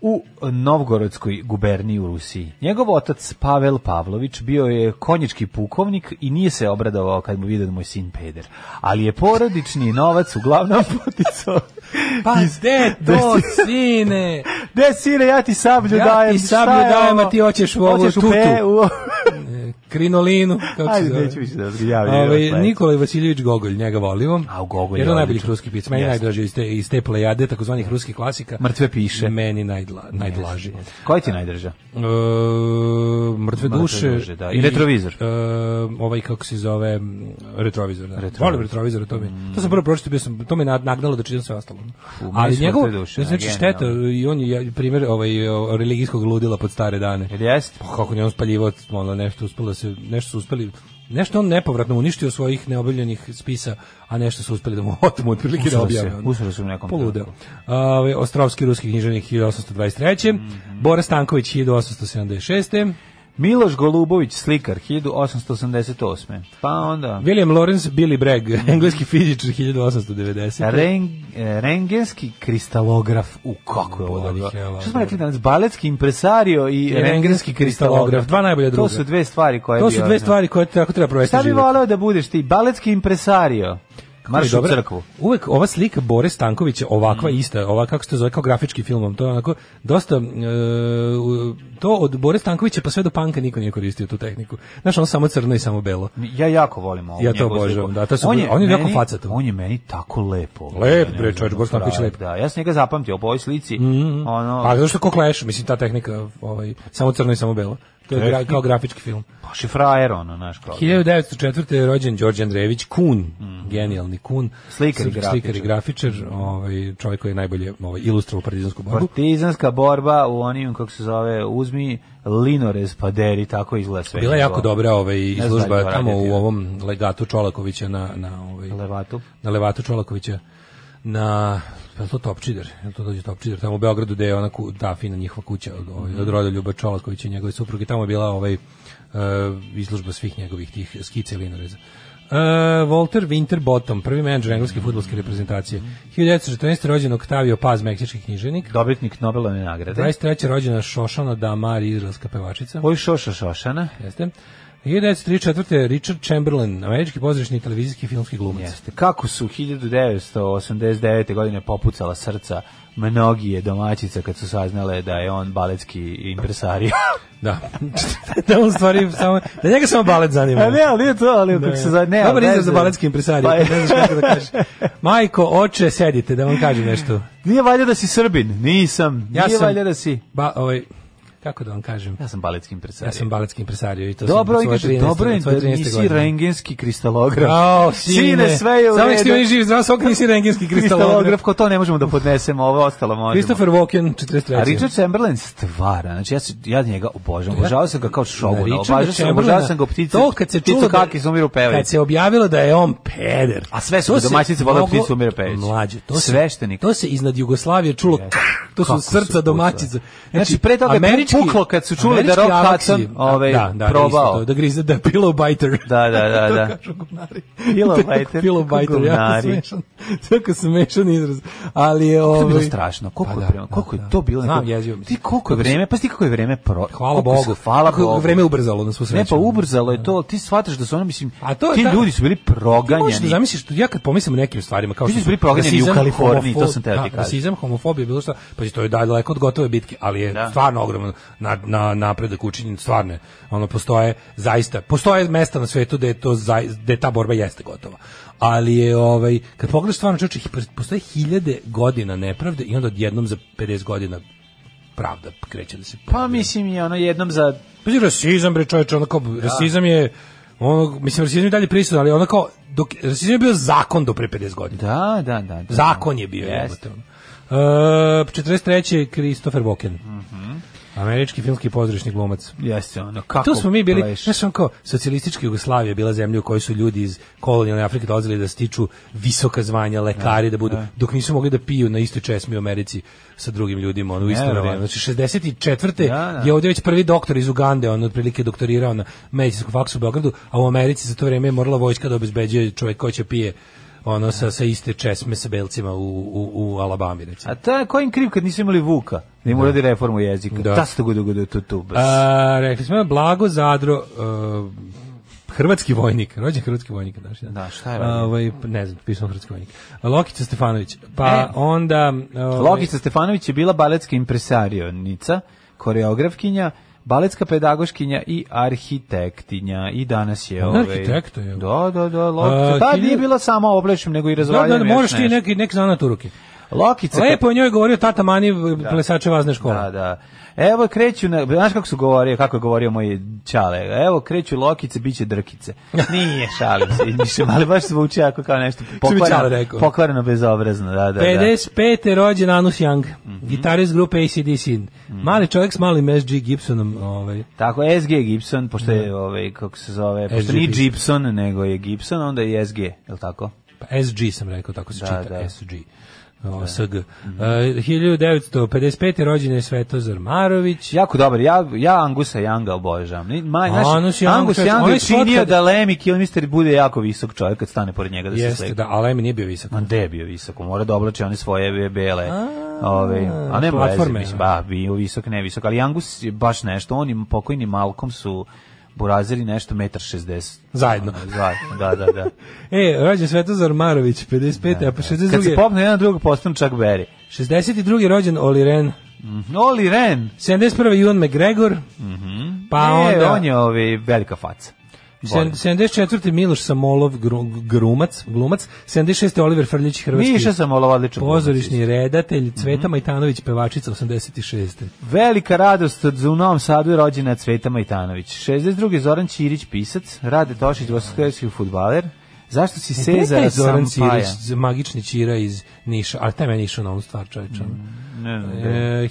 u Novgorodskoj guberniji u Rusiji. Njegov otac Pavel Pavlović bio je konjički pukovnik i nije se obradovao kad mu vidio da mu je sin peder. Ali je porodični novac uglavnom poticao
Pa
iz-
gde
da
to,
si-
sine?
Gde sine, ja ti sablju
Ja
dajem.
ti
šta
sablju
je
dajem,
ovo?
a ti hoćeš u ovu
Hoćeš
tutu.
pe- u-
Krinolinu, kako se
Ajde,
zove.
neću više da odgrijavim.
Ovaj Nikolaj Vasiljević Gogolj, njega volimo.
A, u Gogolju
Jedan
je
od najboljih
odličan.
ruskih pisaca, meni
Jeste.
najdraži iz te, iz te plejade takozvanih ruskih klasika.
Mrtve piše.
Meni najdla, najdlaži.
Koji ti najdrža?
E, mrtve duše,
duše, da. I retrovizor.
e, ovaj kako se zove m, retrovizor da.
Retrovizor.
Volim retrovizor to mi. To sam prvo pročitao bio sam to me nad- nagnalo da čitam sve ostalo.
meni
Ali
su
njegov
Mrtve duše,
ne znači
da,
šteta
genijalno.
i on je ja, primjer ovaj o, religijskog ludila pod stare dane.
Jel jest?
Pa kako nije on spaljivo, ono nešto uspelo da se nešto su uspeli nešto on nepovratno uništio svojih neobjavljenih spisa, a nešto su uspeli da mu otmu otprilike da
Usro se,
objave. ono.
usro se u nekom
Poludeo.
trenutku.
Ovaj, Ostrovski ruski književnik 1823.
Mhm.
Bora Stanković 1876.
Miloš Golubović, slikar, 1888. Pa onda...
William Lawrence Billy Bragg,
Mhm.
engleski fizičar 1890.
Ren, e, rengenski kristalograf u kako je ovo
Bolih
dobro.
jela,
Što smo
dobro.
rekli danas? Baletski impresario i rengenski
rengenski
kristalograf.
kristalograf, dva najbolja druga.
To su dve stvari koje
To
bi
su
odneo.
dve stvari koje tako treba provesti
da. Šta bi
život.
voleo da budeš ti? Baletski impresario. Marš u
Dobra,
crkvu. Mhm.
Uvek ova slika Bore Stankovića ovakva ista, ova kako se to zove kao grafički filmom, to je onako dosta e, u- to od Bore Stankovića pa sve do panka niko nije koristio tu tehniku. Znaš, ono samo crno i samo belo.
Ja jako volim ovo.
Ja to obožavam, da, to su- on je jako facato.
On je meni tako lepo.
Lep,
Ne,
bre,
ne,
čovječ,
ne,
Boris Stanković
pravo,
lep.
Da, ja sam njega
Mhm,
zapamtio po ovoj slici. Ono,
Pa zašto ko clash, mislim ta tehnika, ovaj samo crno i samo belo. To je gra, kao grafički film.
Baš je frajer, ono, znaš, kao.
1904. je rođen Đorđe Andrejević Kun, genijalni Kun.
Mhm. Slikar i
srpski Slikar i grafičar, ovaj, čovjek koji je najbolje ovaj, ilustrovao partizansku borbu.
Pa, Partizanska borba u onim, kako se zove, uzmi linorez pa deri, tako izgleda sve.
Bila je jako
njegovo.
dobra ovaj,
pa, znam
izložba
da je
tamo u
radio.
ovom legatu Čolakovića na, na, ovaj,
Levatu.
na levatu Čolakovića na je li to Topčider, je li to dođe Topčider, tamo u Beogradu gde je ona ku, ta fina njihova kuća od, ovaj, od roda Ljuba Čolakovića i njegove supruge, tamo je bila ovaj, e, izložba svih njegovih tih skica i linoreza. E, Walter Winterbottom, prvi menadžer engleske fudbalske reprezentacije. 1914. rođen Octavio Paz, meksički književnik.
Dobitnik Nobelove nagrade.
23. rođena Šošana Damar, izraelska pevačica.
Ovo je Šoša Šošana.
Jeste. 1934. Richard Chamberlain, američki pozorišni televizijski i filmski glumac.
Jeste. Kako su 1989. godine popucala srca mnogije domaćice kad su saznale da je on baletski impresario.
Da. da on stvari samo da njega samo balet zanima.
A E, ne, ali nije to, ali kako se zove, ne.
Dobar
ali ne
izraz za
znam.
baletski impresari,
Pa je-
ne znaš kako da kažeš. Majko, oče, sedite da vam kažem nešto.
Nije valja da si Srbin, nisam.
Ja
Nije
sam-
valja da si...
Ba, ovaj kako da vam kažem?
Ja sam baletski impresario.
Ja sam baletski impresario i to
Dobro,
sam od svoje
igraš,
13,
dobro je
od svoje
da
13.
nisi
godine.
rengenski kristalograf.
Ao, sine,
sve je u
Samo nek
redu.
ste oni živi, znam, svog nisi rengenski kristalograf.
Kristalograf, ko to ne možemo da podnesemo, ovo ostalo možemo.
Christopher Walken, 43.
A Richard Chamberlain stvara, znači ja, se, ja njega obožavam, obožavao sam ga kao
Na
šoguna,
Richarda
obožavao sam, obožavao
Chamberlaina.
sam ga u pticu,
da To kad se
pticu
čulo da-
kakis umiru
Kad
pevajući.
se objavilo da je on peder.
A sve su
To
ga
se
domaćice volele
moglo-
pticu umiru pevajući.
Mlađe, to se-
Sveštenik.
To se iznad Jugoslavije čulo. kr, To
Kako
su
su
srca
pucali.
domaćice.
Znači, pre toga je puklo kad su čuli da
američki
Rock
avaksi-
Hudson, ovaj,
da, da,
probao.
isto To, da grize da je pillow biter.
Da, da, da,
To
da.
kažu govnari.
Pillow
To je
biter,
Pillow
kako
biter, jako
govnari.
smešan. Jako smešan izraz. Ali je
To je bilo
ovaj-
strašno. Koliko
Pa
je
da,
vreme, koliko
da,
je to bilo?
Znam,
neko-
jezivo mi se.
Ti koliko je vreme, pa ti kako je vreme pro.
Hvala
koliko se-
Bogu.
Hvala
Kako je
Bogu.
Vreme ubrzalo na svu sreću.
Ne, pa ubrzalo je to, ali ti shvataš da su ono, mislim,
A to je
ti
ta-
ljudi su bili
Ti možeš da
proganjani.
zamisliš, ja kad pomislim o nekim stvarima, kao
Ti
što
su bili proganjani u
rasizam,
Kaliforniji, to sam teo ti
da,
kažem.
Rasizam, homofobija, bilo šta, pa to je daleko od gotove bitke, ali je
Da.
stvarno ogroman na, na, napredak učinjen, stvarno je. Ono, postoje zaista, postoje mesta na svetu gde, je to, zai- gde ta borba jeste gotova. Ali je, ovaj, kad pogledaš stvarno čoče, postoje hiljade godina nepravde i onda odjednom za 50 godina pravda kreće da se
Pa mislim i ono jednom za
Pazi, rasizam, bre, čoveče, ono kao, rasizam je, ono, mislim, rasizam je dalje prisutan, ali ono kao, dok, rasizam je bio zakon do pre 50 godina.
Da, da, da. da.
Zakon je bio,
Jeste.
jebote, ono. E, 43. je Christopher Walken. Američki filmski pozorišni glumac.
Jeste ono, kako
Tu smo mi bili,
pleš.
znaš, ono kao, socijalistička Jugoslavija je bila zemlja u kojoj su ljudi iz kolonijalne Afrike dolazili da stiču visoka zvanja, lekari da budu, dok nisu mogli da piju na istoj česmi u Americi sa drugim ljudima, ono, u isto
Neverovatno.
vreme. Znači,
Da,
64.
da.
je ovdje već prvi doktor iz Ugande, on otprilike doktorirao na medicinskom faksu u Beogradu, a u Americi za to vrijeme je morala vojska da obezbeđuje čovjek ko će pije ono sa, sa iste česme sa belcima u, u, u Alabami, recimo.
A ta kojim kriv kad nisu imali Vuka? Da im uradi reformu jezika.
Da.
Da. Ta se dogodu godu tu tu. bas.
A, rekli smo, Blago Zadro, uh, hrvatski vojnik, rođen hrvatski vojnik. Znaš, da.
Da, šta je
A,
radio?
ovaj, ne znam, pisao hrvatski vojnik. Lokica Stefanović, pa
E.
onda... ovaj,
Logica Stefanović je bila baletska impresarionica, koreografkinja, baletska pedagoškinja i arhitektinja. I danas je...
Ona
Ovaj,
arhitekta je.
Da, da, da. Logica.
A,
Ta
hiljadu-
nije bila samo oblečim, nego i
Da,
razvaljujem
da, da,
još
moraš ti
nešto.
neki, neki zanat u ruke.
Lokica... kad-
Lepo je o njoj govorio tata Mani, plesače vazne škole.
Da, da. Evo kreću, na, znaš kako su govorio, kako je govorio moj čale, evo kreću lokice, bit će drkice. Nije, šalim se, mislim, ali baš zvuči jako kao nešto
mi Ćale
pokvareno,
rekao?
pokvareno bezobrazno, da, da, da.
55. je rođen Anus Young,
Mhm.
gitarist grupe ACDC. Mali čovjek s malim SG Gibsonom. Ovaj.
Tako, SG Gibson, pošto je, ovaj, kako se zove, pošto
SG
nije
Da. Gibson.
Gibson, nego je Gibson, onda je SG, je li tako?
Pa SG sam rekao, tako se
Da,
čita,
da. Mhm.
SG. O, SG. E, 1955. je rođen je Svetozar Marović.
Znači, Jako dobar, ja, ja Angusa Younga obožavam. Ni- Ma, znaš,
Angus
Angus,
Young, čovječ,
Young
onaj
je činio
spot kad-
da Lemmy Kilmister bude jako visok čovjek kad stane pored njega da se
Jeste,
slika.
da, ali mi nije bio visok.
Ma gde je bio visoko? Mora da oblače one svoje be- bele. Ove, a ne
platforme,
platforme. Mislim, ba, bio visok, ne visok. Ali Angus je baš nešto. On i pokojni Malcolm su burazeri nešto metar šestdeset.
Zajedno.
Ono, Zajedno, da, da, da.
E, rođen Svetozar Marović, 55. a pa
Kad se
62.
popne jedan drugog, postanu čak Berry.
62. rođen Oli Ren.
Oli Ren!
71. Ivan McGregor. Pa
Pa
onda...
on je ove, velika faca. Volim.
74. Miloš Samolov gru- Grumac, glumac, 76. Oliver Frljić Hrvatski.
Miša Samolov, Mhm. odličan glumac,
Pozorišni redatelj, Cveta Majtanović, pevačica 86.
Velika radost od u Novom Sadu je rođena Cveta Majtanović. 62. Zoran Ćirić, pisac. Rade Tošić, gospodarski futbaler. Zašto si
E, Gde je
Sezara
Zoran
Sampaja?
Ćirić, z- magični Ćira iz Niša, ali taj meni je išao na onu stvar čovječa.
Ne, ne, ne.
E,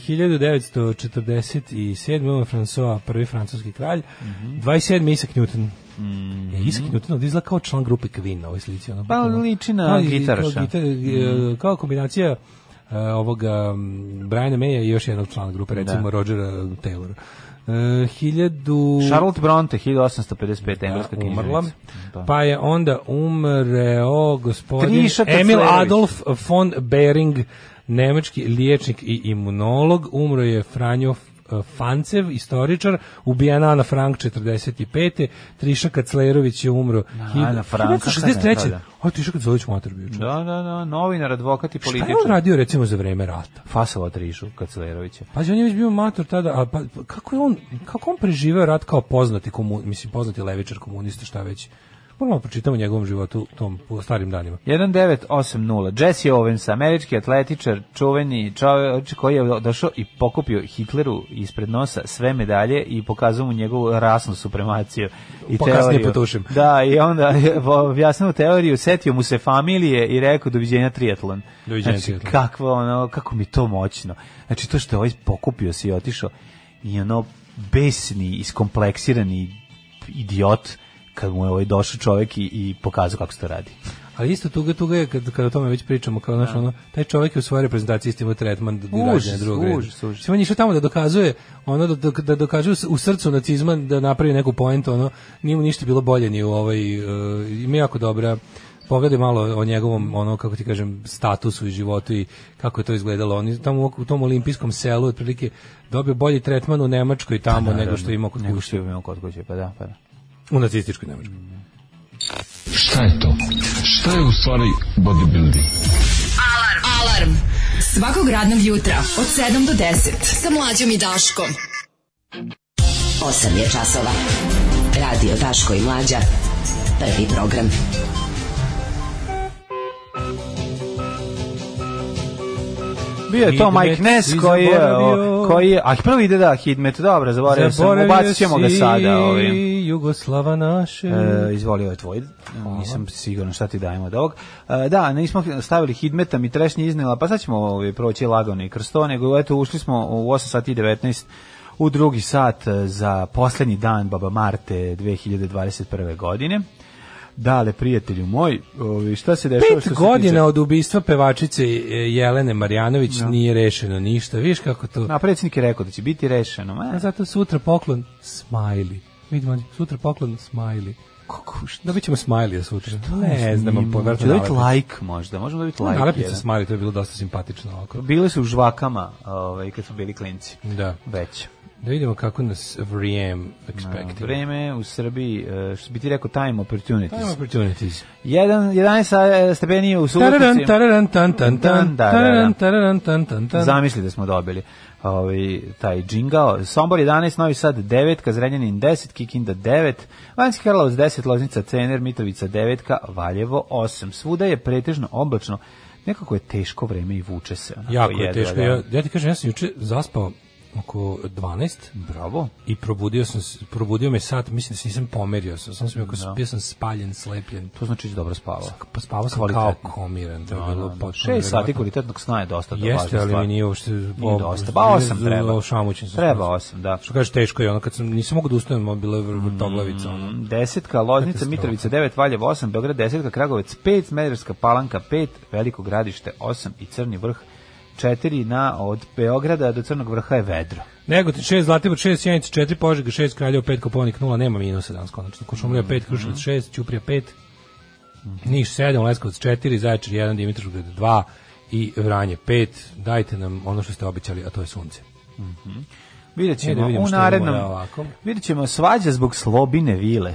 1947. François, prvi francuski kralj,
Mhm.
27. Isak Newton. Mm Isak Newton ovdje izgleda kao član grupe Queen na ovoj slici. Ono,
Pa, liči na
Kao i-
gitaraša. Mhm.
Kao, gitar, e, kao kombinacija e, ovoga m, Briana Maya i još jednog člana grupe,
Da.
recimo Rodgera Taylora. E, hiljadu...
Charlotte Bronte, 1855, engleska
Da,
knjižnica.
umrla.
Da.
Pa je onda umreo gospodin
Triša
Emil
Kaclerović.
Adolf von Bering, nemački liječnik i imunolog. Umro je Franjo F- Fancev, istoričar, ubijena Ana Frank 45. Triša Kaclerović je umro.
Ana Frank, šta ne,
63.
da, da.
Ovo je Triša Kaclerović mater bio. čovjek.
Da, da, da, novinar, advokat i
Šta
političar.
je on radio recimo za vreme rata?
Fasova Trišu, Kaclerovića.
Pazi, on je već bio mator tada, a pa, pa kako je on, kako on preživeo rat kao poznati komun, mislim poznati levičar komunista, šta već. Moramo da pročitamo o njegovom životu tom po starim danima.
1980. Jesse Owens, američki atletičar, čuveni čovjek koji je došao i pokupio Hitleru ispred nosa sve medalje i pokazao mu njegovu rasnu supremaciju i
Pa kasnije
teoriju.
potušim.
Da, i onda je objasnio teoriju, setio mu se familije i rekao doviđenja triatlon.
Doviđenja
znači,
triatlon.
Kakvo ono, kako mi to moćno. Znači to što je ovaj pokupio se i otišao i ono besni, iskompleksirani idiot kad mu je ovaj došao čovjek i, i pokazao kako se to radi.
Ali isto tuga, tuga je, kad, kad o tome već pričamo, kao naš, ono, taj čovjek je u svojoj reprezentaciji isto imao tretman da građana drugog reda.
Da. užas, užas.
Mislim, on je išao tamo da dokazuje, ono, da, da, da dokaže u s- u srcu nacizma da napravi neku poentu, ono, nije mu ništa bilo bolje ni u ovoj, uh, ima jako dobra, pogledaj malo o njegovom, ono, kako ti kažem, statusu i životu i kako je to izgledalo. On je tamo u, u tom olimpijskom selu, otprilike, dobio bolji tretman u Nemačkoj tamo nego što je imao kod
Pa Nego
kuće.
što je imao kod kuće, pa da, pa da.
U nacističkoj Nemačkoj.
Šta je to? Šta je u stvari bodybuilding?
Alarm. Alarm. Svakog radnog jutra od 7 do 10 sa mlađom i Daškom. 8 je časova. Radio Daško i mlađa. Prvi program.
Bio je to
Hidmet
Mike Ness
si
koji je,
zaboravio.
o, koji je, a prvi ide da, Hidmet, dobro, zaboravio sam, ubacit ćemo ga
si
sada ovim.
Jugoslava naše.
E, izvoli ovo je tvoj, nisam siguran šta ti dajemo od ovog. E, da, nismo stavili Hidmeta, mi trešnje iznela, pa sad ćemo ovaj, proći lagano i kroz to, nego eto, ušli smo u 8 sati i 19 u drugi sat e, za poslednji dan Baba Marte 2021. godine. Dale, prijatelju moj, ovaj, šta se dešava što se
Pet
tiče-
godina od ubistva pevačice e, Jelene Marjanović nije rešeno ništa. Viš kako to...
Na predsjednik je rekao da će biti rešeno. Ma,
A zato sutra poklon smajli. Vidimo, sutra poklon smajli.
kako, šta?
Dobit ćemo smajlija sutra. Ne znam, da
Možemo
povrću
dobiti da like možda, možemo da dobiti like.
Nalepice
jedan.
smajli, to je bilo dosta simpatično ovako.
Bile su u žvakama ovaj, kad su bili klinci.
Da.
Već.
Da vidimo kako nas vrijem
Da,
expecting.
Vreme u Srbiji, e, što bi ti rekao, time
Time
opportunities.
opportunities.
Jedan, 11 stepeni u
Tararan,
Subotici.
tararan, tan, tan, tan,
Da, da, da.
tararan, tararan, tan, tan, tan.
Zamisli da smo dobili ovaj, taj džingao. Sombor 11, Novi Sad 9, Kazrenjanin 10, Kikinda 9, Vanjski Karlovac 10, Loznica Cener, Mitrovica 9, Valjevo 8. Svuda je pretežno oblačno. Nekako je teško vreme i vuče se. onako
Jako je
jedva,
teško.
da.
Ja, ja ti kažem, ja sam juče zaspao oko 12
Bravo.
i probudio sam se- probudio me sat, mislim da se nisam pomerio, sam sam sam
Da.
no. bio sam spaljen, slepljen.
To znači da si dobro spavao.
Pa spavao sam
Kvalitetno.
kao komiran, to je
Da,
bilo
da, da.
potpuno
Šest sati
neverovatno.
kvalitetnog sna je dosta to je
Jeste,
važna
ali
stvar.
mi nije uopšte
Nije dosta. Pa osam
Nije
treba.
zlo- Šamućen sam.
Treba osam, da.
Što kaže teško je ono kad sam nisam mogao da ustanem, bila je vr- vrtoglavica ono.
Desetka, Loznica,
Katastrofa.
Mitrovica 9, Valjevo 8, Beograd 10, Kragovec 5, Smederska Palanka 5, Veliko gradište 8 i Crni vrh 4 na od Beograda do Crnog vrha je vedro.
Negotin 6, Zlatibor 6, Sjenica 4, Požega 6, Kraljevo 5, Koponik 0, nema minusa danas konačno.
Mhm.
Košumlija 5, Kruševac 6, Ćuprija 5, Niš 7, Leskovac 4, Zaječar 1, Dimitrovgrad 2 i Vranje 5. Dajte nam ono što ste obećali, a to je sunce.
Vidjet ćemo
Ajde, da vidimo
u
šta imamo,
narednom...
da, ovako.
Vidjet ćemo svađa zbog slobine vile.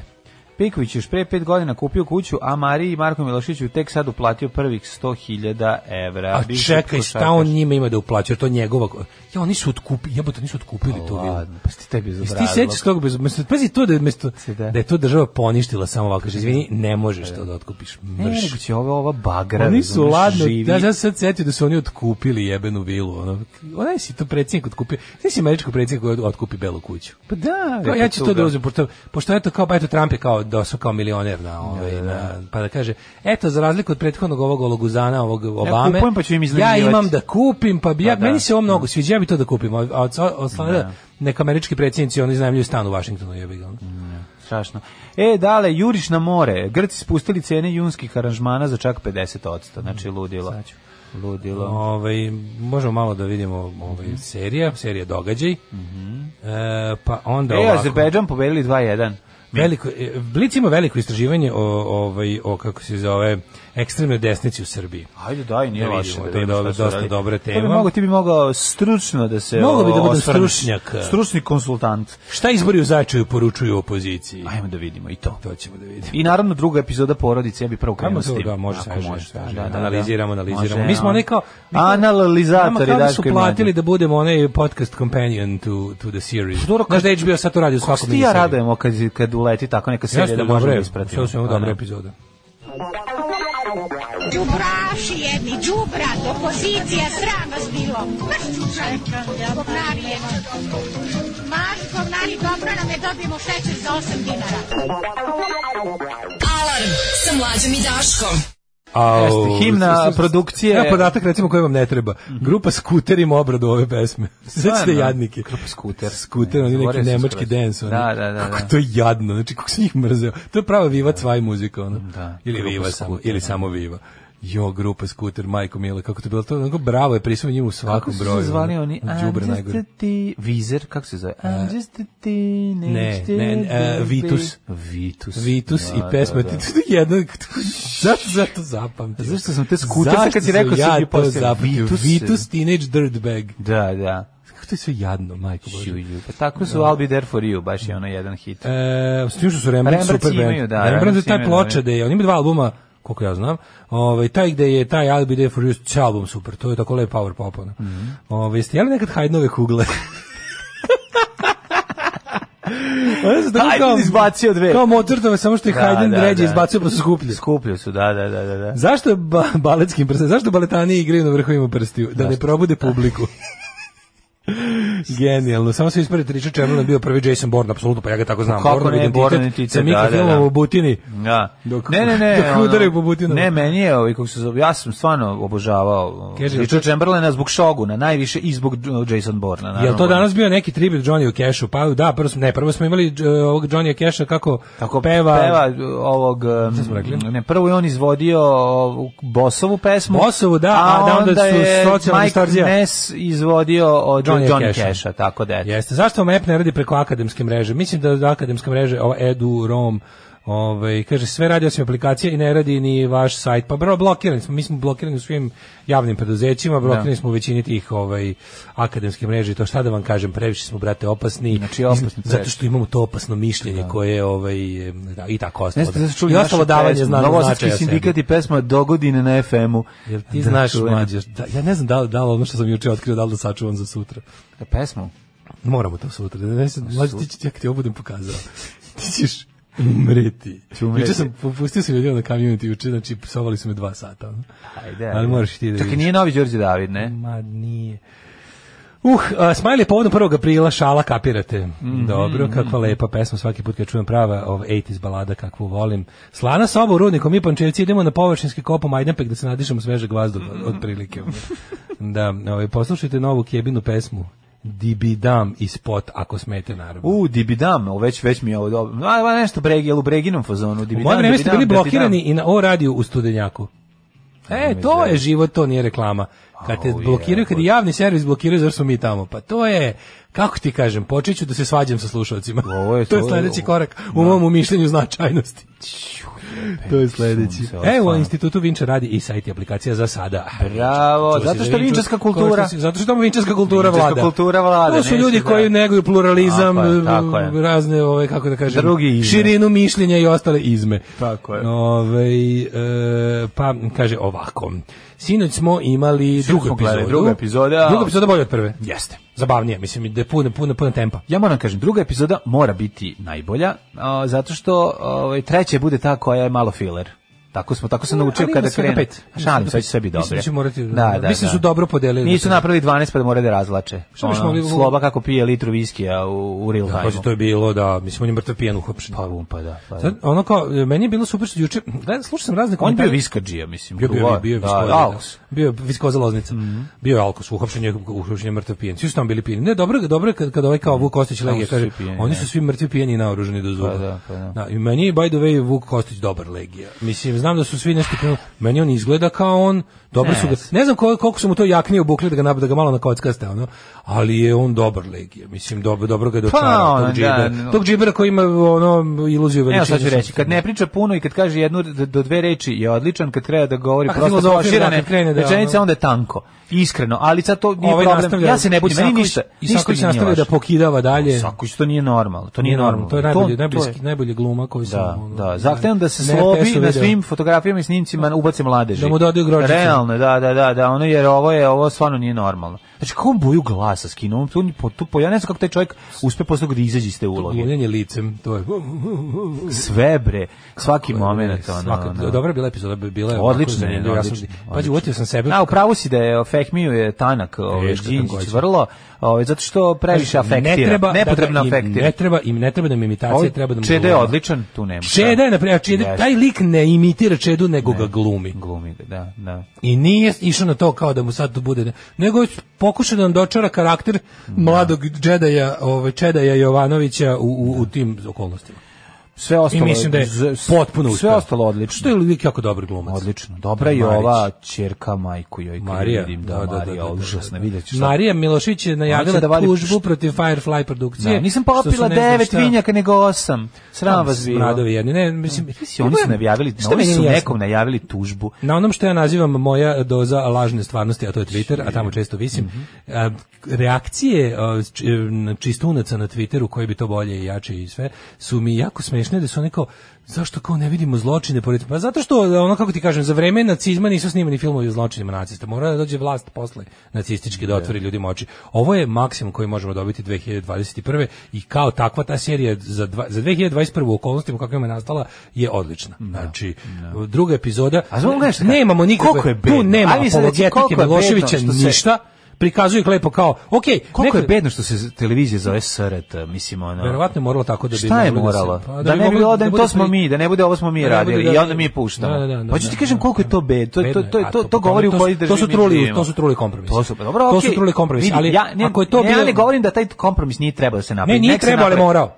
Piković još pre pet godina kupio kuću, a Mariji i Marko Milošiću tek sad uplatio prvih 100.000 evra.
A
Da, Bivši
čekaj, šta
košarkaš.
on njima ima da uplaćuje, to je njegova... Ja, oni su otkupili, jebote, nisu otkupili to bilo.
Ladno, pa ste tebi za
Jesi ti sećaš tog bez... mesto- Pazi to da je mesto,
da.
da je to država poništila samo ovako, kaže, izvini, ne možeš to da otkupiš,
Ne,
mrš.
E, nego će ova, ova bagra,
Oni su
razumeš,
ladno,
živi.
da, ja sam sad setio da su oni otkupili jebenu vilu, ono, onaj si to predsjednik otkupio, sve si američko predsjednik koji otkupi belu kuću.
Pa da,
Kao, ja
eto
ću to
toga.
da uzmem, pošto, pošto eto, kao, eto, Trump je kao, došao kao milioner na, ovaj, na, pa da kaže, eto, za razliku od prethodnog ovog ologuzana, ovog Obame,
kupujem, pa ću im
ja
iznajmljivati.
imam da kupim, pa bi ja,
Pa da.
meni se ovo mnogo sviđa, ja bi to da kupim, a, a, od- od strane da neka američki predsjednici, oni iznajmljuju stan u Vašingtonu, jebi ga. ono.
Strašno. E, dale, juriš na more. Grci spustili cene junskih aranžmana za čak 50%. Znači, ludilo. Ludilo.
Ovaj, možemo malo da vidimo
Mhm.
ovaj, serija, serija događaj, e, pa onda
E,
ovako.
Azerbejdžan pobedili 2-1.
Veliko, e, Blic ima veliko istraživanje o, ovaj, o kako se zove, ekstremnoj desnici u Srbiji.
Ajde, daj, nije
Da vidimo,
loše.
to je
vidimo
dobro-
šta su
dosta
radili.
dobra
To bi
tema.
mogao, ti bi mogao stručno da se
Mogao bi da budem
osvrneš.
stručnjak.
Stručni konsultant.
Šta izbori u Zajčaju poručuju opoziciji?
Ajmo da vidimo i to.
To ćemo da vidimo.
I naravno druga epizoda porodice, ja bih prvo krenuo
Ajmo
s
to,
tim.
da, može
Ako
sveže,
može,
sveže.
da, da, da.
analiziramo, analiziramo.
Može,
mi smo
ono.
onaj kao... mi kao-
Analizatori,
nama kao da su
Daško i
platili
Mlađa.
da budemo onaj podcast companion to, to the series.
Pa dobro,
Znaš da HBO sad to radi u
Kako
svakom
se ti ja radujemo kad, kad uleti tako neka serija
Jeste,
da možemo
dobro
da
je,
ispratimo.
sve u svemu
Pa
dobra
ne.
epizoda.
Đubraši jedni, đubrat, opozicija, sram vas bilo. Čekam da Komnarije. Maš, komnari, dobro nam je, dobijemo šećer za 8 dinara.
Alarm sa mlađom i Daškom.
Au,
Jeste, himna
s- s- s-
produkcije.
Evo podatak recimo koji vam ne treba. Grupa Skuter ima obradu ove pesme. Sećate
Stvarno?
jadnike.
Grupa Skuter.
Skuter,
Ne,
oni neki
zaboravio sam
nemački
skroz.
dance. Oni.
Da, da, da,
Kako
da.
to je jadno. Znači, kako se njih mrzeo. To je prava Viva Cvaj muzika. Ono.
Da,
Ili
Grupa
Viva samo,
Skuter, da.
ili samo Viva. Jo, grupa Skuter, majko mila, kako to je bilo to, onako bravo je prisutno njim u
Kako
svakom
su
broju.
se zvali
ono.
oni?
Đubre
I'm just
najgore.
a ti... Vizer, kako se zove? I'm just a teenage
Ne, ne, ne,
baby.
e, Vitus.
Vitus.
Vitus
Da,
i pesma
da,
ti
da.
to je jedno zato zato zapamtio.
Zašto sam te skuter, sad kad si
Zašto
rekao,
sam
sam
ja
bio
to
poslije
zapamtio?
Vitus.
Vitus, teenage dirtbag.
Da, da.
Kako to je sve jadno, majko bože.
Ju, ju. Pa tako
Da.
su I'll be there for you, baš je ono jedan hit.
E, s tim što su Rembrandt,
Rembrandts
super band.
imaju, da,
Rembrandt je
Rembrandts
taj
imaju,
ploča
da.
da je, on ima dva albuma, koliko ja znam. Ovaj taj gde je taj I'll be there for you, cijel album super. To je tako lep power pop ono.
Mhm.
Ovaj jeste jeli nekad Hajdnove kugle? Ono su tako
Haydn
kao-
izbacio dve.
Kao Mozartove, samo što je
Da,
Haydn
da,
ređe
da.
izbacio pa su skuplje.
Skuplju su, da, da, da, da. da.
Zašto ba baletskim prstima? Zašto baletani igraju na vrhovima prstiju? Da ne probude publiku. Genijalno. Samo se ispred Richard Chamberlain je bio prvi Jason Bourne, apsolutno, pa ja ga tako znam.
Kako
Bourne
ne,
identitet
Bourne identitet,
sa
da,
mikrofilmom
da, da.
o Butini.
Da.
Dok-
ne, ne, ne.
dok
ono-
udari po butinama.
Ne, meni je, ovaj, kako se zove, ja sam stvarno obožavao
Kaže,
Richard Chamberlaina zbog Šoguna, najviše i zbog uh, Jason Borna. naravno.
Jel to danas bio neki tribut Johnny Cashu? Pa da, prvo smo, ne, prvo smo imali e, ovog Johnny Casha kako,
Kako
peva,
peva, peva ovog... um,
smo rekli?
Ne, prvo je on izvodio ovu Bossovu pesmu.
Bossovu, da, a da onda su
je
socijalna
Mike
nostalgija.
Ness izvodio od
Johnny
Johnny,
Casha.
Casha. tako da eto.
Jeste. Zašto vam app ne radi preko akademske mreže? Mislim da, da akademska mreža, ova Edu, Rom, ovaj, kaže, sve radi osim aplikacije i ne radi ni vaš sajt. Pa bro, blokirani smo, mi smo blokirani u svim javnim preduzećima, blokirani
Da.
smo u većini tih ovaj, akademskih mreža i to šta da vam kažem, previše smo, brate, opasni.
Znači, opasni
Iz-
previše.
zato što imamo to opasno mišljenje koje ovaj, e, da, i tako
Ne
ostalo.
ste znači čuli
I ostalo
našu
davanje
pesmu,
znanja
Novosadski
značaja sebi.
sindikat i pesma Dogodine na FM-u.
Jel ti
Da,
znaš,
čuvena.
mlađe, da, ja ne znam da li, da li ono što sam juče otkrio, da li da sačuvam za sutra.
Pesmu?
Moramo to sutra. Da ne, znam, mlađe, ti, ćeš- ja kad ti ovo budem pokazao. Ti ćeš umreti.
Ću umreti.
Juče sam popustio sam ljudima na community juče, znači psovali su me dva sata. ono.
Ajde.
Ali moraš i ti da
Čak i
vidiš.
nije novi Đorđe David, ne?
Ma nije. Uh, a, Smiley je povodom 1. aprila, šala kapirate. Dobro, kakva lepa pesma, svaki put kad čujem prava ov 80s balada kakvu volim. Slana soba u rudniku, mi pančevci idemo na površinski kopom Majdanpek da se nadišemo svežeg vazduha, otprilike. da, ovaj, poslušajte novu kjebinu pesmu. Dibidam i spot, ako smete, naravno.
U, Dibidam, o, već, već mi je ovo dobro. A, a nešto bregi, jel u Breginom fazonu.
U
Dibidam,
moje vreme da ste
Dibidam,
bili
Dibidam.
blokirani i na O radiju u Studenjaku. E, to je život, to nije reklama. Kad te
Au,
blokiraju, kad je javni servis blokiraju, zar smo mi tamo? Pa to je, kako ti kažem, počeću da se svađam sa slušalcima.
Ovo je
to je
to-
sledeći
ovo-
korak u
da.
mom umišljenju značajnosti. E, To je sledeći.
sunce, ovo
E, u
stvarno.
institutu Vinča radi i sajt i aplikacija za sada.
Bravo,
Čuo si
zato
za
što vinčarska kultura-
Konačno si- Zato što tamo vinčarska kultura
Vinčarska
vlada.
kultura vlada,
To su
nešto,
ljudi
da.
koji neguju pluralizam,
Tako je, tako je.
razne ove kako da kažem,
Drugi izme.
širinu mišljenja i ostale izme.
Tako je.
Ove, e, pa kaže ovako. Sinoć smo imali drugu
smo gledali
epizodu.
drugu epizodu, a-
Druga epizoda bolja od prve.
Jeste.
Zabavnije, mislim, da je puno, puno, puno tempa.
Ja moram kažem, druga epizoda mora biti najbolja, a, zato što ovaj, treća bude ta koja je malo filler. Tako smo, tako sam naučio
Ali ima
kada
svega
krenu.
pet.
A Šalim, sve će sve biti
Mislim da
dobre.
će morati-
da, da,
mislim da
da.
su dobro podelili.
Nisu napravili 12 pa da moraju da razlače.
Šta bismo
Ono,
mogli-
Sloba kako pije litru viskija u, u real
Da,
time.
pazi, to je bilo da, mislim, on je mrtav pijan uhapšen.
Pa um, pa da. Pa, da.
Sad, ono kao, e, meni je bilo super što juče, gledam, slušao sam razne
On je
komentare.
bio viskađija, mislim.
Bio,
tu,
bio,
a,
bio, bio,
da,
viskoza,
da, Alkos. Mhm.
Bio je viskoza loznica. Bio je alkos, uhapšen je, uhapšen je mrtav pijen. Svi su tamo bili pijeni. Ne, dobro, je- dobro je kad, kad ovaj kao Vuk Kostić legija
su
kaže,
svi pijeni,
oni
ne.
su svi mrtvi pijeni i naoružani do zuba.
Pa da, pa da.
I meni je, by the way, Vuk Kostić dobar legija. Mislim, znam da su svi nešto krenuli, meni on izgleda kao on, dobro
Ne,
su ga, ne znam koliko, koliko su mu to jaknije obukli da ga, nab- da ga malo na kockaste, ono, ali je on dobar legija. Mislim, dobro, dobro ga dočara,
ono,
tog
da,
džibera.
no.
tog džibera koji ima ono, iluziju veličine.
Evo sad ću reći,
sunca.
kad ne priča puno i kad kaže jednu do- do dve reči je odličan, kad treba da govori
A kad
prosto
filozofira,
proširane
kad krene da,
rečenice,
ono-
onda je tanko. Iskreno, ali sad to nije
ovaj
problem.
nastavlja.
Ja se ne budim, meni
Isaković-
ništa. ništa mi
Isaković
nije
nastavlja da
važno.
pokidava dalje.
Isaković, to nije normalno, to nije normalno.
To je najbolje,
to
najbolje,
je-
najbolje gluma koju sam...
Da,
ono,
da. Zahtevam da se
na
slobi
RTS-u
na
video.
svim fotografijama i snimcima ubace mladeži.
Da mu dodaju grožicu.
Realno, da, da, da, da, ono jer ovo je ovo stvarno nije normalno. Znači kako on boju glasa skinuo, on tu po, tu po, ja ne znam kako taj čovjek uspe posle toga da izađe iz te uloge.
Guljenje licem, to je...
Sve bre, svaki momenat ono.
Svaka,
ono.
dobra je bila epizoda, bila je
Odlično je,
zanimljiva, ja sam-
odlično,
Pađi,
odlično.
uvatio sam sebe.
A, u pravu si da je Fehmiju je tanak, ovaj,
Teška
Đinđić
tankoća.
vrlo, ovaj, zato što previše afektira,
Ne treba,
nepotrebno
da ga im-
afektira.
Ne treba, im ne treba da mi imitacije,
Ovaj
treba da mu
Čede je
gluma.
odličan, tu nema. šta.
Čeda je, na primjer, Čede-
Jeste.
taj lik ne imitira Čedu, nego ga glumi.
Glumi ga, da, da.
I nije išao na to kao da mu sad to bude, nego je pokušao da nam dočara karakter
Da.
mladog džedaja, ovaj, Čedaja Jovanovića u, u, u tim okolnostima.
Sve ostalo
I mislim da je
z- s-
potpuno uspeo.
sve ostalo odlično.
Što je uvijek jako dobar glumac.
Odlično. Dobra je
Marić.
ova ćerka majku joj kad
Marija,
vidim da, da, Marija, da, užasna, vidjet ćeš.
Marija Milošić je najavila
Hoće da vadi-
tužbu protiv Firefly
Da,
produkcije.
nisam
što su
popila
ne znam
devet
šta-
vinjaka, nego osam. Sram vas bilo.
Smradovi jedni. Ne, mislim,
Mislim, Oni su najavili,
Šta
oni
meni
su
nije jasno?
nekom najavili tužbu.
Na onom što ja nazivam moja doza lažne stvarnosti, a to je Twitter, a tamo često visim, a, reakcije a, č- m, čistunaca na Twitteru, koji bi to bolje i jače i sve, su mi jako smešne, da su oni kao, zašto kao ne vidimo zločine pored... Pa zato što, ono kako ti kažem, za vreme nacizma nisu snimani filmovi o zločinima nacista. Mora da dođe vlast posle nacistički da otvori ljudima oči. Ovo je maksimum koji možemo dobiti 2021. i kao takva ta serija za, dva, za 2021. u okolnostima kako je nastala je odlična. Znači, druga epizoda
A znamo gledaš šta-
nemamo
koliko je
nikakve,
bedno?
tu nema
Ajde mi sad reci, koliko je
apologetike
bedno
Miloševića,
što se-
ništa, prikazuju ih lepo kao, ok,
Koliko je bedno što se televizija zove SRT, mislim, ono...
Verovatno je moralo tako da bi
Šta je
moglo se-
moralo?
pa
Da, ne bi
moglo-
bilo da,
bude
to smo
pri-
mi, da ne bude ovo smo mi
da ne bude
radili
da-
i onda mi puštamo.
Da, da, da,
Hoću ti
da,
kažem
da,
koliko je to bed, to to
Bedno je,
to to,
a
to
po tome
govori u
to su-
kojoj državi.
to su
mi
truli-
živimo.
to su truli kompromisi.
To su pa dobro,
To su
okej.
truli kompromisi,
Vidi,
ali
ne,
ako je to
ne,
bilo-
ja ne govorim da taj kompromis nije trebao da se napravi.
Ne, nije
nek se
trebalo, ali
napravi.
morao.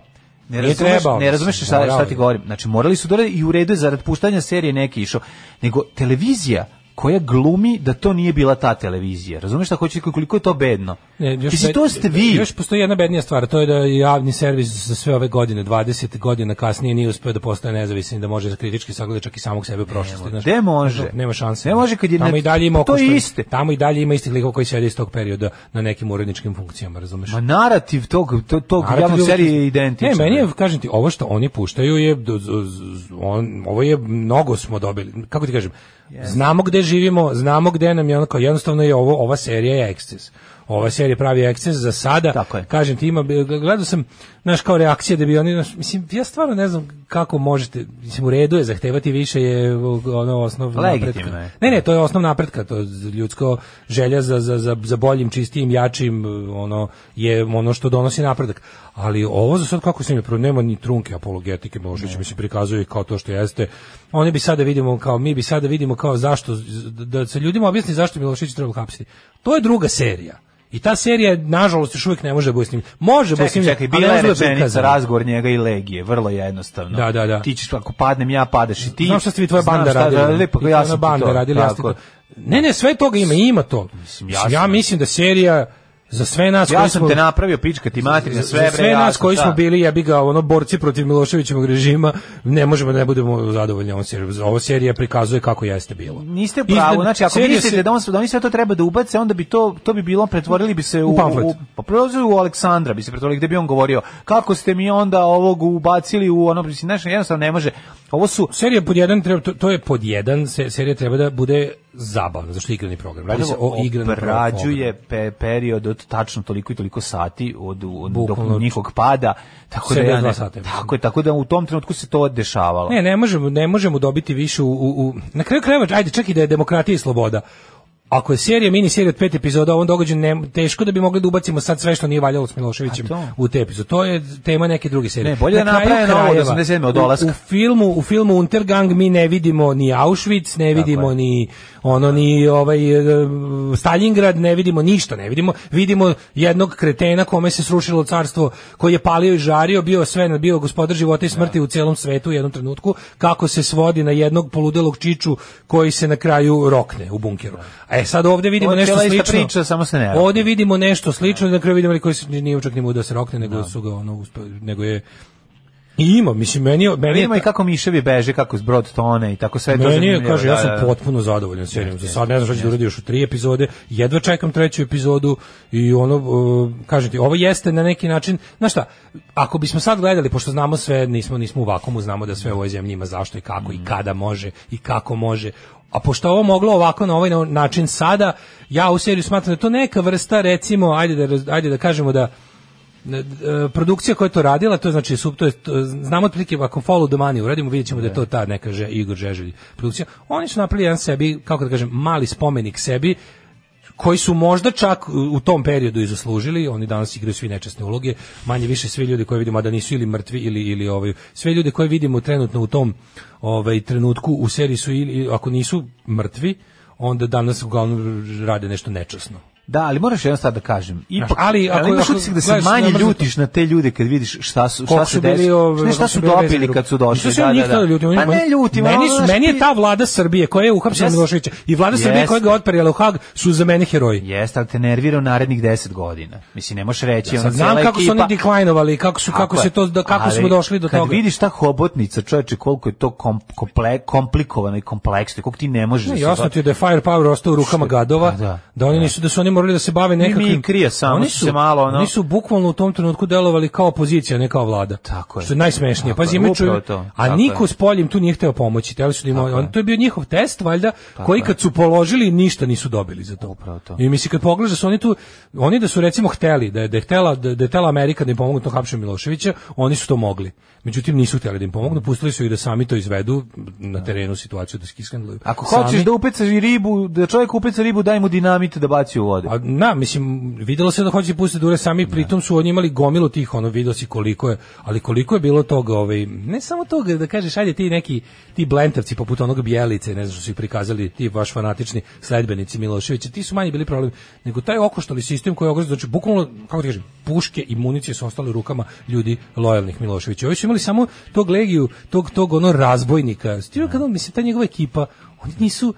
Ne
Nije
razumeš,
trebao,
ne razumeš
mislim,
šta,
morao
šta
je.
ti govorim. Znači, morali su da i u redu je zarad puštanja serije neki išao. Nego televizija koja glumi da to nije bila ta televizija. Razumeš šta hoću koliko je to bedno?
Ne, još
Mislim,
bed-
to ste vi.
Još postoji jedna bednija stvar, to je da je javni servis za sve ove godine, 20 godina kasnije nije uspeo da postane nezavisan i da može kritički sagledati čak i samog sebe u prošlosti. znaš.
Gde može?
Nema šanse.
Ne može kad je
tamo
na-
i dalje ima
pa to je
okuštanih-
iste.
Tamo i dalje ima istih likova koji sede iz tog perioda na nekim uredničkim funkcijama, razumeš?
Ma narativ tog, to, tog
Narativ
javnog
uvek
serije
isti.
je da. identičan.
Ne, meni je, kažem ti, ovo što oni puštaju je, do- z- z- on, ovo je, mnogo smo dobili, kako ti kažem, znamo gde živimo, znamo gde nam je ono, kao jednostavno je ovo, ova serija je eksces. Ova serija pravi eksces za sada,
Tako je.
kažem ti, ima, gledao sam, znaš, kao reakcije da bi oni, znaš, mislim, ja stvarno ne znam kako možete, mislim, u redu je, zahtevati više je ono osnov
Legitimno
napretka.
je.
Ne, ne, to je osnov napretka, to je ljudsko želja za, za, za, za boljim, čistijim, jačim, ono je ono što donosi napredak. Ali ovo za sad kako se mi pro nema ni trunke apologetike Miloševića, mislim prikazuje kao to što jeste. Oni bi sada vidimo kao mi bi sada vidimo kao zašto da se ljudima objasni zašto Milošević treba hapsiti. To je druga serija. I ta serija nažalost još uvijek ne može da bude snimljena. Može da bude
Čekaj,
snimljena.
čekaj,
ali
bila
ne
je
može da bude
rečenica,
prikazana.
razgovor njega i legije, vrlo jednostavno.
Da, da, da.
Ti ćeš, ako padnem ja, padeš i ti.
Znam šta ste vi tvoja
Znam
banda
šta,
radili.
Da, lepo,
I tvoja
ja sam ti
banda
to.
radili, ja sam ti
tako.
to. Ne, ne, sve toga ima, ima to. Mislim,
jasno.
ja mislim da serija Za sve nas
Ja
koji
sam
smo-
te napravio pička ti materina sve
za
bre.
sve
ja
nas
sam
koji
šta.
smo bili jebi ga ono borci protiv Miloševićevog režima ne možemo da ne budemo zadovoljni ovom serijom. Ova serija prikazuje kako jeste bilo.
Niste u pravu,
Iznad-
znači ako
serija
mislite
se-
da, on, da oni sve to treba da ubace, onda bi to, to bi bilo, pretvorili bi se u...
U pamflet.
pa prozor u Aleksandra bi se pretvorili, gde bi on govorio, kako ste mi onda ovog ubacili u ono, mislim, znaš, jednostavno ne može. Ovo su...
Serija pod jedan, treba, to, to je pod jedan, se, serija treba da bude zabavna, zašto je igrani program. Radi se o igranom pro-
obrađuje pe, period od tačno toliko i toliko sati od, od do
Bukvalno
njihovog pada tako da
sedam,
ja
dva
ne,
sata, mislim.
tako je tako da u tom trenutku se to dešavalo
Ne, ne možemo, ne možemo dobiti više u, u, u- na kraju krajeva, ajde, čak i da je demokratija i sloboda. Ako je serija, mini serija od pet epizoda, on događa ne, teško da bi mogli da ubacimo sad sve što nije valjalo s Miloševićem
A to?
u te epizode. To je tema neke druge serije.
Ne, bolje
Na
da
kraju
naprave novo od
krajeva,
87. od
u-
dolaska.
U, filmu, u filmu Untergang mi ne vidimo ni Auschwitz, ne vidimo ni ono ni ovaj e, Stalingrad, ne vidimo ništa, ne vidimo. Vidimo jednog kretena kome se srušilo carstvo, koji je palio i žario, bio sve, bio gospodar života i
Da.
smrti u celom svetu u jednom trenutku, kako se svodi na jednog poludelog čiču koji se na kraju rokne u bunkeru. E sad ovde vidimo
Ovo je
nešto
cijela ista
slično.
priča, samo se ne Da. radi.
Ovde vidimo nešto slično, na kraju vidimo koji se nije čak ni mu da se rokne, nego su ga ono uspe- nego je I ima, mislim, meni, je- meni je
Vidimo i kako miševi beže, kako zbrod tone i tako sve je to
meni je,
zanimljivo,
kaže,
da,
ja
da,
sam
da.
potpuno zadovoljan serijom. Za sad ne znam šta će da uradi još u tri epizode. Jedva čekam treću epizodu i ono, uh, kažem ti, ovo jeste na neki način, znaš šta, ako bismo sad gledali, pošto znamo sve, nismo, nismo u vakumu, znamo da sve u ovoj zemlji ima zašto i kako i kada može i kako može. A pošto je ovo moglo ovako na ovaj na- način sada, ja u seriju smatram da je to neka vrsta, recimo, ajde da, raz- ajde da kažemo da e, produkcija koja je to radila, to je znači sub, to je, to- znamo otprilike ako follow the money uradimo, vidjet ćemo da je to ta neka že, Igor Žeželj produkcija. Oni su napravili jedan sebi, kako da kažem, mali spomenik sebi, koji su možda čak u- u tom periodu i zaslužili, oni danas igraju svi nečasne uloge, manje više svi ljudi koje vidimo, a da nisu ili mrtvi ili, ili ovaj, sve ljude koje vidimo trenutno u tom ovaj, trenutku u seriji su, ili, ako nisu mrtvi, onda danas uglavnom rade nešto nečasno.
Da, ali moraš jedno sad da kažem. Ipak,
Znaš, ali ako-
imaš
ako
utisak da se
gledaš
manje
namrznuto-
ljutiš na te ljude kad vidiš šta su šta
Koliko
se
su bili
desilo.
ove
Ne, šta
kako
su
bili vezani
dobili
drugi.
kad su
Nisu
došli.
se
Da,
njih
da, da.
tada ljuti, oni-
Pa ne ljuti,
meni, su- meni je ta vlada Srbije koja je uhapsila
Jes-
Miloševića i vlada Srbije
Jeste.
koja ga otperjala u Hag su za mene heroji.
Jeste, ali te nervira u narednih 10 godina. Mislim, ne možeš reći.
Ja
ono,
sad znam
cijela
kako su
ekipa-
oni deklajnovali, kako su kako
je.
se to da kako
Ali
smo došli do
kad
toga.
Kad vidiš ta hobotnica, čoveče, koliko je to kom, komple, komplikovano i kompleksno, koliko ti ne možeš...
Ne,
da se
jasno
dva-
ti je da je firepower ostao u rukama gadova,
da,
da, oni nisu da su oni morali da se bave nekakvim
Mimikrija samo
Oni
su se malo, ono-
Oni su bukvalno u tom trenutku delovali kao opozicija, ne kao vlada. Tako
je.
Što je najsmešnije.
Tako je,
Pazi, ima
upravo
čovjek-
to.
a
Tako
niko
je.
s poljem tu nije hteo pomoći. Hteli su da im on, to je bio njihov test valjda, koji
je.
kad su položili ništa nisu dobili za to.
Upravo to.
I misli kad pogledaš da su oni tu oni da su recimo hteli da je da je htela da, da je htela Amerika da im pomogne to hapšenje Miloševića, oni su to mogli. Međutim nisu hteli da im pomognu, pustili su ih da sami to izvedu na terenu situaciju da skiskandluju.
Ako hoćeš da upecaš i ribu, da čovjek upeca ribu, daj mu dinamit da baci u vodu.
A, na, Pa, mislim, videlo se da hoće pustiti dure sami, pritom su oni imali gomilu tih, ono, video si koliko je, ali koliko je bilo toga, ovaj, ne samo toga, da kažeš, ajde ti neki, ti blentavci poput onog Bijelice, ne znam što su ih prikazali, ti baš fanatični sledbenici Miloševića, ti su manji bili problem, nego taj okoštali sistem koji je ogroz, znači, bukvalno, kako ti kažem, puške i municije su ostale u rukama ljudi lojalnih Miloševića. Ovi su imali samo tog legiju, tog, tog, ono, razbojnika. Stiro kada, on, mislim, ta njegova ekipa, oni nisu,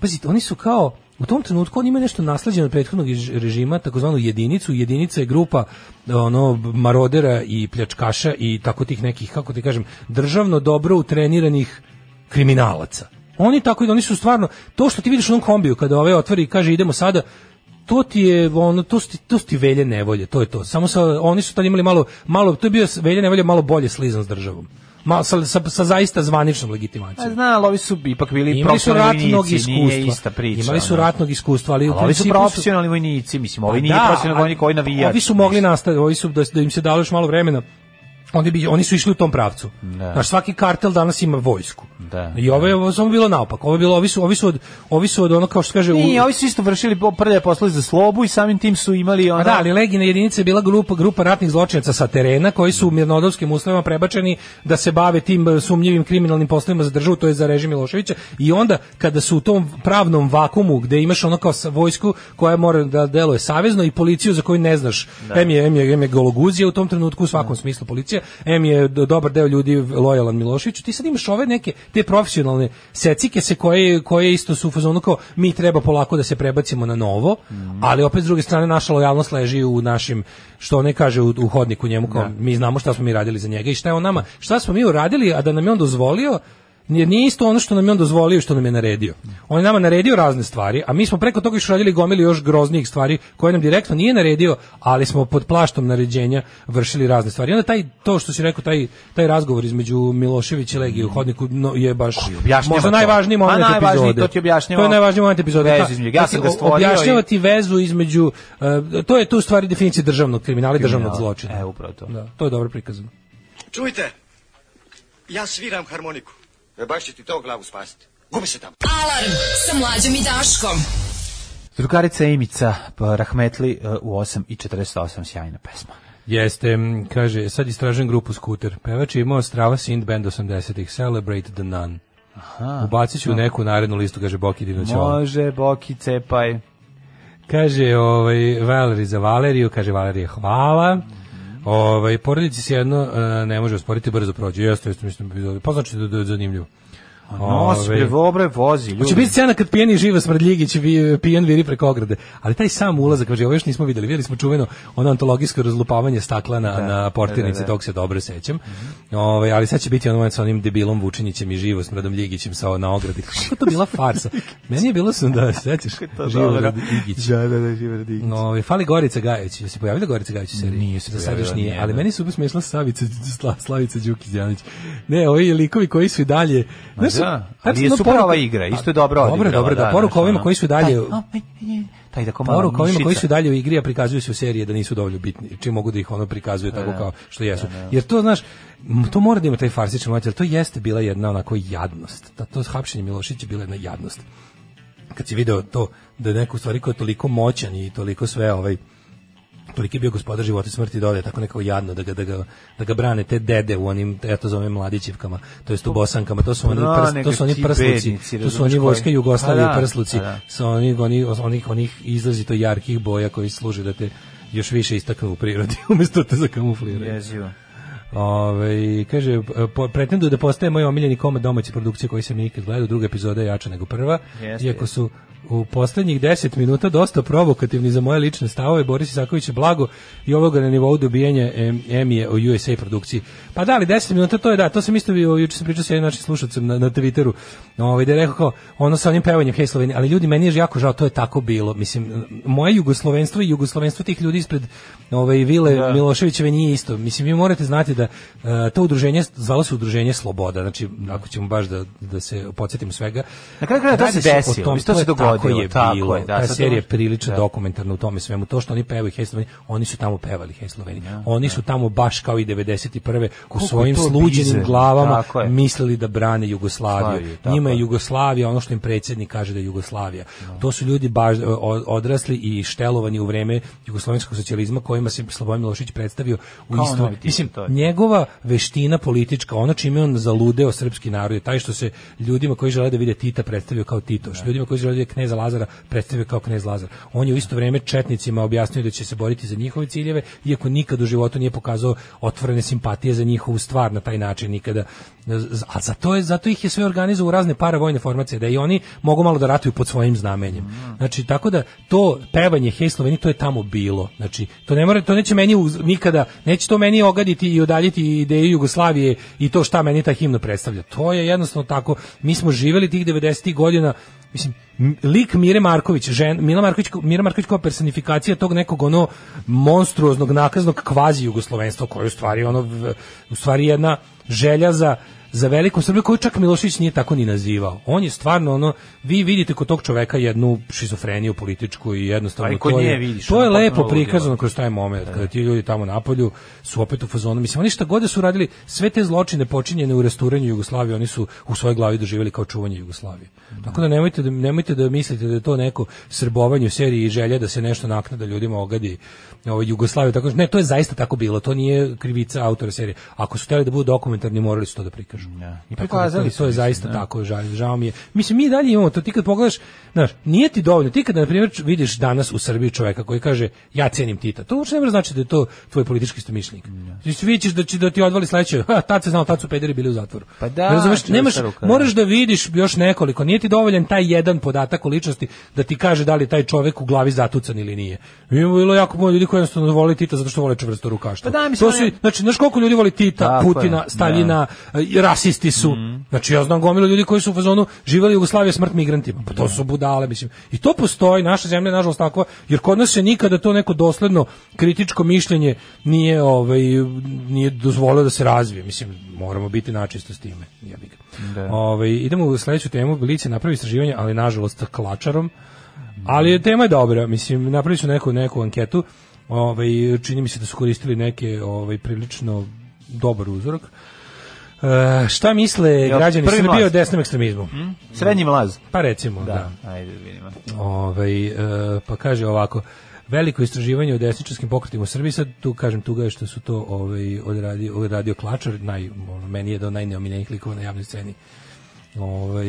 Pazite, oni su kao u tom trenutku oni imaju nešto naslađeno od prethodnog iž- režima, takozvanu jedinicu, jedinica je grupa ono marodera i pljačkaša i tako tih nekih kako ti kažem državno dobro utreniranih kriminalaca. Oni tako oni su stvarno to što ti vidiš u onom kombiju kada ove otvori i kaže idemo sada to ti je ono to su ti, to su ti velje nevolje, to je to. Samo sa, oni su tad imali malo malo to je bio s- velje nevolje malo bolje slizan s državom. Malo sa, sa, sa zaista zvaničnom legitimacijom.
A zna, ali ovi su ipak bili
Imali su
profesionalni
ratnog
vojnici, nije
iskustva.
ista priča.
Imali su
ono.
ratnog iskustva, ali u
Ali ovi su
principu su
profesionalni vojnici, mislim, ovi
Pa
nije
da,
profesionalni
a-
vojnik, ovi navijač.
Ovi su mogli nastaviti, ovi su da, da im se dalo još malo vremena. Oni bi oni su išli u tom pravcu.
Da.
Znaš, svaki kartel danas ima vojsku.
Da.
I ovo je ovo je samo bilo naopako. Ovo je bilo ovi su ovi su od ovi su od ono kao što kaže u-
Nije, ovi su isto vršili po- prlje poslali za slobu i samim tim su imali
Pa
ono...
da, ali Legina jedinica je bila grupa, grupa ratnih zločinaca sa terena koji su u mirnodopskim uslovima prebačeni da se bave tim e, sumnjivim kriminalnim poslovima za državu, to je za režim Miloševića i onda kada su u tom pravnom vakumu gde imaš ono kao sa- vojsku koja mora da deluje savezno i policiju za koju ne znaš, em je, em je, em je gologuzija u tom trenutku u svakom smislu policija em je do- dobar deo ljudi lojalan Miloševiću, ti sad imaš ove neke, te profesionalne secike se koje, koje isto su u fazonu kao mi treba polako da se prebacimo na novo, ali opet s druge strane naša lojalnost leži u našim, što ne kaže u, u hodniku njemu, kao,
Da.
mi znamo šta smo mi radili za njega i šta je on nama, šta smo mi uradili, a da nam je on dozvolio, jer nije isto ono što nam je on dozvolio i što nam je naredio. On je nama naredio razne stvari, a mi smo preko toga još radili gomili još groznijih stvari koje nam direktno nije naredio, ali smo pod plaštom naređenja vršili razne stvari. I onda taj, to što si rekao, taj, taj razgovor između Miloševića i Legije u hodniku no, je baš
objašnjava
možda
to.
najvažniji
A
moment
najvažniji,
epizode.
to ti objašnjava
To je najvažniji moment epizode.
vezu
Ta-
između njega. Ja
to ti
sam ga
o-
stvorio
Objašnjava
i-
ti vezu između, e, to je tu u stvari definicija državnog kriminala i državnog
Kriminala.
zločina.
E, upravo to.
Da, to je dobro prikazano.
Čujte, ja sviram harmoniku. E baš će ti to glavu spasiti. Gubi se tamo.
Alarm sa mlađom i Daškom.
Drugarica Imica pa, Rahmetli e, u 8 i 48 sjajna pesma.
Jeste, m, kaže, sad istražujem grupu Scooter. Pevač je imao Strava Synth Band 80-ih, Celebrate the Nun.
Aha. da.
Ubacit ću u neku narednu listu, kaže Boki Dinoćola.
Može, Boki, cepaj.
Kaže, ovaj, Valeri za Valeriju, kaže Valerije, hvala.
Mhm.
Ovaj, porodici se jedno e, ne može osporiti, brzo prođe. Jeste, jeste, mislim, epizode. pa znači da da je zanimljivo.
Nos,
Ovaj,
bre, obre, vozi, ljudi.
Hoće biti scena kad pijeni živa smrdljigić vi- pijan viri preko ograde. Ali taj sam ulazak, kaže, ovo još nismo videli. Videli smo čuveno ono antologijsko razlupavanje stakla na, na portirnici,
da, da.
tog se dobro sećam. Ovaj, ali sad će biti ono moment sa onim debilom Vučinićem i živo smrdom Ljigićem sa, na ogradi. Kako je to bila farsa? Meni je bilo sam da sećaš. Živo
dobro.
Ljigić. Da, da, da, živo Ovaj, fali Gorica Gajević. Jel se pojavila Gorica Gajević u seriji? Nije se Za sad još
pojavila,
nije,
nije,
ali
da.
meni su uvijek smešla Savica, Sla- Slavica Đukić Đanić. Ne, ovi likovi koji su i dalje.
Ma
Znaš,
da,
tačno
ali je super
poruka-
ova igra, isto je dobro
Dobro,
odigrala,
dobro, da,
da,
poruka
znaš,
ovima
ono.
koji su dalje...
Taj, taj tako malo
Poruka ovima koji
mišica.
su dalje u igri, a prikazuju se u serije da nisu dovoljno bitni, čim mogu da ih ono prikazuje tako
da.
kao što jesu.
Da, da.
Jer to, znaš, m, to mora da ima taj farsičan moment, jer to jeste bila jedna onako jadnost. Ta, to hapšenje Milošića je bila jedna jadnost. Kad si video to, da je neko u stvari ko je toliko moćan i toliko sve ovaj, toliki je bio gospodar života i smrti dode tako nekako jadno da ga, da ga, da ga brane te dede u onim ja to zovem mladićevkama to jest u bosankama to su oni
Brane
prst, to su
ga
oni
ti
prsluci
bednici,
to su
razumeš
oni
koji?
vojska Jugoslavije
Pa da,
prsluci
pa da.
sa onih onih onih onih izrazito jarkih boja koji služe da te još više istaknu u prirodi umjesto da te zakamufliraju
Jezivo.
Ove, kaže, po, pretendu da postaje moj omiljeni komad domaće produkcije koji sam ikad gledao, druga epizoda je jača nego prva,
Jeste,
iako su u poslednjih 10 minuta dosta provokativni za moje lične stavove, Boris Isaković je blago i ovoga na nivou dobijanja em, Emije o USA produkciji. Pa da, ali 10 minuta to je da, to sam isto bio, juče sam pričao sa jednim našim slušalcem na, na Twitteru, ovaj, da je rekao kao, ono sa onim pevanjem Hej Slovenija, ali ljudi, meni je jako žao, to je tako bilo. Mislim, moje jugoslovenstvo i jugoslovenstvo tih ljudi ispred ovaj, vile
Da.
Milo- Miloševićeve nije isto. Mislim, vi morate znati da e, to udruženje, zvalo se udruženje Sloboda, znači, ako ćemo baš da, da se podsjetimo svega.
Na kraju kraja to
radi
se
o
desilo, mislim, to se
je
dogodilo,
Tako je
tako
bilo.
je, da,
Ta
sad
serija je
možda-
prilično
da.
dokumentarna u tome svemu. To što oni pevaju Hej Slovenija, oni su tamo pevali Hej Slovenija. oni su tamo baš kao i 91. u
Da, je
svojim
to
sluđenim
bizarno,
glavama
tako je.
mislili da brane Jugoslaviju.
Slaviju, tako
Njima je
je.
Jugoslavija, ono što im predsjednik kaže da je Jugoslavija. To su ljudi baš o- odrasli i štelovani u vreme jugoslovenskog socijalizma kojima se Slobodan Milošević predstavio u
Kao
isto.
novi tip,
Mislim,
to je.
njegova veština politička, ono čime je on zaludeo srpski narod je taj što se ljudima koji žele da vide Tita predstavio kao Tito, što ljudima koji žele da vide kneza Lazara predstavio kao knez Lazar. On je u isto vrijeme četnicima objasnio da će se boriti za njihove ciljeve, iako nikad u životu nije pokazao otvorene simpatije za njihovu stvar na taj način nikada. A zato je zato ih je sve organizovao u razne paravojne formacije da i oni mogu malo da ratuju pod svojim znamenjem.
Mm.
Znači tako da to pevanje Hej Sloveni to je tamo bilo. Znači to ne mora to neće meni uz- nikada neće to meni ogaditi i odaljiti ideju Jugoslavije i to šta meni ta himna predstavlja. To je jednostavno tako. Mi smo živeli tih 90-ih godina Mislim, m- lik Mire Marković, žen, Mila Marković, ko- Mira Marković kao personifikacija tog nekog ono monstruoznog, nakaznog kvazi jugoslovenstva koje je u stvari ono v- u stvari jedna želja za za veliku Srbiju koju čak Milošević nije tako ni nazivao. On je stvarno ono vi vidite kod tog čoveka jednu šizofreniju političku i jednostavno
A i kod
to je
nje vidiš,
to je
ono,
lepo
potpuno ludilo.
prikazano kroz taj moment kada ti ljudi tamo na polju su opet u fazonu. Mislim oni šta god da su radili, sve te zločine počinjene u resturanju Jugoslavije, oni su u svojoj glavi doživjeli kao čuvanje Jugoslavije. Tako da nemojte da nemojte da mislite da je to neko srbovanje u seriji i želja da se nešto naknada ljudima ogadi ovaj Jugoslaviju tako ne to je zaista tako bilo, to nije krivica autora serije. Ako su hteli da budu dokumentarni, morali su to da prikažu. Ja.
I
pokazali
pokazali
to, je
su,
zaista
mislim, da.
tako, žao, žao mi je. Mislim, mi i dalje imamo to, ti kad pogledaš, znaš, nije ti dovoljno, ti kad, na primjer, č- vidiš danas u Srbiji čoveka koji kaže, ja cenim Tita, to uopšte ne mora znači da je to tvoj politički istomišljenik. Ti se vidiš da, će, da ti odvali sledeće, ha, tad se znao, tad su pederi bili u zatvoru.
Pa da,
Razumeš,
to je
nemaš,
stara ruka, da.
moraš da vidiš još nekoliko, nije ti dovoljan taj jedan podatak o ličnosti da ti kaže da li je taj čovek u glavi zatucan ili nije. Ima bilo jako puno ljudi koji jednostavno vole Tita zato što vole čvrsto rukaštvo.
Pa da, mislim,
to su,
on je-
znači, znaš koliko ljudi voli Tita,
Tako je,
Putina,
da. Mm.
Staljina, e, rasisti su. Znači ja znam gomilu ljudi koji su u fazonu živeli Jugoslavija smrt migrantima. Pa
Da.
to su budale, mislim. I to postoji, naša zemlja je nažalost takva, jer kod nas se nikada to neko dosledno kritičko mišljenje nije ovaj nije dozvolilo da se razvije. Mislim, moramo biti načisto s time. Jebi ga.
Da.
Ovaj, idemo u sledeću temu, Lice napravi istraživanje, ali nažalost sa klačarom. Ali je- tema je dobra, mislim, napravili su neku, neku anketu, ovaj, čini mi se da su koristili neke ovaj, prilično dobar uzorak. E, šta misle
Jel
građani
prvi Mhm.
Srbije
mlaz?
o desnom ekstremizmu?
Hm? Srednji mlaz.
Pa recimo, da.
Ajde, vidimo.
Ovaj, e, pa kaže ovako, veliko istraživanje o desničarskim pokretima u Srbiji, sad tu kažem tuga je što su to ovaj, odradio, odradio Klačar, naj, ono, meni je jedan od najneomiljenijih likova na javnoj sceni. Ovaj,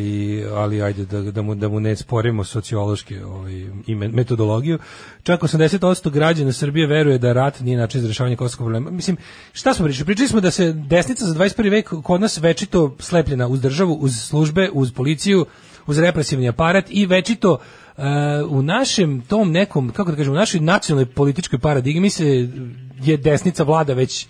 ali ajde da, da, mu, da mu ne sporimo sociološke ovaj, i me- metodologiju. Čak 80% građana Srbije veruje da rat nije način za rešavanje kosovskog problema. Mislim, šta smo pričali? Pričali smo da se desnica za 21. vek kod nas večito slepljena uz državu, uz službe, uz policiju, uz represivni aparat i večito e, u našem tom nekom, kako da kažem, u našoj nacionalnoj političkoj paradigmi se je desnica vlada već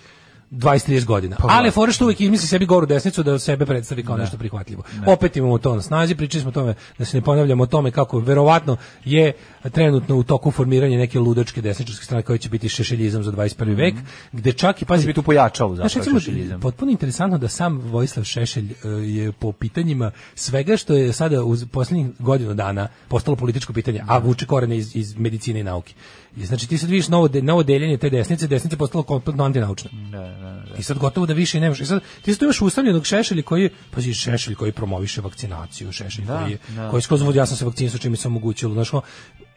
20-30 godina.
Pa, da.
Ali fora što uvijek izmisli sebi goru desnicu da sebe predstavi kao nešto prihvatljivo.
Da.
Opet imamo to na snazi, pričali smo o tome da se ne ponavljamo o tome kako verovatno je trenutno u toku formiranje neke ludačke desničarske strane koja će biti šešeljizam za 21.
Mhm.
vek, gde čak i pazi
Bi tu pojačao zapravo
Znaš, recimo,
šešeljizam.
potpuno interesantno da sam Vojislav Šešelj e, je po pitanjima svega što je sada uz posljednjih godinu dana postalo političko pitanje, a vuče korene iz, iz medicine i nauke. I znači ti sad vidiš novo, de- novo deljenje te desnice, desnica je postala kompletno antinaučna. I sad gotovo da više i nemaš. I sad ti sad tu imaš usamljenog Šešelja koji, pazi, Šešelj koji promoviše vakcinaciju, Šešelj
Da,
koji, je,
da.
koji skroz vodi, ja sam se vakcinisao čim mi se omogućilo. Znaš, on-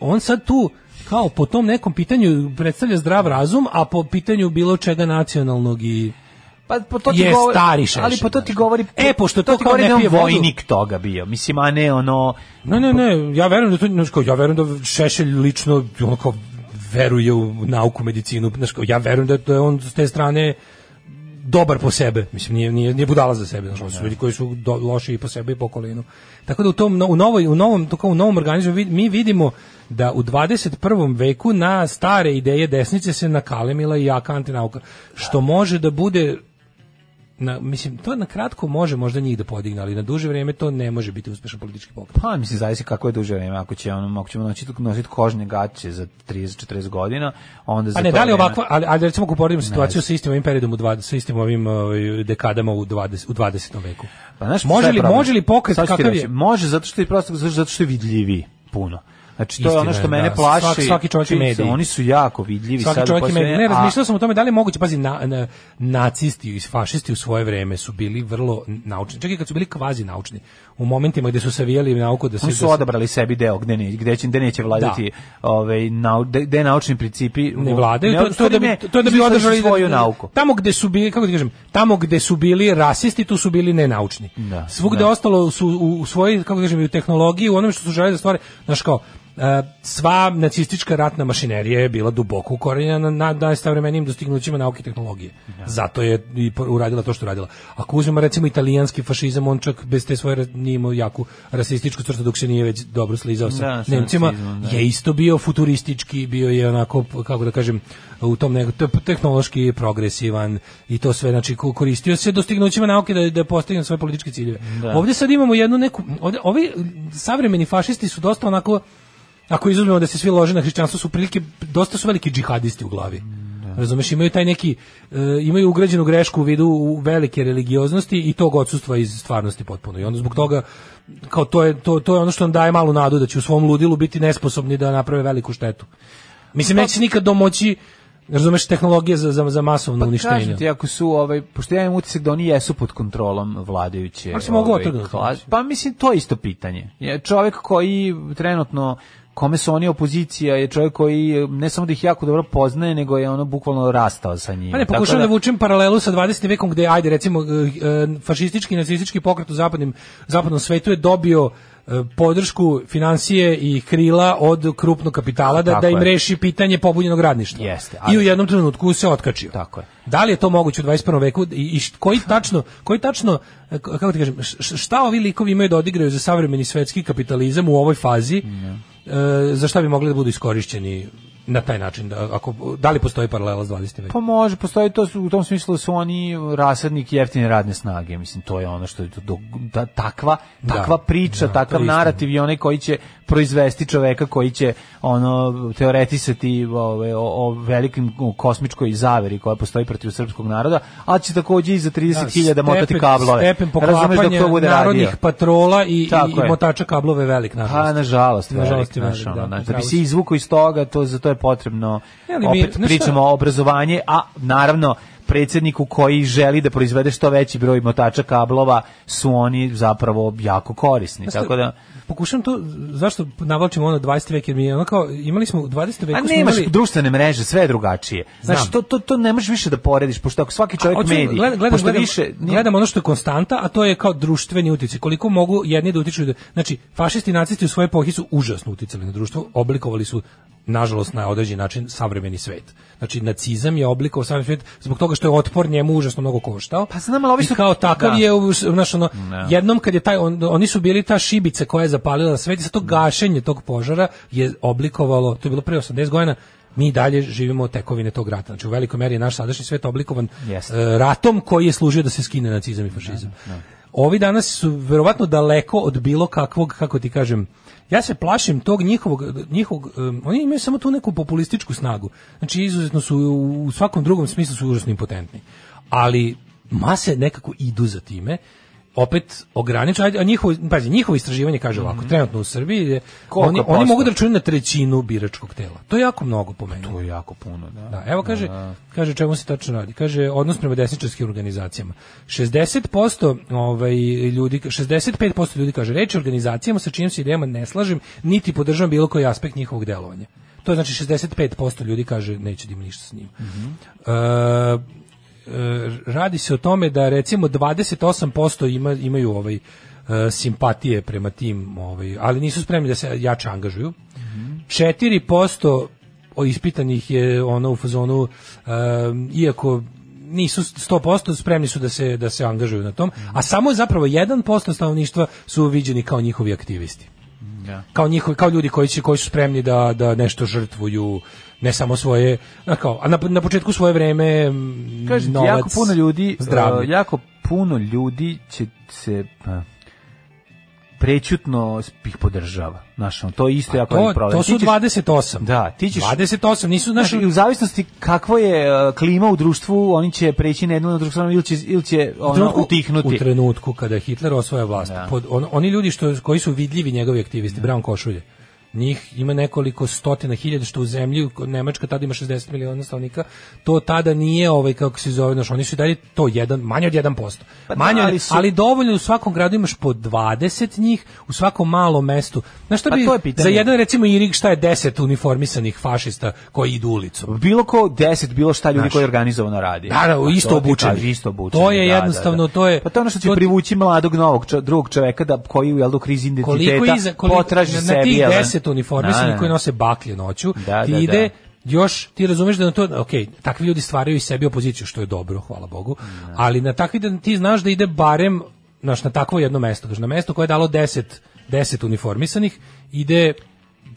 on sad tu kao po tom nekom pitanju predstavlja zdrav razum, a po pitanju bilo čega nacionalnog i
Pa po to ti
je
govori,
stari šešir.
Ali po to ti govori,
E, pošto to
ti
kao
govori
ne
da je on
pije vodu.
vojnik toga bio. Mislim, a ne ono...
Ne, ne, ne, ja verujem da to, znaš kao, ja verujem da Šešelj lično ono kao, veruje u nauku, medicinu, znaš kao, ja verujem da, da je on s te strane dobar po sebe, mislim nije nije nije budala za sebe, znači su ljudi koji su do, loši i po sebi i po okolinu. Tako da u tom no- u novoj u novom to kao u novom organizmu vid- mi vidimo da u 21. veku na stare ideje desnice se nakalemila i jaka antinauka, što može da bude na, mislim, to na kratko može možda njih da podigne, ali na duže vrijeme to ne može biti uspešan politički pokret.
Pa mislim zavisi kako je duže vrijeme, ako će ono, ako ćemo nositi, nositi kožne gaće za 30 40 godina, onda za
Pa ne,
to
da li
vrijeme-
ovakva, ali, ali recimo ako uporedimo situaciju sa istim ovim periodom, u 20, sa istim ovim ovaj, dekadama u 20, u 20. veku.
Pa znaš, šta
može,
je
li,
problem?
može li pokret
Sad ću ti
kakav
reći,
je?
Može zato što je prosto zato što je vidljivi puno. Znači to je
Istina
ono
je,
što mene
da.
plaši.
Svaki- svaki čovjek je
činjenica,
medij.
Oni su jako vidljivi sad
Svaki
u
čovjek ima,
poslednje-
ne,
a-
razmišljao sam o tome da li je moguće, pazi, na, na, nacisti i fašisti u svoje vreme su bili vrlo naučni, čak i kad su bili kvazi naučni, u momentima gdje su savijali nauku da se...
Oni
da
su
se-
odabrali sebi deo gde, ne, gde, će, gde neće vladati ovaj, nau, gde, gde naučni principi
ne
u-
vladaju,
ne,
to, to, da bi,
ne,
to da bi
izmislili su
održali
svoju
da-
nauku.
Tamo gde su bili, kako ti kažem, tamo gde su bili rasisti, tu su bili nenaučni.
Da,
Svugde
da.
ostalo su u, u svojoj, kako ti kažem, i u tehnologiji, u onome što su želeli da stvare, znaš kao, e, sva nacistička ratna mašinerija je bila duboko ukorenjena na, na savremenim dostignućima nauke i tehnologije. Zato je i por- uradila to što je uradila. Ako uzmemo recimo italijanski fašizam, on čak bez te svoje ra- nije imao jaku rasističku crtu dok se nije već dobro slizao sa
Da, sa
Nemcima,
nacizmom, da.
je isto bio futuristički, bio je onako, kako da kažem, u tom neko, te- tehnološki progresivan i to sve, znači ko- koristio se dostignućima nauke da, da postigne svoje političke ciljeve.
Da.
Ovdje sad imamo jednu neku, ovdje, ovi savremeni fašisti su dosta onako, ako izuzmemo da se svi lože na hrišćanstvo, su prilike, dosta su veliki džihadisti u glavi.
Da,
Razumeš, imaju taj neki, e, imaju ugrađenu grešku u vidu u velike religioznosti i tog odsustva iz stvarnosti potpuno. I onda zbog toga, kao to je, to, to je ono što nam daje malu nadu da će u svom ludilu biti nesposobni da naprave veliku štetu. Mislim, neće se nikad domoći, razumeš, tehnologije za, za, za masovno uništenje.
Pa Kažem ti, ako su, ovaj, pošto ja imam utisak da oni jesu pod kontrolom vladajuće...
Ali se mogu da
ovaj,
otrgnuti,
kla- Pa mislim, to je isto pitanje. Je čovjek koji trenutno kome su oni opozicija je čovjek koji ne samo da ih jako dobro poznaje, nego je ono bukvalno rastao sa njima.
Pa ne,
Tako
pokušavam
da-
da, vučem paralelu sa 20. vekom gde, ajde, recimo, eh, eh, fašistički i nacistički pokret u zapadnim, zapadnom svetu je dobio eh, podršku financije i krila od krupnog kapitala da,
Tako
da im
je.
reši pitanje pobunjenog radništva.
Jeste,
I
ali-
u jednom trenutku se otkačio. Tako je. Da li je to moguće u 21. veku i, i št- koji tačno, koji tačno eh, k- kako ti kažem, š- š- šta ovi likovi imaju da odigraju za savremeni svetski kapitalizam u ovoj fazi? eh, za šta bi mogli da budu iskorišćeni na taj način da, ako da li postoji paralela s 20. vekom
Pa može, postoji to su- u tom smislu da su oni rasadnik jeftine radne snage, mislim to je ono što je to do- da, takva
Da.
takva priča,
Da,
takav
to je istina.
narativ i onaj koji će proizvesti čoveka koji će ono teoretisati ove, o, o velikim kosmičkoj zaveri koja postoji protiv srpskog naroda, a će takođe i za 30.000 motati
Da, stepen-
kablove.
Stepen
Razumeš dok
poklapanja
to bude
narodnih
radio.
patrola i, i,
Tako
i
je.
motača kablove je velik, nažalost.
Pa, nažalost, velik,
Nažalost je
znaš,
velik,
ono,
da,
znaš, da,
upravo
bi
si.
se izvukao iz toga, to, za to je potrebno,
Ne, ali mi-
opet
znaš šta?
pričamo o obrazovanje, a naravno, predsjedniku koji želi da proizvede što veći broj motača kablova su oni zapravo jako korisni.
Znaš šta,
Tako da,
Pokušam to, zašto navlačimo ono 20. vek, jer mi je ono kao, imali smo u 20. veku
a
smo
nemaš
imali...
društvene mreže, sve je drugačije. Znači,
Znam.
to, to, to ne možeš više da porediš, pošto ako svaki čovjek
Hoću-
medij,
gled- gledam,
pošto
gledam,
više... nije-
gledam ono što je konstanta, a to je kao društveni utjecaj. Koliko mogu jedni da utiču... da- Znači, fašisti i nacisti u svojoj epohi su užasno uticali na društvo, oblikovali su nažalost na određen način savremeni svet. Znači, nacizam je oblikovao savremeni svet zbog toga što je otpor njemu užasno mnogo koštao. Pa
znam, ali ovi su-
kao takav
da.
je u- znaš, ono,
Da.
jednom kad je taj on- oni su bili ta šibica koja je zapalila svet i sad to gašenje tog požara je oblikovalo, to je bilo pre 80 godina, mi i dalje živimo od tekovine tog rata. Znači u velikoj meri je naš sadašnji svet oblikovan
Jeste.
e, ratom koji je služio da se skine nacizam i fašizam.
Da,
Ovi danas su verovatno daleko od bilo kakvog, kako ti kažem, ja se plašim tog njihovog, njihovog em, oni imaju samo tu neku populističku snagu. Znači izuzetno su u, u svakom drugom smislu su užasno impotentni. Ali mase nekako idu za time opet ograničeno, ajde, a njihovo, pazi, njihovo istraživanje kaže ovako, trenutno u Srbiji je,
Mhm. Koliko
oni,
posto?
oni mogu da računaju na trećinu biračkog tela. To je jako mnogo po meni.
To je jako puno, da.
Da, evo kaže, kaže čemu se tačno radi. Kaže odnos prema desničarskim organizacijama. 60% ovaj ljudi 65% ljudi kaže reč je o organizacijama sa čijim se idejama ne slažem, niti podržavam bilo koji aspekt njihovog delovanja. To je znači 65% ljudi kaže neće da ima ništa s njim. E, e, radi se o tome da recimo 28% ima, imaju ovaj e, simpatije prema tim, ovaj, ali nisu spremni da se jače angažuju. 4% o- ispitanih je ono u fazonu em, iako nisu 100% spremni su da se da se angažuju na tom, a samo je zapravo 1% stanovništva su viđeni kao njihovi aktivisti
Da.
kao njihovi kao ljudi koji će koji su spremni da da nešto žrtvuju ne samo svoje a kao a na, na početku svoje vreme m,
Kažem ti,
novac,
jako puno ljudi,
zdravlje.
e, jako puno ljudi će se e, prećutno ih podržava. Znaš, ono, to je isto jako
Pa to,
veliki problem.
to
Ti
su
ćeš-
28
Da, ti ćeš
28 nisu
Znaš,
naši
i u zavisnosti kakvo je e, klima u društvu, oni će preći na jednu na drugu stranu ili će, ili će ono,
U trenutku-
utihnuti. Da.
U trenutku kada Hitler osvaja vlast, pod, on- oni ljudi što, koji su vidljivi njegovi aktivisti, brown košulje, njih ima nekoliko stotina hiljada što u zemlji, u- Nemačka tada ima 60 miliona stanovnika, to tada nije ovaj kako se zove, znaš, oni su i dalje to jedan, manje od 1%.
Pa da,
manje od-
ali su-
ali dovoljno je u svakom gradu imaš po 20 njih, u svakom malom mestu. Znaš šta
Pa
bi,
to je pitanje.
za jedan recimo Irig šta je 10 uniformisanih fašista koji idu ulicom?
Bilo ko deset, bilo šta ljudi
Znaš.
koji organizovano radi.
Da, da,
Pa to
isto
ti
obučeni.
kažem, isto obučeni,
To je
da, da,
jednostavno,
da.
to je-
Pa to je ono što će
to-
privući mladog novog, čo- drugog čoveka da, koji u jel, do krizi identiteta
koliko iza koliko
potraži
na,
sebi.
na tih
jel,
10 uniformisanih
Da,
koji
da.
nose baklje noću
Da,
ti
da,
ide
da.
još ti razumeš da na to ok, takvi ljudi stvaraju i sebi opoziciju što je dobro, hvala Bogu. Ali na takvi da ti znaš da ide barem znaš, na takvo jedno mesto, znaš, na mesto koje je dalo 10 10 uniformisanih ide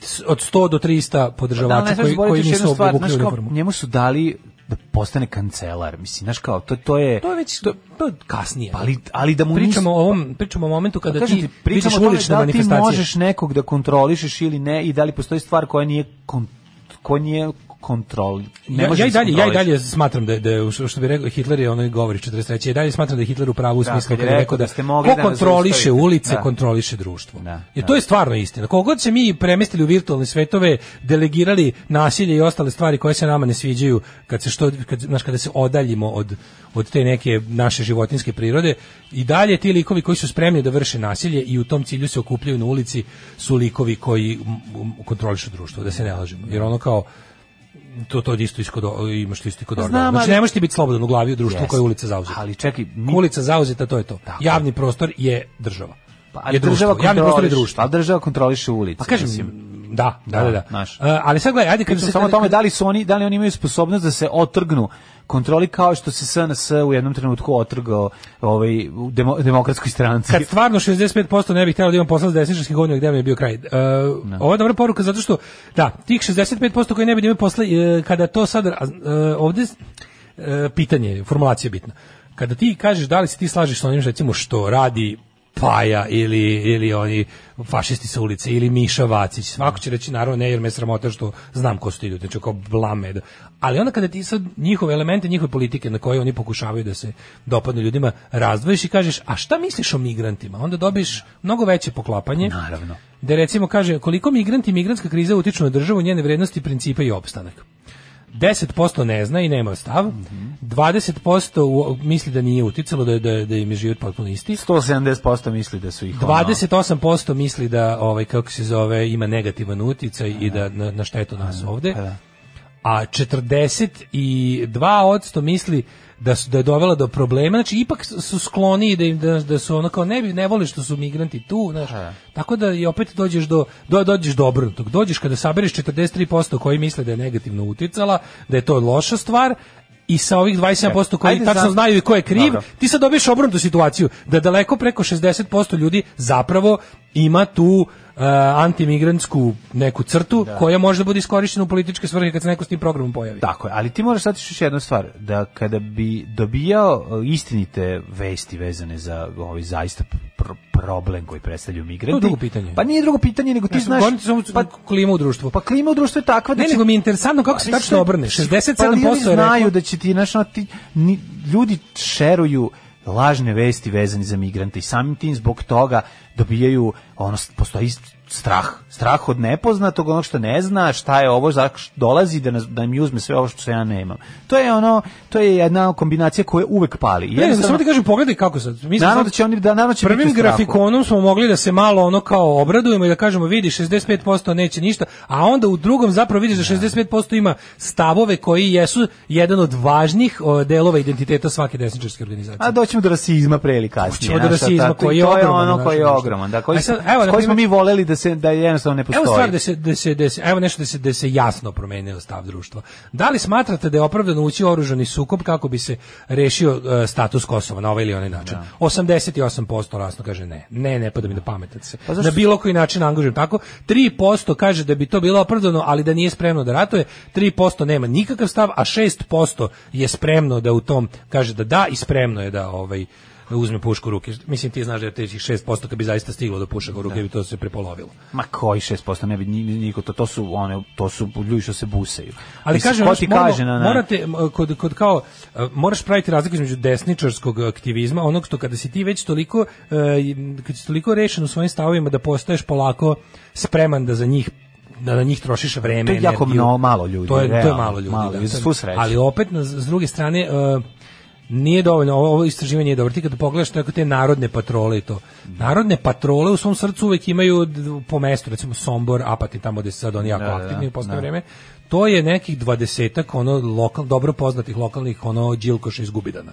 s- od 100 do 300
Da, ali
podržavača
ne smeš
koji,
zaboraviti
koji
još
nisu
jednu stvar,
obukli
znaš kao,
uniformu.
njemu su dali da postane kancelar, mislim, znaš kao, to, to je...
To je već to, to je kasnije.
Pa ali, ali da mu nis-
pričamo o ovom pričamo o momentu
Pa
kada
kažem
ti,
ti, pričamo
vidiš
o tome
ulične
da li ti
manifestacije.
možeš nekog da kontrolišeš ili ne i da li postoji stvar koja nije kon, koja nije kontrol. Ne
Ja,
možeš
ja, i
da
dalje, ja i
kontroliš.
dalje smatram da, da je, što što bi rekao Hitler je onaj govori 43. Ja i dalje smatram da je Hitler u pravu u
Da,
smislu
kad je
kada je
rekao
rekao
da
da,
ste
ko
mogli da nas
kontroliše
zaustavite.
ulice,
Da.
kontroliše društvo.
Da,
Jer to je stvarno istina. Koliko god se mi premestili u virtualne svetove, delegirali nasilje i ostale stvari koje se nama ne sviđaju, kad se što kad znaš kada se odaljimo od od te neke naše životinske prirode i dalje ti likovi koji su spremni da vrše nasilje i u tom cilju se okupljaju na ulici su likovi koji mm, mm, kontrolišu društvo, da se ne lažemo. Jer ono kao to to isto iskod imaš to isto i kod
Pa
organa.
znam,
znači
ali-
ne možeš ti biti slobodan u glavi u društvu
Jeste.
koje je ulica zauzeta.
Ali čekaj, mi-
ulica zauzeta to je to. Javni prostor je država.
Pa,
je
ali
društvo.
država
Javni prostor je
kontroliš-
društvo.
Ali država kontroliše ulice.
Pa kažem, da, da, da, da.
znaš.
E, ali sad gledaj, ajde kad
Pričam
se-
samo o
kad-
tome da li su oni da li oni imaju sposobnost da se otrgnu kontroli kao što se SNS u jednom trenutku otrgao ovaj u demo, demokratskoj stranci.
Kad stvarno 65% ne bih htjela da imam posla s desničarskim govnjima gde mi je bio kraj. E, Ovo je dobra poruka zato što, da, tih 65% koji ne bi da imaju posla, e, kada to sad, a, e, ovde e, pitanje, je, formulacija je bitna. Kada ti kažeš da li se ti slažeš sa onim recimo što radi Paja ili, ili oni fašisti sa ulice ili Miša Vacić. Svako će reći naravno ne jer me je sramota što znam ko su ti ljudi, znači kao blame. da. Ali onda kada ti sad njihove elemente, njihove politike na koje oni pokušavaju da se dopadnu ljudima razdvojiš i kažeš a šta misliš o migrantima? Onda dobiješ mnogo veće poklapanje.
Naravno.
Da recimo kaže koliko migranti i migrantska kriza utiču na državu, njene vrednosti, principe i opstanak. 10% ne zna i nema stav, 20% u- misli da nije uticalo, da, je- da, je- da im je život potpuno isti,
170% misli da su ih ono-
28% misli da ovaj kako se zove ima negativan uticaj i da na, na štetu nas
pa
ovde.
da.
A 42% misli da su da je dovela do problema, znači ipak su skloni i da im da, da su ono kao ne bi ne vole što su migranti tu, znaš. Tako da i opet dođeš do, do dođeš do obrnutog. Dođeš kada sabereš 43% koji misle da je negativno uticala, da je to loša stvar i sa ovih 27% koji
Ajde,
tačno
za-
znaju i ko je kriv,
Dobro.
ti sad dobiješ obrnutu situaciju, da daleko preko 60% ljudi zapravo ima tu e, antimigrantsku neku crtu koja može da bude iskorištena u političke svrhe kad se neko s tim programom pojavi.
Tako je, ali ti moraš shvatiti još jednu stvar, da kada bi dobijao e, istinite vesti vezane za ovaj zaista pr- problem koji predstavljaju migranti.
To je drugo pitanje.
Pa nije drugo pitanje, nego ti
Ja sam
znaš...
govorim ti samo
pa,
klima u društvu.
Pa klima u društvu je takva da
Ne,
će-
nego mi je interesantno kako se
mislim,
tačno obrne. 67%
pa ljudi
je reklo-
znaju da će ti, znaš, ono, ti, ni- ljudi šeruju lažne vesti vezani za migrante i samim tim zbog toga dobijaju ono s- postoji s- strah strah od nepoznatog onog što ne zna šta je ovo za š- dolazi da nas, da mi uzme sve ovo što ja nemam to je ono to je jedna kombinacija koja uvek pali
Ne, nego samo ti kažem, pogledaj kako sad. Mi smo
naravno
sad-
da će oni da naravno će biti
Prvim
u strahu.
grafikonom smo mogli da se malo ono kao obradujemo i da kažemo vidi 65% neće ništa, a onda u drugom zapravo vidiš da 65% ima stavove koji jesu jedan od važnih o, delova identiteta svake desničarske organizacije.
A doćemo do rasizma pre ili kasnije.
Doćemo do
znaš, šta,
rasizma
ta- to-
koji je
to
ogroman u
ono koji je
našem društvu.
ogroman, da, koji,
A sad,
s-
evo, na
koji smo
primjer-
mi voleli da se da jednostavno ne postoji.
Evo stvar da se, da se, da se- evo nešto da se, da se jasno promenio stav društva. Da li smatrate da je opravdano ući u oružani sukob kako bi se rešio e, status Kosova na ovaj ili onaj način?
Da.
88% rasno kaže ne. Ne, ne pada mi na pamet da se.
Pa zašto
na bilo koji način angažujem tako. 3% kaže da bi to bilo opravdano, ali da nije spremno da ratuje. 3% nema nikakav stav, a 6% je spremno da u tom kaže da da i spremno je da ovaj uzme pušku u ruke. Mislim ti znaš da je tih 6% kad bi zaista stiglo do pušaka u ruke
Da.
bi to se prepolovilo.
Ma koji 6% ne bi ni- niko to, to su one to su ljudi što se buseju.
Ali
Mislim,
kažem,
ko
znaš,
ti
moramo-
kaže na na-
morate m, kod, kod kao e, moraš praviti razliku između desničarskog aktivizma, onog što kada si ti već toliko e, kad si toliko rešen u svojim stavovima da postaješ polako spreman da za njih da na njih trošiš vreme.
To je jako
energiju.
mno- malo ljudi,
To je, to je
realno,
malo ljudi.
malo,
da.
uz
To je-
svu sreću.
Ali opet, na- s druge strane, e, nije dovoljno, ovo, ovo istraživanje je dobro. Ti kada pogledaš tako te narodne patrole i to. Narodne patrole u svom srcu uvek imaju d- po mestu, recimo Sombor, Apatin, tamo gde su sad oni jako
Da, da, da.
aktivni u poslednje
Da.
vreme. To je nekih dvadesetak ono lokal, dobro poznatih lokalnih ono đilkoša iz Gubidana.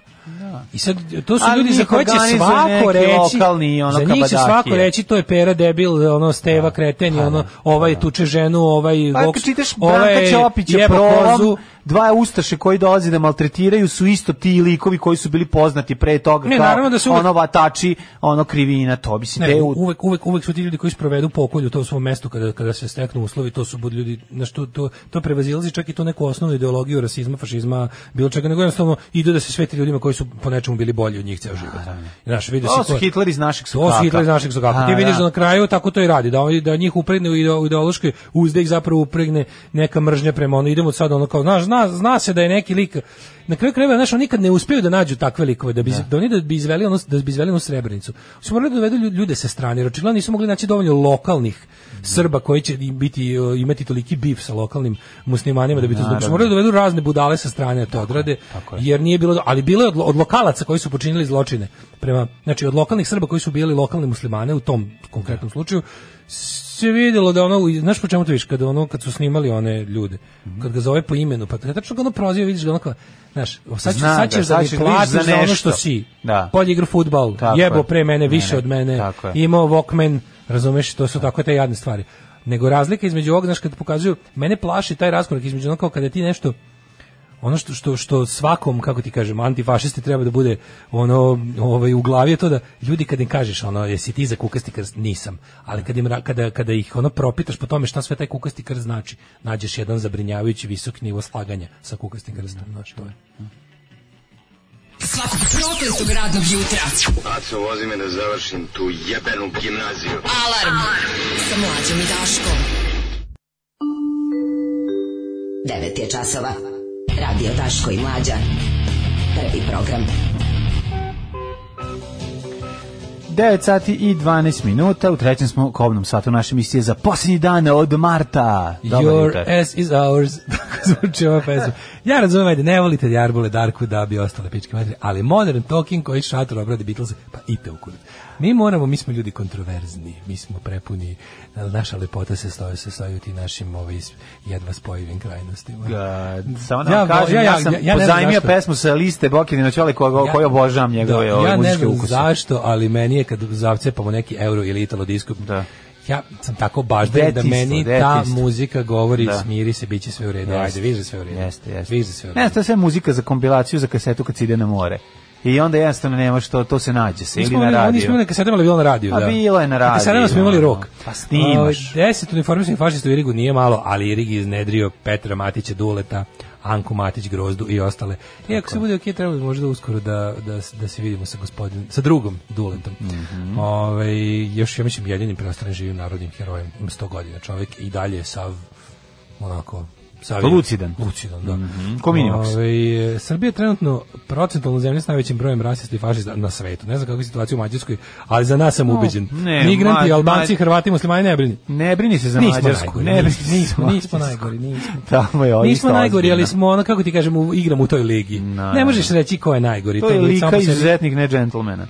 I sad to su
Da. Ali
ljudi za
njih
koje će
organizuju
svako
neki
reći,
lokalni, ono,
za njih će svako
kabadahije. Da.
reći to je pera debil, ono Steva kreten, i ono ovaj tuče ženu, ovaj
Pa
voks,
čitaš
ovaj
Branka Ćopića
jebo
prolom,
kozu,
dva ustaše koji dolaze da maltretiraju su isto ti likovi koji su bili poznati pre toga
Ne,
kao
naravno da su uvek-
ono vatači, ono krivina, to bi se
Ne,
te... u-
uvek, uvek, uvek su ti ljudi koji sprovedu pokolju u tom svom mestu kada, kada se steknu uslovi, to su bud ljudi, znaš, to, to, to prevazilazi čak i to neku osnovnu ideologiju rasizma, fašizma, bilo čega, nego jednostavno idu da se sveti ljudima koji su po nečemu bili bolji od njih ceo život. Znaš, vidi
To
da se
su
ko-
Hitler iz našeg
To
sokaka.
su Hitler iz našeg sokaka.
A,
Ti vidiš
da.
da na kraju tako to i radi, da, oni- da njih upregne u ideo- u ideološke uzde ih zapravo upregne neka mržnja prema ono, idemo sad ono kao, znaš, zna, zna se da je neki lik, na kraju krajeva, znaš, oni nikad ne uspeju da nađu takve likove, da bi, da. oni da bi izveli ono, da bi izveli onu srebrenicu. Su morali da dovedu lju- ljude sa strane, jer očigledno nisu mogli naći dovoljno lokalnih Srba koji će im biti e, imati toliki bif sa lokalnim muslimanima da bi to
Naravno.
zbog su morali da dovedu razne budale sa strane da to odrade jer nije bilo ali bilo je od, od lokalaca koji su počinili zločine prema znači od lokalnih Srba koji su bili lokalni muslimane u tom
Da.
konkretnom slučaju se vidjelo da ono znaš po čemu to viš kada ono kad su snimali one ljude
Mhm.
kad ga zove po imenu pa kad tačno ga ono proziva vidiš ga onako znaš o, sad, ću,
Zna
sad
ga,
ćeš da
sad
mi
ćeš da vidiš
platiš
za
za, ono
nešto.
što si
Da.
bolje igra fudbal
Tako
jebo
je.
pre mene
Ne,
više
ne,
od mene
tako je.
imao Walkman, razumeš, to su tako te jadne stvari. Nego razlika između ovog, znaš, kad pokazuju, mene plaši taj raskorak između ono kao kada ti nešto, ono što, što, što svakom, kako ti kažem, antifašisti treba da bude ono, ovaj, u glavi je to da ljudi kad im kažeš ono, jesi ti za kukasti krst? Nisam. Ali kad, im, ra- kada, kada ih ono propitaš po tome šta sve taj kukasti krst znači, nađeš jedan zabrinjavajući visok nivo slaganja sa kukastim krstom. Znaš, to je.
Svakog prokletog radnog jutra.
Aco, vozi me da završim tu jebenu gimnaziju.
Alarm. Sa mlađom i Daškom. 9 je časova. Radio Daško i Mlađa. Prvi program.
9 sati i 12 minuta, u trećem smo kobnom satu naše emisije za posljednji dan od marta. Dobar
Your
jutar.
ass is ours. Tako zvuči ova pesma. Ja razumem, ajde, ne volite Jarbole, Darku, da bi ostale pičke materije, ali modern talking koji šator obrade Beatles, pa ite u kurac. Mi moramo, mi smo ljudi kontroverzni, mi smo prepuni, naša lepota se stoji, se stoji u ti našim ovaj, jedva spojivim krajnostima.
Ga- Samo da vam kažem, ja, sam
ne znam
pozajmio
zašto.
pesmu sa liste Bokidina Ćole koju ja, obožavam njegove
Da,
ove
ja ne
muzičke
znam
ukuse.
zašto, ali meni je kad zavcepamo neki euro ili italo disco,
Da.
ja sam tako baždan da
Detinjstvo,
meni ta
detinjstvo.
muzika govori
Da.
smiri se, bit će sve u redu,
Jeste.
ajde, viže sve u redu. Jeste, jeste. Viže sve u redu.
Ne, to je sve muzika za kompilaciju za kasetu kad se ide na more. I onda jednostavno nema što, to se nađe se ili
Nismo
na
imali-
radiju.
Nismo imali kasetama, ali bilo na radiju.
A
da.
bilo je na radiju,
kasetama smo imali
da.
rok.
Pa snimaš.
10 Ovaj, uniformisanih fašista u Irigu nije malo, ali Irig je iznedrio Petra Matića Duleta, Anku Matić Grozdu i ostale. I ako se bude ok, trebalo bi možda uskoro da, da, da se vidimo sa gospodin, sa drugom Duletom.
Mhm.
Ovaj, još, ja mislim, jedinim preostalim živim narodnim herojem. Ima 100 godina čovjek i dalje je sav, onako, sav je-
Pa Lucidan. Mhm.
Lucidan, da.
Ko Minimax.
Ovaj, e, Srbija je trenutno procentalno zemlja s najvećim brojem rasista i fašista na svetu. Ne znam kakva je situacija u Mađarskoj, ali za nas sam
No,
ubeđen.
ne,
Migranti,
Mađ-
Albanci,
Mađ-
Hrvati, Muslimani, ne brini.
Ne brini se za
Nismo
Mađarsku.
najgori,
ne brini
nismo,
se za
nismo,
Mađarsku.
nismo najgori, nismo.
Tamo je ovo
Nismo
isto
najgori, ali
ozbiljno.
smo ono, kako ti kažem, u, igram u toj ligi. ne možeš reći ko je najgori.
To je
samo po
lika
sebi-
izuzetnih ne džentlmena.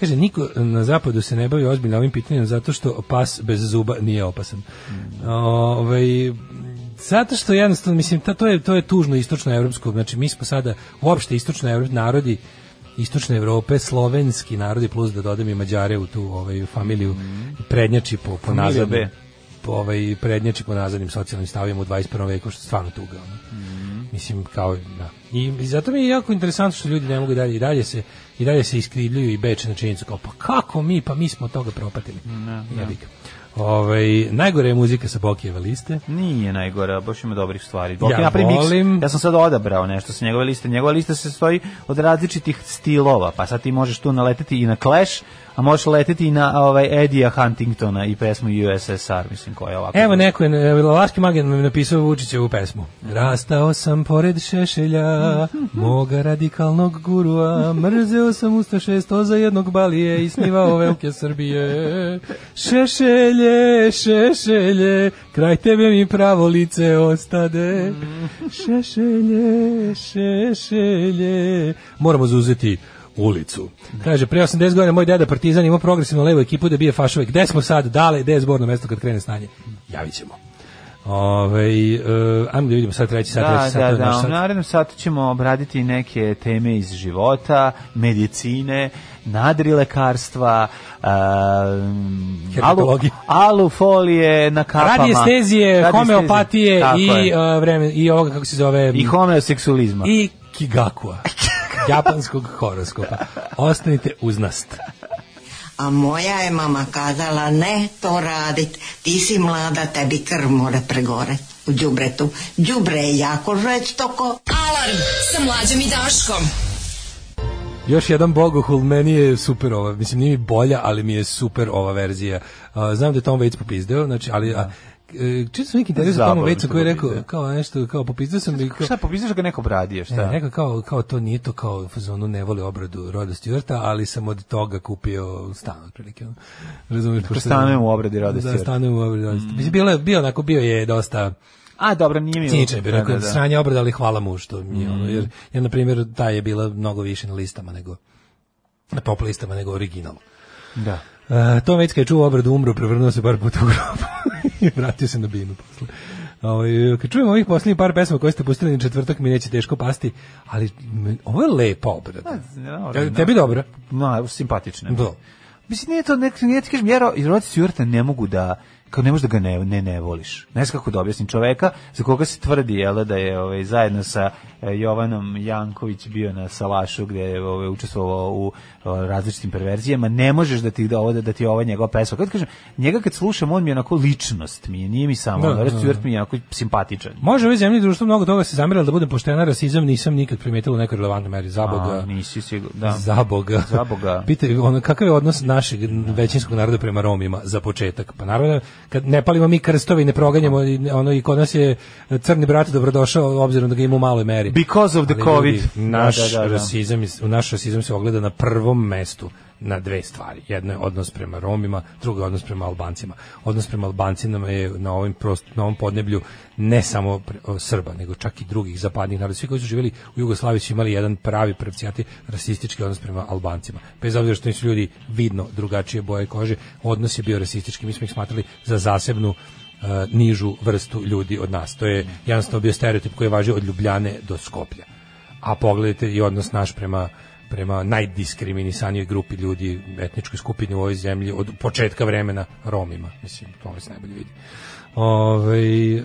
Kaže, niko na zapadu se ne bavi ozbiljno ovim pitanjem zato što pas bez zuba nije opasan. Ovaj, zato što jednostavno, mislim, ta, to, je, to je tužno istočno evropsko, znači mi smo sada uopšte istočno evropski narodi istočne Evrope, slovenski narodi plus da dodam i Mađare u tu ovaj, familiju prednjači po, po
Familija B.
nazadnim po, ovaj, prednjači po nazadnim socijalnim stavima u 21. veku, što je stvarno tuga. Ono. Mislim kao da. I, i zato mi je jako interesantno što ljudi ne mogu dalje i dalje se i dalje se iskrivljuju i beče na činjenicu kao pa kako mi pa mi smo od toga propatili.
da.
Jebi ga. Ovaj najgore je muzika sa Bokijeve liste.
Nije najgore, a baš ima dobrih stvari.
Ja
ja napravi miks.
volim-
Ja sam sad odabrao nešto sa njegove liste. Njegova lista se stoji od različitih stilova, pa sad ti možeš tu naleteti i na Clash, a možeš leteti i na ovaj Edija Huntingtona i pesmu USSR, mislim, koja je ovako.
Evo neko je, e, Laski Magen mi je napisao Vučićevu pesmu. Rastao sam pored šešelja, moga radikalnog gurua, mrzeo sam usta šesto za jednog balije i snivao velike Srbije. Šešelje, šešelje, kraj tebe mi pravo lice ostade. Šešelje, šešelje. Moramo zauzeti ulicu. Kaže, pre 80 godina moj deda Partizan imao progresivno levu ekipu da bije fašove. Gde smo sad? Dale, gde je zborno mesto kad krene stanje? Javit ćemo. Ove, uh, ajmo da vidimo sad treći sat,
Da,
treći sat,
da,
to je naš
da, u
sat.
narednom satu ćemo obraditi neke teme iz života, medicine, nadrilekarstva, um, alu,
Herpetologije.
alufolije na kapama.
Radiestezije,
Radiestezije,
homeopatije
tako
i,
je.
uh, vreme, i ovoga, kako se zove...
I homeoseksualizma.
I kigakua. japanskog horoskopa. Ostanite uz nas.
A moja je mama kazala, ne to radit, ti si mlada, tebi krv mora pregore u đubretu. Đubre je jako žestoko.
Alarm sa mlađom i Daškom.
Još jedan Bogohul, meni je super ova, mislim nije mi bolja, ali mi je super ova verzija. A, znam da je Tom Waits popizdeo, znači, ali... A, e, čitao sam neki intervju sa Tomom
Da. Zabavno
Waitsom
što
koji je rekao,
popizdeo.
kao nešto, kao popizdeo sam i kao...
Šta, Da. popisaš ga neko bradio, šta?
Ne, rekao kao, kao to nije to kao u fazonu ne voli obradu Roda Stewarta, ali sam od toga kupio stan otprilike. ono. Razumeš?
Dakle, stanujem u obradi Roda
Da,
Stewarta. Mm.
stanujem u obradi Roda Stewarta. Mislim, bilo je, bio onako, bio je dosta...
A, dobro, nije mi...
Ciničan je bio,
Da,
rekao,
da,
je,
da.
sranje obrada, ali hvala mu što mi je ono,
Mm.
jer, jer, na primjer, ta je bila mnogo više na listama nego, na top listama nego original.
Da.
Uh, Tom Waits kad je čuo obradu umro, prevrnuo se par puta u grob i vratio se na binu posle. Ovaj, kad čujem ovih posljednjih par pesma koje ste pustili na četvrtak, mi neće teško pasti, ali m- ovo je lepa
Pa,
obrada. Jel Tebi dobro?
No, evo, simpatično. je.
Do.
Mislim, nije to, nek, nije ti kažem, jer iz Rod Stewarta ne mogu da, kao ne možeš da ga ne, ne, ne voliš. Ne znaš kako da objasnim čoveka za koga se tvrdi, jel, da je ovaj, zajedno sa e, Jovanom Janković bio na Salašu gde je ovaj, učestvovao u o, različitim perverzijama, ne možeš da ti da, ovo- da ti ova njegova pesma. Kad kažem, njega kad slušam, on mi je onako ličnost, mi je, nije mi samo,
Da,
da, Rod
da,
Stewart
da.
mi je onako simpatičan.
Može u ovoj zemlji društvo mnogo toga se zamjeralo da budem poštena, rasizam nisam nikad primetila u nekoj relevantnoj meri. Zaboga.
A, nisi sigurno, da.
Zaboga.
Zaboga.
Pitaj, ono, kakav je odnos našeg većinskog naroda prema Romima za početak? Pa naravno, kad ne palimo mi krstove i ne proganjamo, i ne- ono, i kod nas je crni brat dobrodošao, obzirom da ga ima u maloj meri.
Because of the
Ali ljudi,
COVID.
naš,
Da, da, da, da.
Rasizam, is- naš rasizam se ogleda na prvom mestu na dve stvari. Jedno je odnos prema Romima, drugo je odnos prema Albancima. Odnos prema Albancima je na ovim prost, na ovom podneblju ne samo pre- o, Srba, nego čak i drugih zapadnih naroda. Svi koji su živjeli u Jugoslaviji su imali jedan pravi pravcijati rasistički odnos prema Albancima. Bez obzira što nisu ljudi vidno drugačije boje kože, odnos je bio rasistički. Mi smo ih smatrali za zasebnu e, nižu vrstu ljudi od nas. To je jednostavno bio stereotip koji je važio od Ljubljane do Skoplja a pogledajte i odnos naš prema prema najdiskriminisanijoj grupi ljudi, etničkoj skupini u ovoj zemlji od početka vremena Romima. Mislim, to se najbolje vidi. Ovaj, em,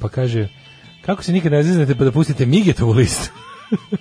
pa kaže, kako se nikad ne zeznete pa da pustite Migetovu listu?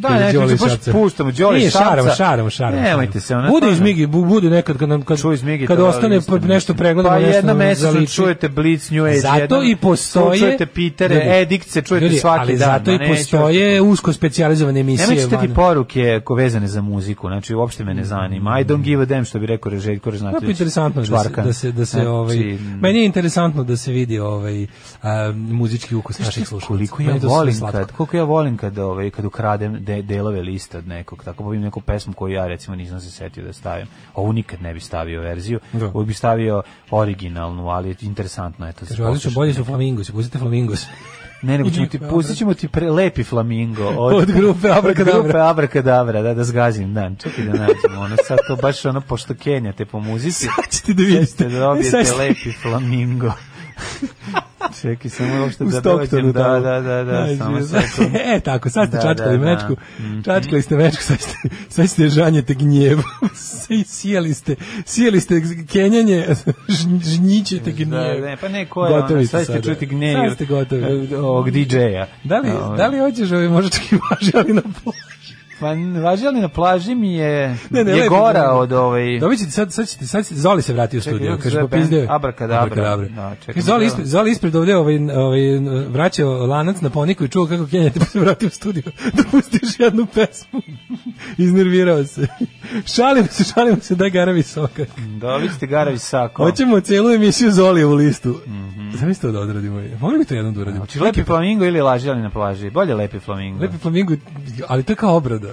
Da,
Kaže
ne,
Đole
kažem,
iz
baš
Šapca.
puštamo Đole iz
Nije, šaramo,
Šapca.
šaramo, šaramo.
Nemojte
šaramo.
se, ono,
Bude iz
stvarno.
Migi, bu- bude nekad kad, nam- kad, kad
Migetovu
ostane
listu, mislim.
nešto pregledamo.
Pa
nešto
jednom
nam
mesecu
zaliči.
čujete Blitz New Age,
Zato
jednom
i postoje...
čujete Petere, Edict se čujete
ljudi,
svaki dan,
ali zato
ma
i
neću-
postoje usko specijalizovane emisije.
Nemoj čitati
van-
poruke ko vezane za muziku, znači uopšte me ne zanima. I don't give a damn što bi rekao Reželjko Režnatović.
Jako Mm. interesantno je da se,
Čvarka.
da se, da se
Znači,
ovaj, meni je interesantno da se vidi ovaj, a, muzički ukus
znaš ti
naših slušalaca.
Koliko ja
Znači, Meni to sve
volim
slatko.
kad, koliko ja volim kad, ovaj, kad ukradem de, delove lista od nekog, tako povim neku pesmu koju ja recimo nisam se setio da stavim. Ovu nikad ne bi stavio verziju,
Da.
ovu bi stavio originalnu, ali interesantno je to. da se
Kaže, Znači, odlično,
posluša.
bolje su flamingos, pustite flamingos.
Ne, nego ćemo ti, pustit ćemo ti pre, lepi flamingo.
Od grupe Abrakadabra.
Od grupe Abrakadabra, da, da zgazim dan. Čekaj da nađemo, ono sad to baš ono, pošto kenjate po muzici. Sad
ćete da vidite.
Sad ćete da dobijete
Sad ćete-
lepi flamingo. Čekaj, samo uopšte
U
da dođem.
Stocktonu
Da,
tamo.
da, da, da,
Znači,
samo
sad-
sekund.
E, tako, sad ste
Da,
čačkali
da, da.
mečku,
Mhm.
čačkali ste mečku, sad ste, sad ste žanjete gnjev, Sij- sijali ste, sijali ste kenjanje, žn- žnjićete gnjev.
Da, ne, pa ne, ko je ono,
Gotovi
sad ćete
sada.
čuti gnjev
Sad ste gotovi.
e, ovog DJ-a.
Da li,
Ovaj.
da li hoćeš ove moždački važi, ali na plaži?
Pa važi ali na plaži mi je,
Ne, ne,
je
lepo,
gora
ne, ne.
od ovaj...
Dobit ćete sad, sad ćete, sad ćete, Zoli se vrati u
Čekaj,
studiju,
kako se
kaže,
zove
popizdeo. je.
band? Abrakadabra.
Abrakadabra.
Da, čekaj,
Kaže, Zoli
da.
ispred, Zoli ispred ovde ovaj, ovaj, vraćao lanac na poniku i čuo kako kenjate, pa se vrati u studiju da pustiš jednu pesmu. Iznervirao se. šalim se, šalim se, daj garavi sokak.
Dobit ćete Garavi Sako.
Hoćemo celu emisiju Zoli u listu.
Mhm.
Zamislite da odradimo. Mogli bi to jednom da uradimo?
Znači, lepi flamingo ili laži ali na plaži? Bolje lepi flamingo.
Lepi flamingo, ali to je kao obrada.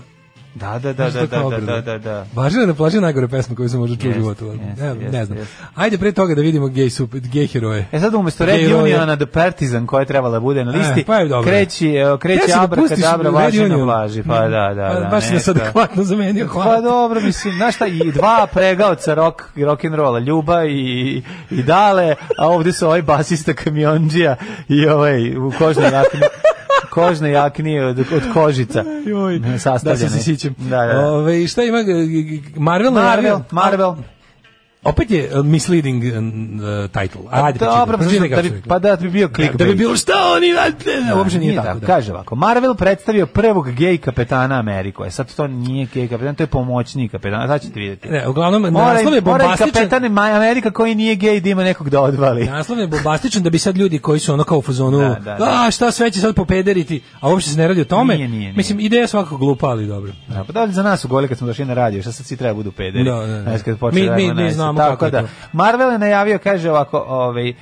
Da, da, da,
Znaš
da,
to kao
da, da,
obrada?
da, da.
Važno je na plaži najgore pesma koju sam možda čuo u
Jest,
životu. ali
jest,
ne, ne
jest,
znam.
jest.
Ajde pre toga da vidimo gej, super, gej heroje.
E sad umesto Red
Gej
Uniona da Partizan koja je trebala da bude na
E,
listi,
pa je dobro.
kreći, evo, kreći
Htio si da
Abra
pustiš
Kadabra
Red
važi na
Union.
plaži. Pa da, da,
Pa
da.
baš si nas
neka.
adekvatno zamenio, hvala.
Pa dobro, mislim, znaš šta, i dva pregaoca rock, rock and rolla, Ljuba i, i Dale, a ovdje su ovaj basista kamionđija i ovaj u kožnoj jakni. kožne jaknije od, od kožica.
Joj, da
sastavljene.
se sisićem.
Da, da, da.
Ove, i šta ima? g- g- g- Marvel?
Marvel, Marvel.
Opet je uh, misleading uh, title. Ajde,
Pa
pročitaj.
dobro, pa
Pročitaj
da
kako
bi,
su rekli.
pa da bi bio klik.
Da bi bilo šta oni radite,
Da,
uopšte nije tako, da.
Kaže ovako, Marvel predstavio prvog gej kapetana Ameriku. E sad to nije gej kapetan, to je pomoćni kapetan. Sad ćete vidjeti.
Ne, uglavnom,
Mora-
naslov je
mora i
bombastičan.
kapetan Maj- Amerika koji nije gej da ima nekog da odvali.
Naslov je bombastičan da bi sad ljudi koji su ono kao u fazonu,
Da, da, da.
a šta sve će sad popederiti, a uopšte se ne radi o tome.
Nije, nije, nije.
Mislim, ideja je svakako glupa, ali dobro.
Da, pa da li za nas su goli kad smo došli na radio, šta sad svi treba budu pederi.
Da, da, da.
Znaš, kad počne
Mi-
radio
mi- mi
na nas.
znamo
Tako
kako je
da,
to.
Marvel je najavio, kaže ovako, ovaj,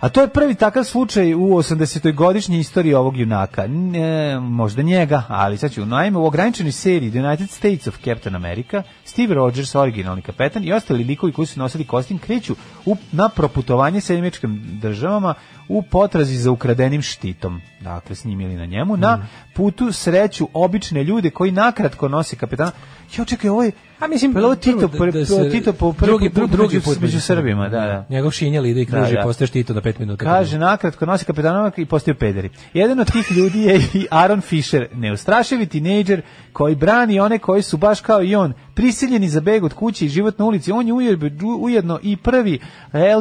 A to je prvi takav slučaj u 80. godišnjoj istoriji ovog junaka. Ne, možda njega, ali sad ću. Naime, u ograničenoj seriji The United States of Captain America, Steve Rogers, originalni kapetan, i ostali likovi koji su nosili kostim, kreću u, na proputovanje sa američkim državama u potrazi za ukradenim štitom. Dakle, s njim ili na njemu.
Mm.
Na putu sreću obične ljude koji nakratko nose kapetana. Jo, čekaj, ovo je...
A mislim,
Pa, ovo je
prvo da
Tito, pre-
se-
ovo je Tito po prvi
drugi,
put među-
drugi put
među Srbima, da, da.
Njegov šinjel ide i
Da,
kruži
da.
i postaje štito na pet minuta.
Kaže, nakratko nosi kapetanomak i postaju pederi. Jedan od tih ljudi je i Aaron Fisher, neustrašivi tinejdžer koji brani one koji su baš kao i on, prisiljeni za beg od kuće i život na ulici. On je ujedno, ujedno i prvi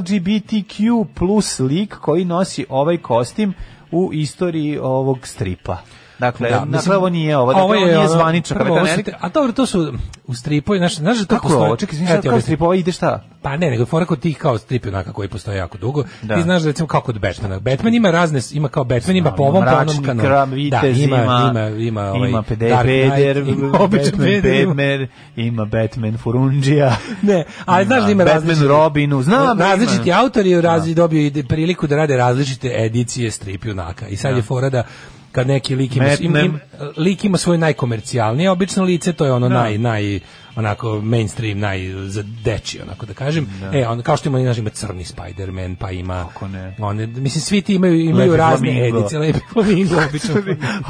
LGBTQ plus lik koji nosi ovaj kostim u istoriji ovog stripa. Dakle,
Da,
dakle,
mislim,
ovo nije ovo, dakle, ovo,
je
nije
ono,
zvanično
prvo,
kapetan
ovo su
Amerika.
te- A dobro, to su u stripu, znaš, znaš da to
Kako je
postoji.
ovo? Čekaj, izvini, sad kao stripova ide šta?
Pa ne, nego je fora kod tih kao strip junaka koji postoje jako dugo.
Da.
Ti znaš da recimo kao kod Batmana. Batman ima razne, ima kao Batman ima po ovom, po onom
Mračni
kanonu.
krab,
da,
vitez,
ima,
ima,
ima, ima, ovaj,
ima pede-
Dark Knight,
peder,
ima običan
Batman,
peder, ima-
Batman, ima Batman Furundžija.
Ne, ali znaš da ima
Batman
različiti-
Robinu, znam da ima.
različiti autori razli dobio i priliku da rade različite edicije strip junaka. I sad
Da.
je fora da kad neki lik ima,
Batman.
im- im- lik ima svoje najkomercijalnije obično lice, to je ono
Da.
naj naj onako mainstream, naj za deči, onako da kažem. E, on kao što ima, znaš, ima crni Spider-Man, pa ima
ne?
one, mislim svi ti imaju imaju
Lepi
razne
flamingo.
edicije, lepi flamingo obično.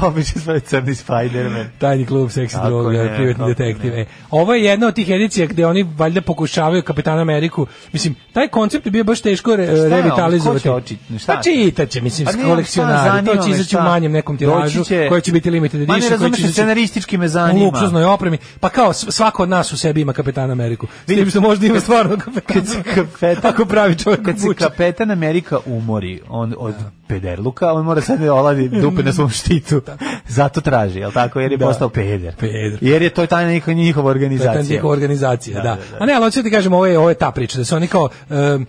Obično svoje crni Spider-Man.
Tajni klub, seksi
Tako
droga,
je,
privatni
tako
detektiv.
je.
E, Ovo je jedna od tih edicija gde oni valjda pokušavaju Kapitan Ameriku. Mislim, taj koncept je bio baš teško re,
Pa je on? Ko
revitalizovati.
će oči- šta
Pa
će?
čitaće, mislim,
Pa
s
nije, šta,
kolekcionari.
zanima
To će
me
izaći u
šta.
manjem nekom
Doći
tiražu,
će-
koji će biti limited
Ma ne
edition. koji
razumeš,
će izaći
scenaristički me
U
zanima.
luksuznoj opremi. Pa kao, s- svako od nas u sebi ima Kapitan Ameriku. S tim što možda ima stvarno Kapitan
kapetan,
Ako pravi čovjek
kad se
vuče. Da.
kapetan Amerika umori on od pederluka, on mora sad da oladi dupe na svom štitu. Zato traži, jel tako? Jer je
Da.
postao peder.
Peder.
Jer je to taj neka njihova organizacija.
Petan njihova
Da,
organizacija, da.
da,
A ne, ali hoću ti kažem, ovo je, ovo je ta priča, da su oni kao... em,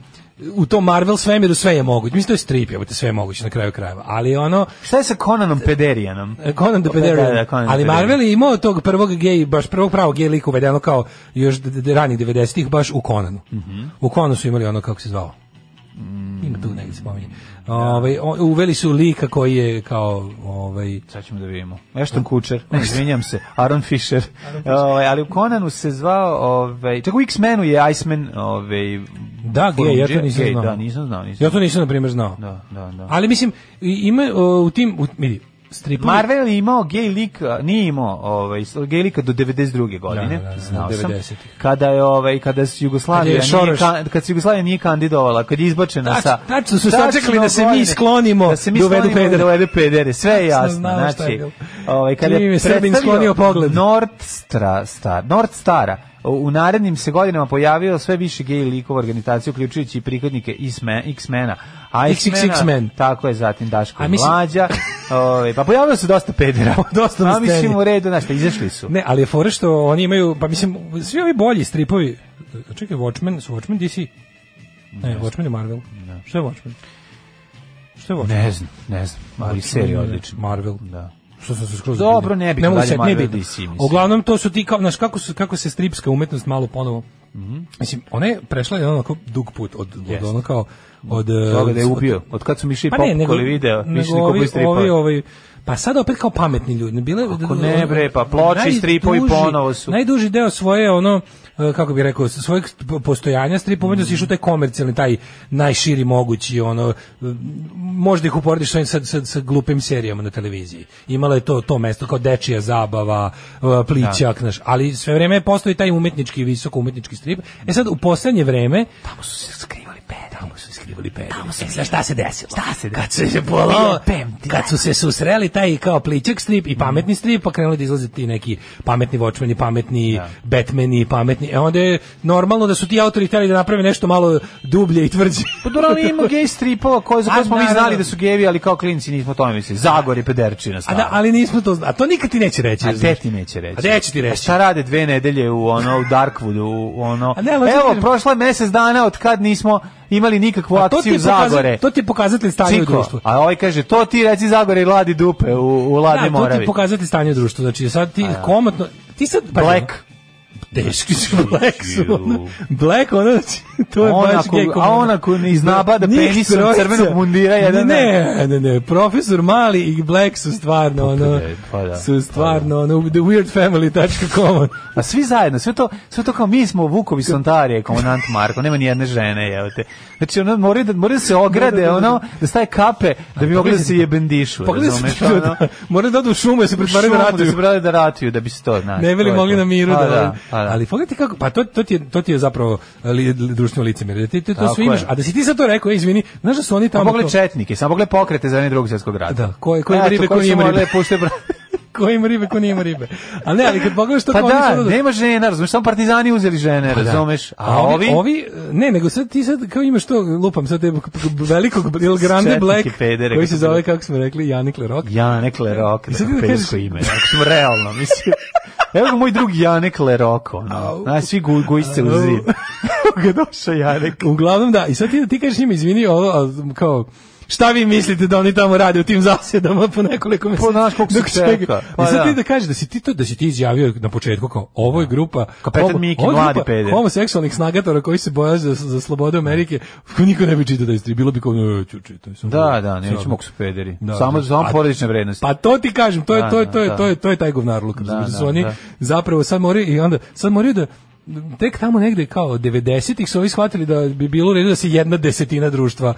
u tom Marvel svemiru sve je moguće. Mislim, to je strip, jebote, sve je moguće na kraju krajeva. Ali ono, e,
Šta je sa Conanom Pederijanom?
Conan the Pederian.
Da, da, Conan the
ali
Pederian.
Marvel je imao tog prvog gej, baš prvog pravog gej lika uvedeno kao još d- d- ranih 90-ih, baš u Conanu.
Mhm.
U Conanu su imali ono, kako se zvao?
Mm.
Ima tu negdje se pominje.
Da.
Ovaj, o- uveli su lika koji je kao... Ovaj,
Sad ćemo da vidimo. Ashton Kutcher, ne, izvinjam se, Aaron Fisher. Ovaj, ali u Conanu se zvao, ovaj, čak u X-Menu je Iceman, ovaj,
da, gej, ja to
Forungija,
nisam
gej,
znao.
Da, nisam znao, nisam
Ja to nisam, na primjer, znao.
Da, da, da.
Ali mislim, i- ima o, u tim... U, vidi, stripovi-
Marvel je imao gej lik, a, nije imao ovaj, s- gej lika do 92. godine,
Da, da, da,
znao sam,
90-ih.
kada je, ovaj, kada su Jugoslavija,
Kad je
nije,
Šoroš-
kan- kad se Jugoslavija nije kandidovala, kad je izbačena
Tačno-
sa...
tačno su sačekali da se mi
godine,
sklonimo,
da se mi
da uvedu
sklonimo i
pedere.
da uvedu pedere, sve je
Tačno
jasno,
znamo šta je
znači,
bilo.
ovaj, kada
Čim
je
je Srbin
predstavio
sklonio pogled.
Nordstra, star, Nordstara, u- u narednim se godinama pojavio sve više gej likova organizacije, uključujući i prihodnike Isme- X-mena, Icemana,
XXX-men.
tako je zatim Daško
A
i
mislim-
Mlađa, ovaj, pa pojavilo se dosta pedera.
Dosta na
A mislim
sceni.
u redu, znaš šta, izašli su.
Ne, ali je fora što oni imaju, pa mislim, svi ovi bolji stripovi, čekaj, Watchmen, su Watchmen DC? Ne, Watchmen je Marvel. Što je Watchmen? Što je Watchmen?
Da. Ne znam, ne znam, ali serija
je
odlična.
Marvel.
Da.
Što sam se skroz
Dobro,
zabrinio.
nebitno,
mogu
dalje
se-
Marvel,
nebitno.
DC, mislim.
Uglavnom, to su ti, kao, znaš, kako, su, kako se stripska umetnost malo ponovo Mislim, ona je prešla jedan onako dug put od, od
Mhm. Jeste.
ono kao od eh,
Toga da je ubio. Od kad su Miši popukali video,
Pa nego
više niko
ovi-
bi stripao.
ovi- ovi- pa sad opet kao pametni ljudi. Bile,
Kako ne, bre, pa ploče i
Najduži-
stripovi ponovo su.
Najduži deo svoje, ono, eh, kako bih rekao, svojeg st- postojanja strip umeđu si išao u taj komercijalni, taj najširi mogući, ono, eh, možda ih uporediš sa, ovim- sa, sa, sa glupim serijama na televiziji. Imalo je to, to mesto kao dečija zabava, eh, plićak, znaš, ali sve vreme postoji taj umetnički, visoko umetnički strip. E sad, u poslednje vreme... Tamo su se skrivali peda. Tamo su se skrivali peda. Tamo se, znaš, šta se desilo? Šta se Kad su se polo, kad su se susreli taj kao plićak strip i
Mm.
pametni strip, pa krenuli da izlaze ti neki pametni Watchmeni, pametni
Da.
Batmani, pametni. E onda je normalno da su ti autori hteli da naprave nešto malo dublje i tvrđe.
Pa dobro, ali ima gej stripova koje, za
A,
koje smo mi
naravno.
znali da su gevi, ali kao klinci nismo o tome mislili. Zagor je pederčina
A
stvarno.
da, ali nismo to znali. A to nikad ti neće reći.
A gde
znaš.
ti neće reći?
A gde će ti reći?
A šta rade dve nedelje u ono u Darkwoodu, u ono.
A ne, ali hoću
Evo,
ti kažem-
prošlo je mesec dana od kad nismo imali nikakvu
A to ti
akciju
je pokaza-
Zagore.
To ti je pokazatelj stanja u
Ciko,
društvu.
a ovaj kaže, to ti reci Zagore i ladi dupe u, u
Da,
ladne
to ti
moravi.
je pokazatelj stanja u društvu. Znači, sad ti komotno... Ti sad... pazi,
Black.
Teški su Black su. ono, Black, ono, znači, to je
On
baš
ako-
gej
a
komunizam.
on ako ne iznabada
Njih
penisom
trojica-
crvenog mundira, jedan
Ne, ne, ne, ne, profesor Mali i Black su stvarno, ono,
pa da,
su stvarno, ono, theweirdfamily.com.
A svi zajedno, sve to, sve to kao mi smo Vukovi Sontarije, komandant Marko, nema ni jedne žene, evo te. Znači, ono, moraju da, moraju da se ograde,
Da, da, da, da.
ono, da staje kape, da bi mogli da se jebendišu,
Pogledaj se,
razumeš, ono.
moraju da odu u šumu, ja se pretvaraju da
Šumu
ratuju.
Da se brali da ratuju, da bi se to, znaš.
ne bi li
to je
mogli
to.
na miru
Pa
da,
da, pa da.
ali pogledajte kako pa to to ti je, to ti je zapravo li, li- društveno licemjerje ti, ti to
Tako
sve imaš
je. Pa
a da si ti sad to rekao ej, izvini znaš da su oni
Samo
tamo
pogled četnike, samo pogled pokrete za vreme drugog svjetskog rata.
Da, koje- koje ribe, koje ima ribe. ko ima ribe ko nema ribe a ne ali kad pogledaš to
Pa
kao oni su
da,
ono-
nema žena, razumeš, samo partizani uzeli žene,
Pa da.
razumeš, a
A ovi,
ovi...
ovi, ne, nego sad ti sad kao imaš to, lupam sad te velikog Il Grande
Četnike,
Black,
pedere,
koji
kako
se zove, kako smo rekli, Janik Lerok.
Janek Lerok, da
sad ti da
kako
kažeš-
pesko ime. Ako smo realno, mislim. Evo ga moj drug Janek Lerok, ono. Znaš, svi gu, gujšce u
Au.
zid. Evo ga došao Janek.
Uglavnom da, i sad ti, ti kažeš njima, izvini, ovo, a, kao, šta vi mislite da oni tamo rade u tim zasjedama po nekoliko meseci?
Pa znaš koliko se
Dok čega-
čeka. Pa
I sad
da.
ti da kažeš da si ti to, da si ti izjavio na početku kao, ovo je grupa,
Kapetan
homo-
Miki,
ovo je grupa
mladi peder.
homoseksualnih snagatora koji se boja za, za slobode Amerike, ko niko ne bi čitao da istri, bilo bi kao, ne, ću čitao. sam
Da, da,
ovo." Samo-
neću mogu su pederi.
Da,
samo
da.
samo
Pa-
porodične vrednosti.
Pa to ti kažem, to je
Da,
to je
da,
to je
da.
to je to je taj govnarluk, da,
da,
su oni
da.
zapravo sad moraju i onda sad moraju da tek tamo negde kao 90-ih su ovi shvatili da bi bilo u redu da se jedna desetina društva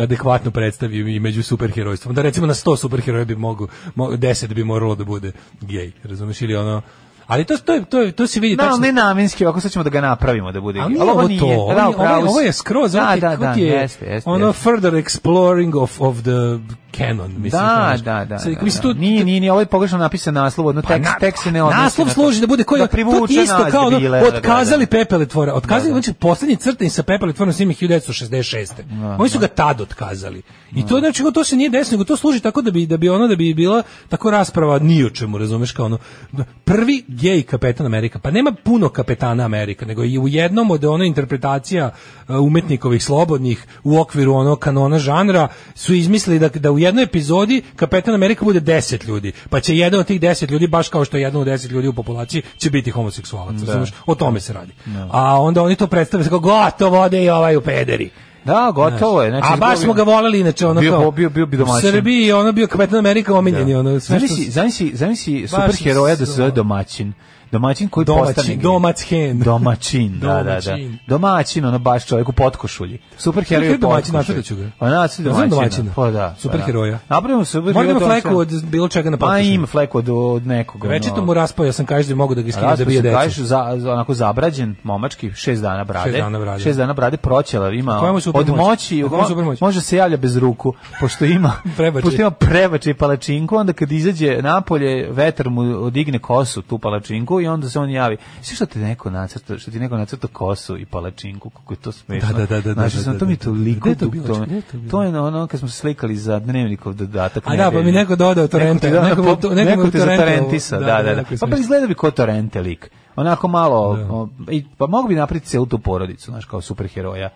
adekvatno predstavi i među superherojstvom. Da recimo na 100 superheroja bi mogu, mo, 10 bi moralo da bude gej, razumeš ili ono. Ali to to je- to je- to se vidi
Da,
tačno.
ali ne namenski, ovako sad ćemo da ga napravimo da bude.
Ali
gej.
nije ovo to, ovo,
Da,
je-
u
ovo,
pravu si.
je, ovo je skroz, ovo
da,
ti,
da,
kako
da,
ti je
jeste, jeste,
ono
jeste.
further exploring of, of the canon,
Da,
mislim. znaš.
da, da.
Sad,
da,
mislim,
da.
tu-
Nije, nije, nije, ovo je pogrešno napisan naslov, odno tekst,
Pa na-
tekst se ne odnosi.
Naslov
na to.
služi da bude koji
da
to
privuče
isto
nas,
kao ono,
debile, da, da, da.
otkazali pepele tvora. Otkazali znači poslednji crtani sa pepele tvorom snimi 1966.
Da,
Oni su ga tad otkazali. I to znači to se nije desilo, nego to služi tako da bi da bi ono da bi bila tako rasprava ni o čemu, razumeš kao ono da, prvi gej kapetan Amerika. Pa nema puno kapetana Amerika, nego i u jednom od ono interpretacija e, umetnikovih slobodnih u okviru ono kanona žanra su izmislili da da u jednoj epizodi kapetan Amerika bude 10 ljudi, pa će jedan od tih 10 ljudi baš kao što je jedan od 10 ljudi u populaciji će biti homoseksualac,
Da.
razumeš? O tome se radi. A onda oni to predstave se kao gotovo ode i ovaj u pederi.
Da, gotovo je. Znači,
A baš smo ga voleli inače ono
Bio-
kao.
bio- bio bi
U
domaćin. Da.
Srbiji ono bio kapetan Amerika omiljeni ono sve što
Zamisli, zamisli, zamisli
Baš
superheroja da se
s-
zove domaćin. Domaćin koji
Domaćin,
postane gej.
domaćin.
Domaćin, da, da, da.
Domaćin.
Domaćin, ono baš čovjek u potkošulji. Superheroj u
Superheroj domaćin,
potkošulji.
nacrtat ću ga.
Pa nacrtat
Ja znam
domaćina.
domaćina.
Pa da.
Superheroja.
Pa da. Napravimo superheroja.
Mora da ima
domaćina.
fleku od bilo čega na
Pa
potkošulji.
ima fleku od, od nekoga.
Večito
ono.
mu raspao, ja sam kažem da mogu da ga skinem da
Raspao
bije
se, kažeš,
decu.
za, za- onako zabrađen, momački, šest dana brade.
Šest dana brade.
Šest dana brade, proćelav, ima
Koja mu je supermoć?
od moći,
Koja mu je supermoć?
može se javlja bez ruku, pošto ima,
Prebačaj.
pošto ima prebačaj palačinku, onda kad izađe napolje, vetar mu odigne kosu, tu palačinku, i onda se on javi. Sve što ti neko nacrta, što ti neko nacrta kosu i palačinku, kako je to smešno.
Da, da, da, da,
Znači,
da,
sam,
da,
to mi je
da, da.
toliko,
Gde je to
dug-
bilo?
to,
Gde je to bilo?
to je na ono kad smo se slikali za dnevnikov dodatak.
A da, pa mi
nedeljni.
neko dodao torrente.
ti da-
Neko mi je to- neko mi je
neko te
torrentovao.
zatorrentisao,
Da,
da, da,
da,
da.
jako je
Pa, pa
smešno.
izgleda bi kao Torrente
Da.
lik. Onako malo, o, i, pa mogu bi napraviti celu tu porodicu, znaš, kao superheroja.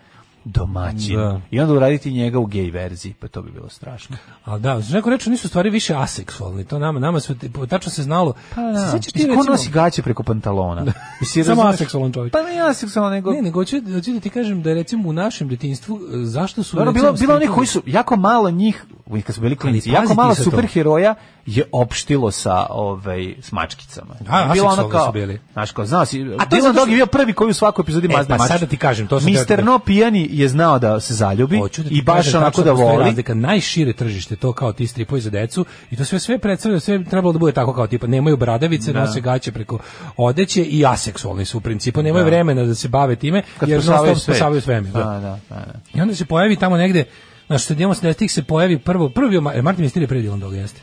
domaćin.
Da.
I onda uraditi njega u gej verziji, pa to bi bilo strašno.
Ali da, znači neko reče nisu stvari više aseksualni. To nama nama sve tačno se znalo. Pa
da. Mislim, ko nosi gaće preko pantalona? Mislim,
Da. Samo
razumeš?
aseksualan čovjek.
Pa ne aseksualan, nego...
Ne, nego hoću, hoću da ti kažem da je, recimo u našem detinjstvu e, zašto su...
Dobro,
recimo,
bilo, bilo oni
slikovi-
koji su, jako malo njih, uvijek kad su bili klinici,
Ali pazi
jako malo
ti sad to.
superheroja je opštilo sa, ovaj, s mačkicama.
Da,
bilo
aseksualni
kao,
su bili.
Znaš, kao, znao si,
A
A
to
to
je
Dylan
zato
Dog
što-
je bio prvi koji u svakoj epizodi
E,
mazne
pa
mačkice.
sada ti kažem, to sam teo
Mister
da-
No pijani je znao da se zaljubi
Hoću da ti
i baš
kažem
onako
tačno
da
postoji
voli.
Razlika najšire tržište to kao ti stripovi za decu i to sve sve predstavlja sve bi trebalo da bude tako kao tipa nemaju bradavice,
Da.
nose gaće preko odeće i aseksualni su u principu, nemaju
Da.
vremena da se bave time
Kad
jer
spasavaju
non-stop
svet.
spasavaju svemir.
Da, da, da, da.
I onda se pojavi tamo negde Znaš, se djemo se se pojavi prvo, prvi, Ma- e, Martin Mister je pre Dylan Dog, jeste?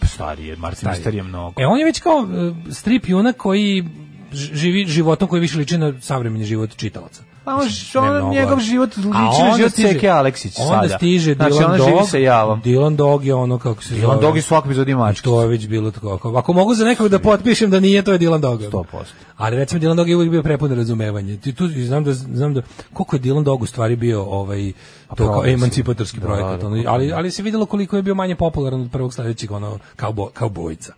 Pa Stariji je, Martin
Stariji.
Mister je mnogo.
E, on je već kao e, strip junak koji ž- živi životom koji više liči na savremeni život čitalaca.
Pa on,
Mislim, ne
on-
mnogo,
njegov
ali-
život liči
A
na
onda
život
stiže-
Ceke Aleksića
Onda
sada.
stiže
Znači,
Dylan
ona živi
Dog.
sa javom.
Dylan Dog je ono kako se
Dylan Dog je svaki epizodi mačkicu.
To je već bilo tako. Ako, ako mogu za nekog da potpišem da nije, to je Dylan Dog.
100%.
Ali recimo Dylan Dog je uvijek bio prepun razumevanja. Ti tu znam da znam da koliko je Dylan Dog u stvari bio ovaj to kao
progresivan.
emancipatorski
Da,
projekat,
da,
ono,
da.
ali ali se vidjelo koliko je bio manje popularan od prvog sledećeg ono kao kao bojica.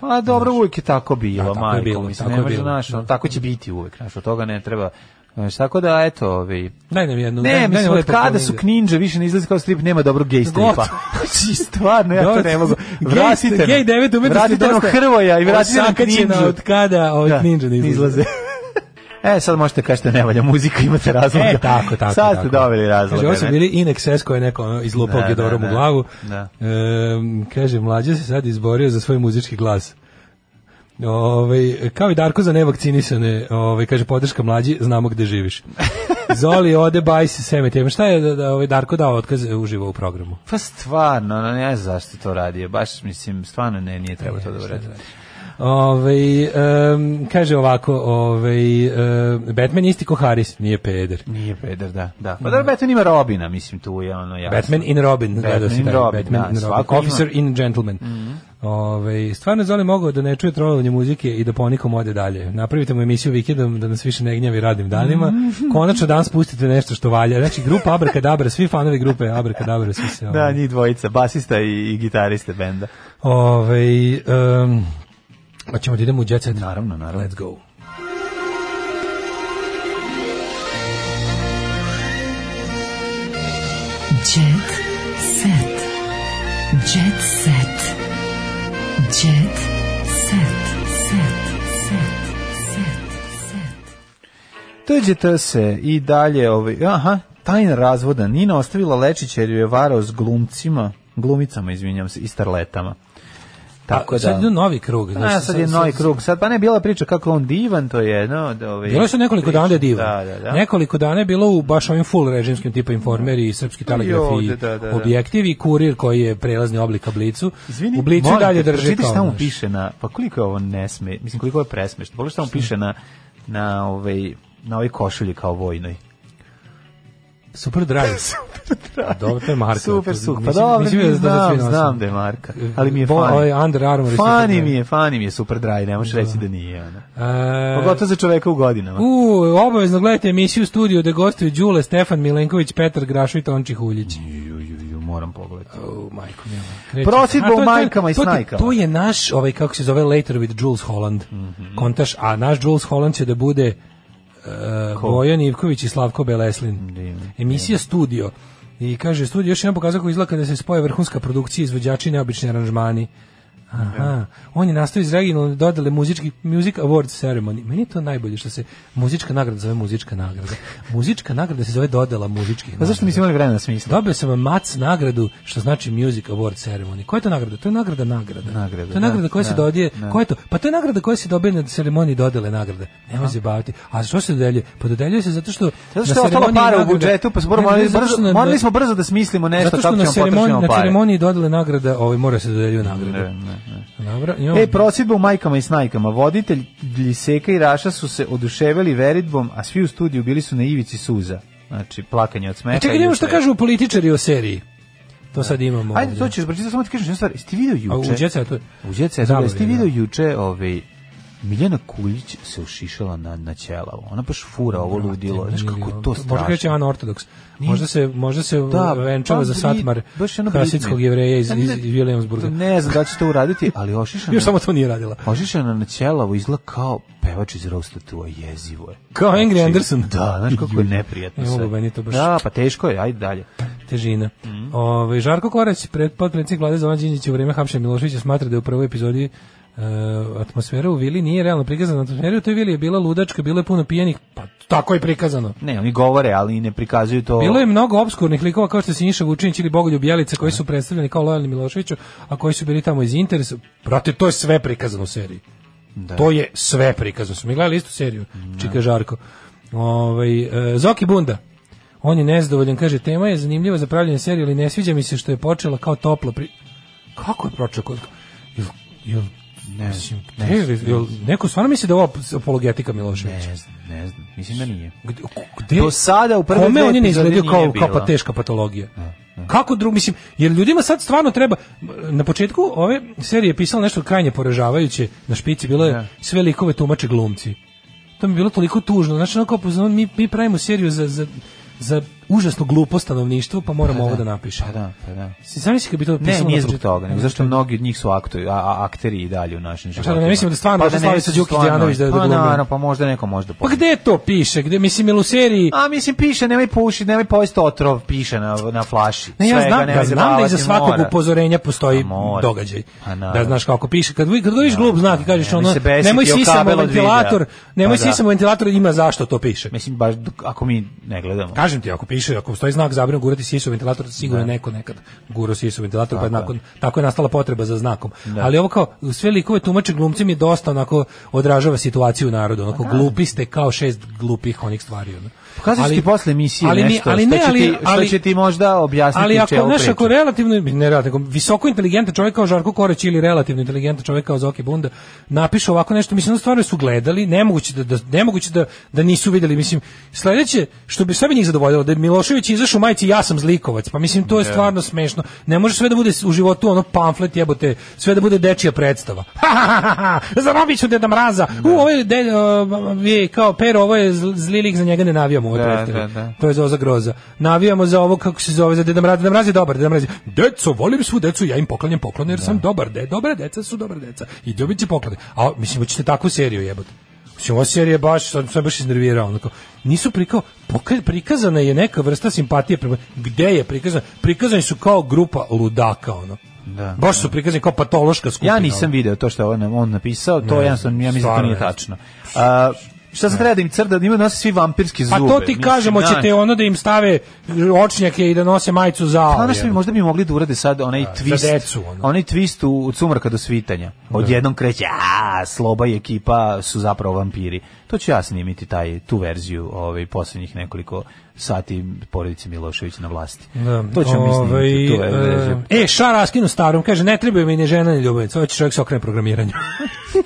Pa dobro, uvijek je tako bilo,
Da,
da,
tako
majko,
je bilo,
mislim,
tako
ne
je
može,
bilo. Da.
znaš, ono, tako će biti uvijek, znaš, od toga ne treba, znaš, tako da, eto, ovi,
Daj nam jednu. daj-
Ne,
daj
mislim,
nam
od
lepo
kada
knjigu.
su kninđe više ne izlazi kao strip, nema dobrog gej stripa. Znači, stvarno, ja to ne mogu. Vratite nam.
Gej 9 umetnosti
Vratite nam
dosta.
Hrvoja i vratite nam
Osakaćena
kninđu. Da,
od kada ovaj kninđa ne izlaze.
e, sad možete kažete da ne valja muzika, imate razloga.
E, tako, tako.
Sad ste
tako.
dobili razloga.
Kaže, ovo su
ne?
bili in excess koje je neko ono, izlupao
Da,
Gedorom
da,
u
da.
glavu.
Da.
Ehm, kaže, mlađe se sad izborio za svoj muzički glas. Ove, kao i Darko za nevakcinisane, ove, kaže, podrška mlađi, znamo gde živiš. Zoli, ode, baj se, seme tema. Šta je da, da, ovaj Darko dao otkaz e, uživo u programu?
Pa stvarno, ono, ne znam zašto to radi. Baš, mislim, stvarno ne, nije treba to da uradi.
Ove, Ovaj, em, kaže ovako, ove, Batman je isti ko Harris, nije peder.
Nije peder, da. da. Pa da, Batman ima Robina, mislim, tu je ono jasno.
Batman in Robin,
Batman
gledao si
in
taj,
Robin,
Batman
da,
in Robin,
svako ima. Mhm.
Officer in Gentleman. Ove, stvarno Zoli mogao da ne čuje trolovanje muzike i da ponikom ode dalje. Napravite mu emisiju vikendom da nas više ne gnjavi radnim danima.
Mhm.
Konačno dan spustite nešto što valja. Znači, grupa Abrakadabra, svi fanovi grupe Abrakadabra, svi se...
Da,
ovaj,
njih dvojica, basista i, i gitariste benda.
Ove, um, hoćemo da idemo u Jet Set?
Naravno, naravno.
Let's go.
Jet set. Jet set. Jet set. Set. Set. Set. Set.
Dođete se i dalje, ovaj, aha, tajna razvoda. Nina ostavila Lečića jer ju je varao s glumcima, glumicama, izvinjam se, i starletama. Tako
A,
da...
Sad idu novi krug.
A, sad je novi krug. Sad, pa ne, bila je priča kako on divan, to je jedno. od, Ovaj,
Bilo je sad nekoliko dana da je divan.
Da, da, da.
Nekoliko dana je bilo u baš ovim full režimskim tipa informeri i srpski telegraf i
ovde, da, da, da.
objektiv i kurir koji je prelazni oblik ka blicu.
Izvini,
u blicu i
molim te,
dalje drži
pročitaj
kao.
šta mu
znaš.
piše na, pa koliko je ovo nesme, mislim koliko je presmešno. Pogledaj šta mu piše na, na, ovaj, na ovoj košulji kao vojnoj.
Super drive. Super drive. Dobro, to je marka.
Super,
To-
super. Pa
mislim-
dobro,
mislim da- da
znam,
svi nose.
znam da je Marka. Ali mi je
Bo-
funny.
ovaj Under Armour i
Funny
Superdry.
mi je, funny mi je super dry, ne možeš reći da nije. Ona.
E,
Pogotovo za čoveka u godinama.
U, obavezno gledajte emisiju Studio da gostuju Đule, Stefan Milenković, Petar Grašo i Tonči Huljić.
Ju, ju, ju, moram pogledati.
Oh, majko
Prosidba u majkama i
snajka.
snajkama.
To je naš, ovaj, kako se zove, Later with Jules Holland.
Mhm.
Kontaš, a naš Jules Holland će da bude uh,
Ko?
Bojan Ivković i Slavko Beleslin. Emisija Studio. I kaže, studio još jedan pokazao kako izgleda kada se spoje vrhunska produkcija, izvođači i neobični aranžmani.
Da.
Aha, on je nastao iz regionalne dodale muzički Music Awards Ceremony. Meni je to najbolje što se muzička nagrada zove muzička nagrada. Muzička nagrada se zove dodala muzičkih
Pa zašto
nagrada.
nisi imali vremena smisla?
Dobio sam MAC nagradu, što znači Music Award Ceremony. Koja je to nagrada? To je nagrada nagrada.
Nagrada,
to je nagrada
da,
koja se
da,
dodije.
da.
Koja je to? Pa to je nagrada koja se dobije na ceremoniji dodele nagrade. Nemoj se baviti. A što se dodeljuje? Pa dodeljuje se zato što
Zato
na
što je ostalo
ceremoniji
para u
nagrada-
budžetu, pa smo
Ne,
morali,
ne, zato
brzo,
što na-
morali smo brzo da smislimo nešto
Zato
kako
što na,
ćemo
ceremoni,
potrošiti
na
pare.
ceremoniji dodele nagrada ovaj, mora se dodeljuje nagrada.
Ne, ne, ne.
Dobro, imamo-
E, prosidba u majkama i snajkama. Voditelj Ljiseka i Raša su se oduševili veritbom, a svi u studiju bili su na ivici suza. Znači, plakanje od smeha.
A čekaj,
i
da vidimo
od
šta
svega.
kažu političari o seriji. To sad imamo.
Da. Ajde,
ovdje.
to ćeš pročitati, samo ti kažeš jednu stvar. Jesi ti video
A
juče?
u djeca je to...
U Jet Setu,
Zabavno,
jesi ti
da.
video juče ovaj, Miljana Kuljić se ušišala na, na ćelavo. Ona baš fura ovo ludilo. Znaš kako je to strašno.
Možda kreće anortodoks. Možda se, možda se uh,
Da,
venčava
pa
za
Brit-
satmar
baš ono
hasidskog
Britney.
jevreja iz,
Pa
iz,
ne-
iz Williamsburga.
Ne znam da će to uraditi, ali ošišana...
Još samo to nije radila.
Ošišana na ćelavo izgleda kao pevač iz Rosta Tua, jezivo je.
Kao Angry
Znači,
Anderson.
Da, znaš kako je neprijatno
Ne mogu,
sve.
meni je to baš-
Da, pa teško je, ajde dalje.
težina. Ovaj Žarko Korać, pred potpredsjednik vlade Zoran Đinđić u vreme hapšenja Miloševića smatra da je u prvoj epizodi e, atmosfera u vili nije realno prikazana atmosfera u toj vili je bila ludačka, bilo je puno pijenih, pa tako je prikazano.
Ne, oni govore, ali ne prikazuju to...
Bilo je mnogo obskurnih likova kao što je Siniša Vučinić ili Bogoljub Jelica koji su predstavljeni kao lojalni Miloševiću, a koji su bili tamo iz interesa. Brate, to je sve prikazano u seriji.
Da,
To je sve prikazano. Smo mi gledali istu seriju, Čika Žarko. Ovaj, e, Zoki Bunda. On je nezadovoljan, kaže, tema je zanimljiva za pravljanje serije, ali ne sviđa mi se što je počela kao topla pri... Kako je pročeo? kod- Jel, jel,
Ne,
mislim,
ne,
ne, jel- jel- neko stvarno misli da je ovo apologetika Miloševića?
Ne znam, ne znam, mislim da nije.
E, Gde-
Do sada u prve
Kome
dve
on je ne
epizode nije
izgledao
da.
kao,
bilo.
kao pa teška patologija?
da.
Kako drug, mislim, jer ljudima sad stvarno treba, na početku ove serije je pisalo nešto krajnje poražavajuće, na špici bilo
Da.
je sve likove tumače glumci. To mi je bilo toliko tužno, znači ono kao, pozna- mi, mi pravimo seriju za, za, za užasno glupo stanovništvo, pa moramo ovo da napišemo.
Pa da, pa da.
Si zamisli kad bi to
Ne,
pisalo
nije
na Pa
zbog
početku.
toga, nego zašto mnogi od njih su aktori, a, a- akteri i dalje u našim
da ne
životima. Pa
mislimo da stvarno došla
ne
Slavica
mislimo
Đukić Đejanović da- da
Pa
glumi?
naravno, pa možda neko možda
Pa
pomoći.
gde to piše? Gde, mislim, jel u seriji...
A mislim piše nemoj pušiti, nemoj pojesti otrov, piše na na flaši.
Ne, ja
Svega,
znam,
nemoj
da, znam da
zabavati,
iza svakog
mora.
upozorenja postoji
mora.
događaj.
Pa naravno.
Da znaš kako piše. Kad, vi- kad vidiš glup znak i kažeš
Nemoj
ono,
se besiti,
nemoj
jel
sisamo
kabel od
ventilator,
videa?
nemoj
Pa da.
sisamo ventilator, ima zašto to piše.
Mislim baš dok- ako mi ne gledamo.
Kažem ti, ako piše, ako stoji znak zabranu gurati sisu u ventilator, sigurno je neko nekad guro sisu u ventilator, pa je
Da. Tako je. Da.
nakon, tako je nastala potreba za znakom. Ali ovo kao, sve likove tumače glumcem je dosta onako odražava situaciju u narodu,
Pa
onako
da.
glupi ste kao šest glupih onih stvari. Ono.
Pokazat ću
Ali-
Pa ti posle emisije
ali ni-
nešto
ali
što,
ne,
će
ali-
ti, što
ali-
će ti možda objasniti
ali ako
čelu
znaš,
priču.
ako relativno ne relativno, nego visoko inteligentan čovjek kao Žarko Korać ili relativno inteligentan čovjek kao Zoki Bunda napiše ovako nešto, mislim da stvarno su gledali, nemoguće da, da nemoguće da da nisu vidjeli mislim sledeće što bi sve bi njih zadovoljilo da je Milošević izašao u majici ja sam zlikovac, pa mislim to je stvarno smešno. Ne može sve da bude u životu ono pamflet jebote, sve da bude dečija predstava. Ha, ha, ha, ha, ha, zarobit ću Deda Mraza. U, ovo je, de, uh, je kao pero, ovo je zl- zli lik, za njega ne navijamo u
Da,
ovoj predstavi.
da, da.
To je Zoza Groza. Navijamo za ovo, kako se zove, za Deda Mraz. Deda Mraz je dobar, Deda Mraz je, deco, volim svu decu, ja im poklanjam poklone jer sam
Da.
dobar. De, dobra deca su dobra deca. I dobit će poklone. A, mislim, hoćete takvu seriju jebote. Mislim, ova serija je baš, sam sam baš iznervirao. Onako. Nisu prikao, poka- prikazana je neka vrsta simpatije. Prema, gde je prikazana? Prikazani su kao grupa ludaka, ono.
Da.
Baš su prikazani kao patološka skupina.
Ja nisam video to što je on, on napisao, to
Ne,
ja sam ja mislim da to
stvarno
nije
ne.
tačno. A, šta se treba da im crda, da imaju nose svi vampirski
Pa
zube.
to ti
mislim,
kažemo,
da.
ćete ono da im stave očnjake i da nose majicu za...
Pa ono što bi možda bi mogli da urade sad onaj twist.
decu, ono.
Onaj twist u, od sumraka do svitanja. Odjednom kreće, a sloba i ekipa su zapravo vampiri. To ću ja snimiti taj tu verziju ovaj posljednjih nekoliko sati porodice Milošević na vlasti.
Da,
to ćemo mi snimiti tu
ovaj,
ver- verziju.
e, šar raskinu starom, kaže, ne trebaju mi ni žena ni ljubavica, hoće čovjek se okrene programiranju.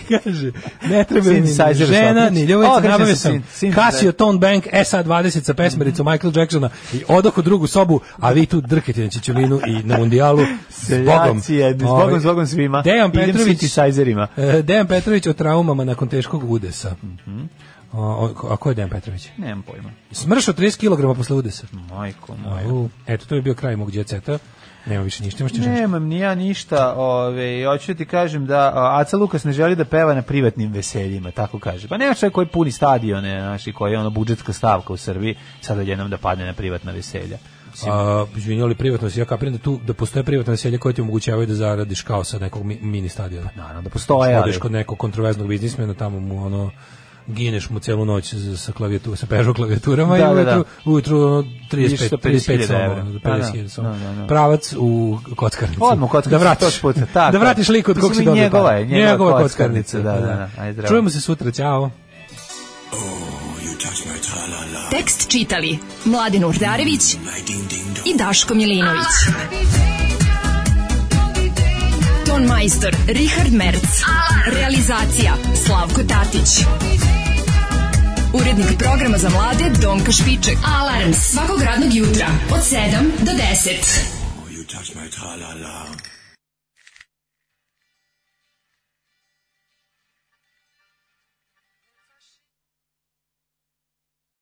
kaže, ne trebaju mi ni
Synthesizer
žena
sad.
ni
O,
ljubavica,
kaže
nabavio
se
sam
syn- synthesizer.
Casio Tone Bank E SA20 sa pesmericom Michael Jacksona i odoh u drugu sobu, a vi tu drkete na Čičulinu i na mundijalu s Bogom.
Seljaci jedni, s
Ovaj,
Bogom, s Bogom svima.
Dejan
Idem
Petrović,
synthesizerima.
e, Dejan Petrović o traumama nakon teškog udesa.
Mhm.
O, o- a ko je Dejan Petrović?
Nemam pojma.
Smršao 30 kg posle udesa.
Majko moja.
Au, Eto, to je bio kraj mog djeceta. Nema više ništa, imaš ti još nešto?
Nemam ni ja ništa, ove, hoću ti kažem da a, Aca Lukas ne želi da peva na privatnim veseljima, tako kaže. Pa nema čovjek koji puni stadione, znaš, i koji je ono budžetska stavka u Srbiji, sad odjednom da padne na privatna veselja. Mislim,
A, izvini, ali privatno se ja kapiram da tu da postoje privatna veselja koja ti omogućavaju da zaradiš kao sa nekog mi- mini stadiona.
naravno da postoje, ali-
Odeš kod nekog kontroverznog biznismena, tamo mu ono gineš mu celu noć za- sa klavijatur, sa Peugeot
Da,
klavijaturama i
da,
ujutru,
da.
ujutru ono, 35,
Ideš sa
35
50.000 evra.
samo,
Da, da.
50 samo.
Da, da, da.
Pravac u kockarnicu.
Odmah u kockarnicu,
Da vratiš,
sto puta, tako
da
je.
vratiš liku od kog si
Mislim, i
dobio.
njegova
pare.
je, njegova
Njegova
kockarnica, da,
kockarnica.
da, da. Ajde, zdravo.
Čujemo se sutra, ćao.
Tekst čitali Mladin Urdarević i Daško Milinović. Ton majstor Richard Merc. Realizacija Slavko Tatić. Urednik programa za mlade Donka Špiček. Alarms svakog radnog jutra od 7 do 10.
You touch my tra-la-la.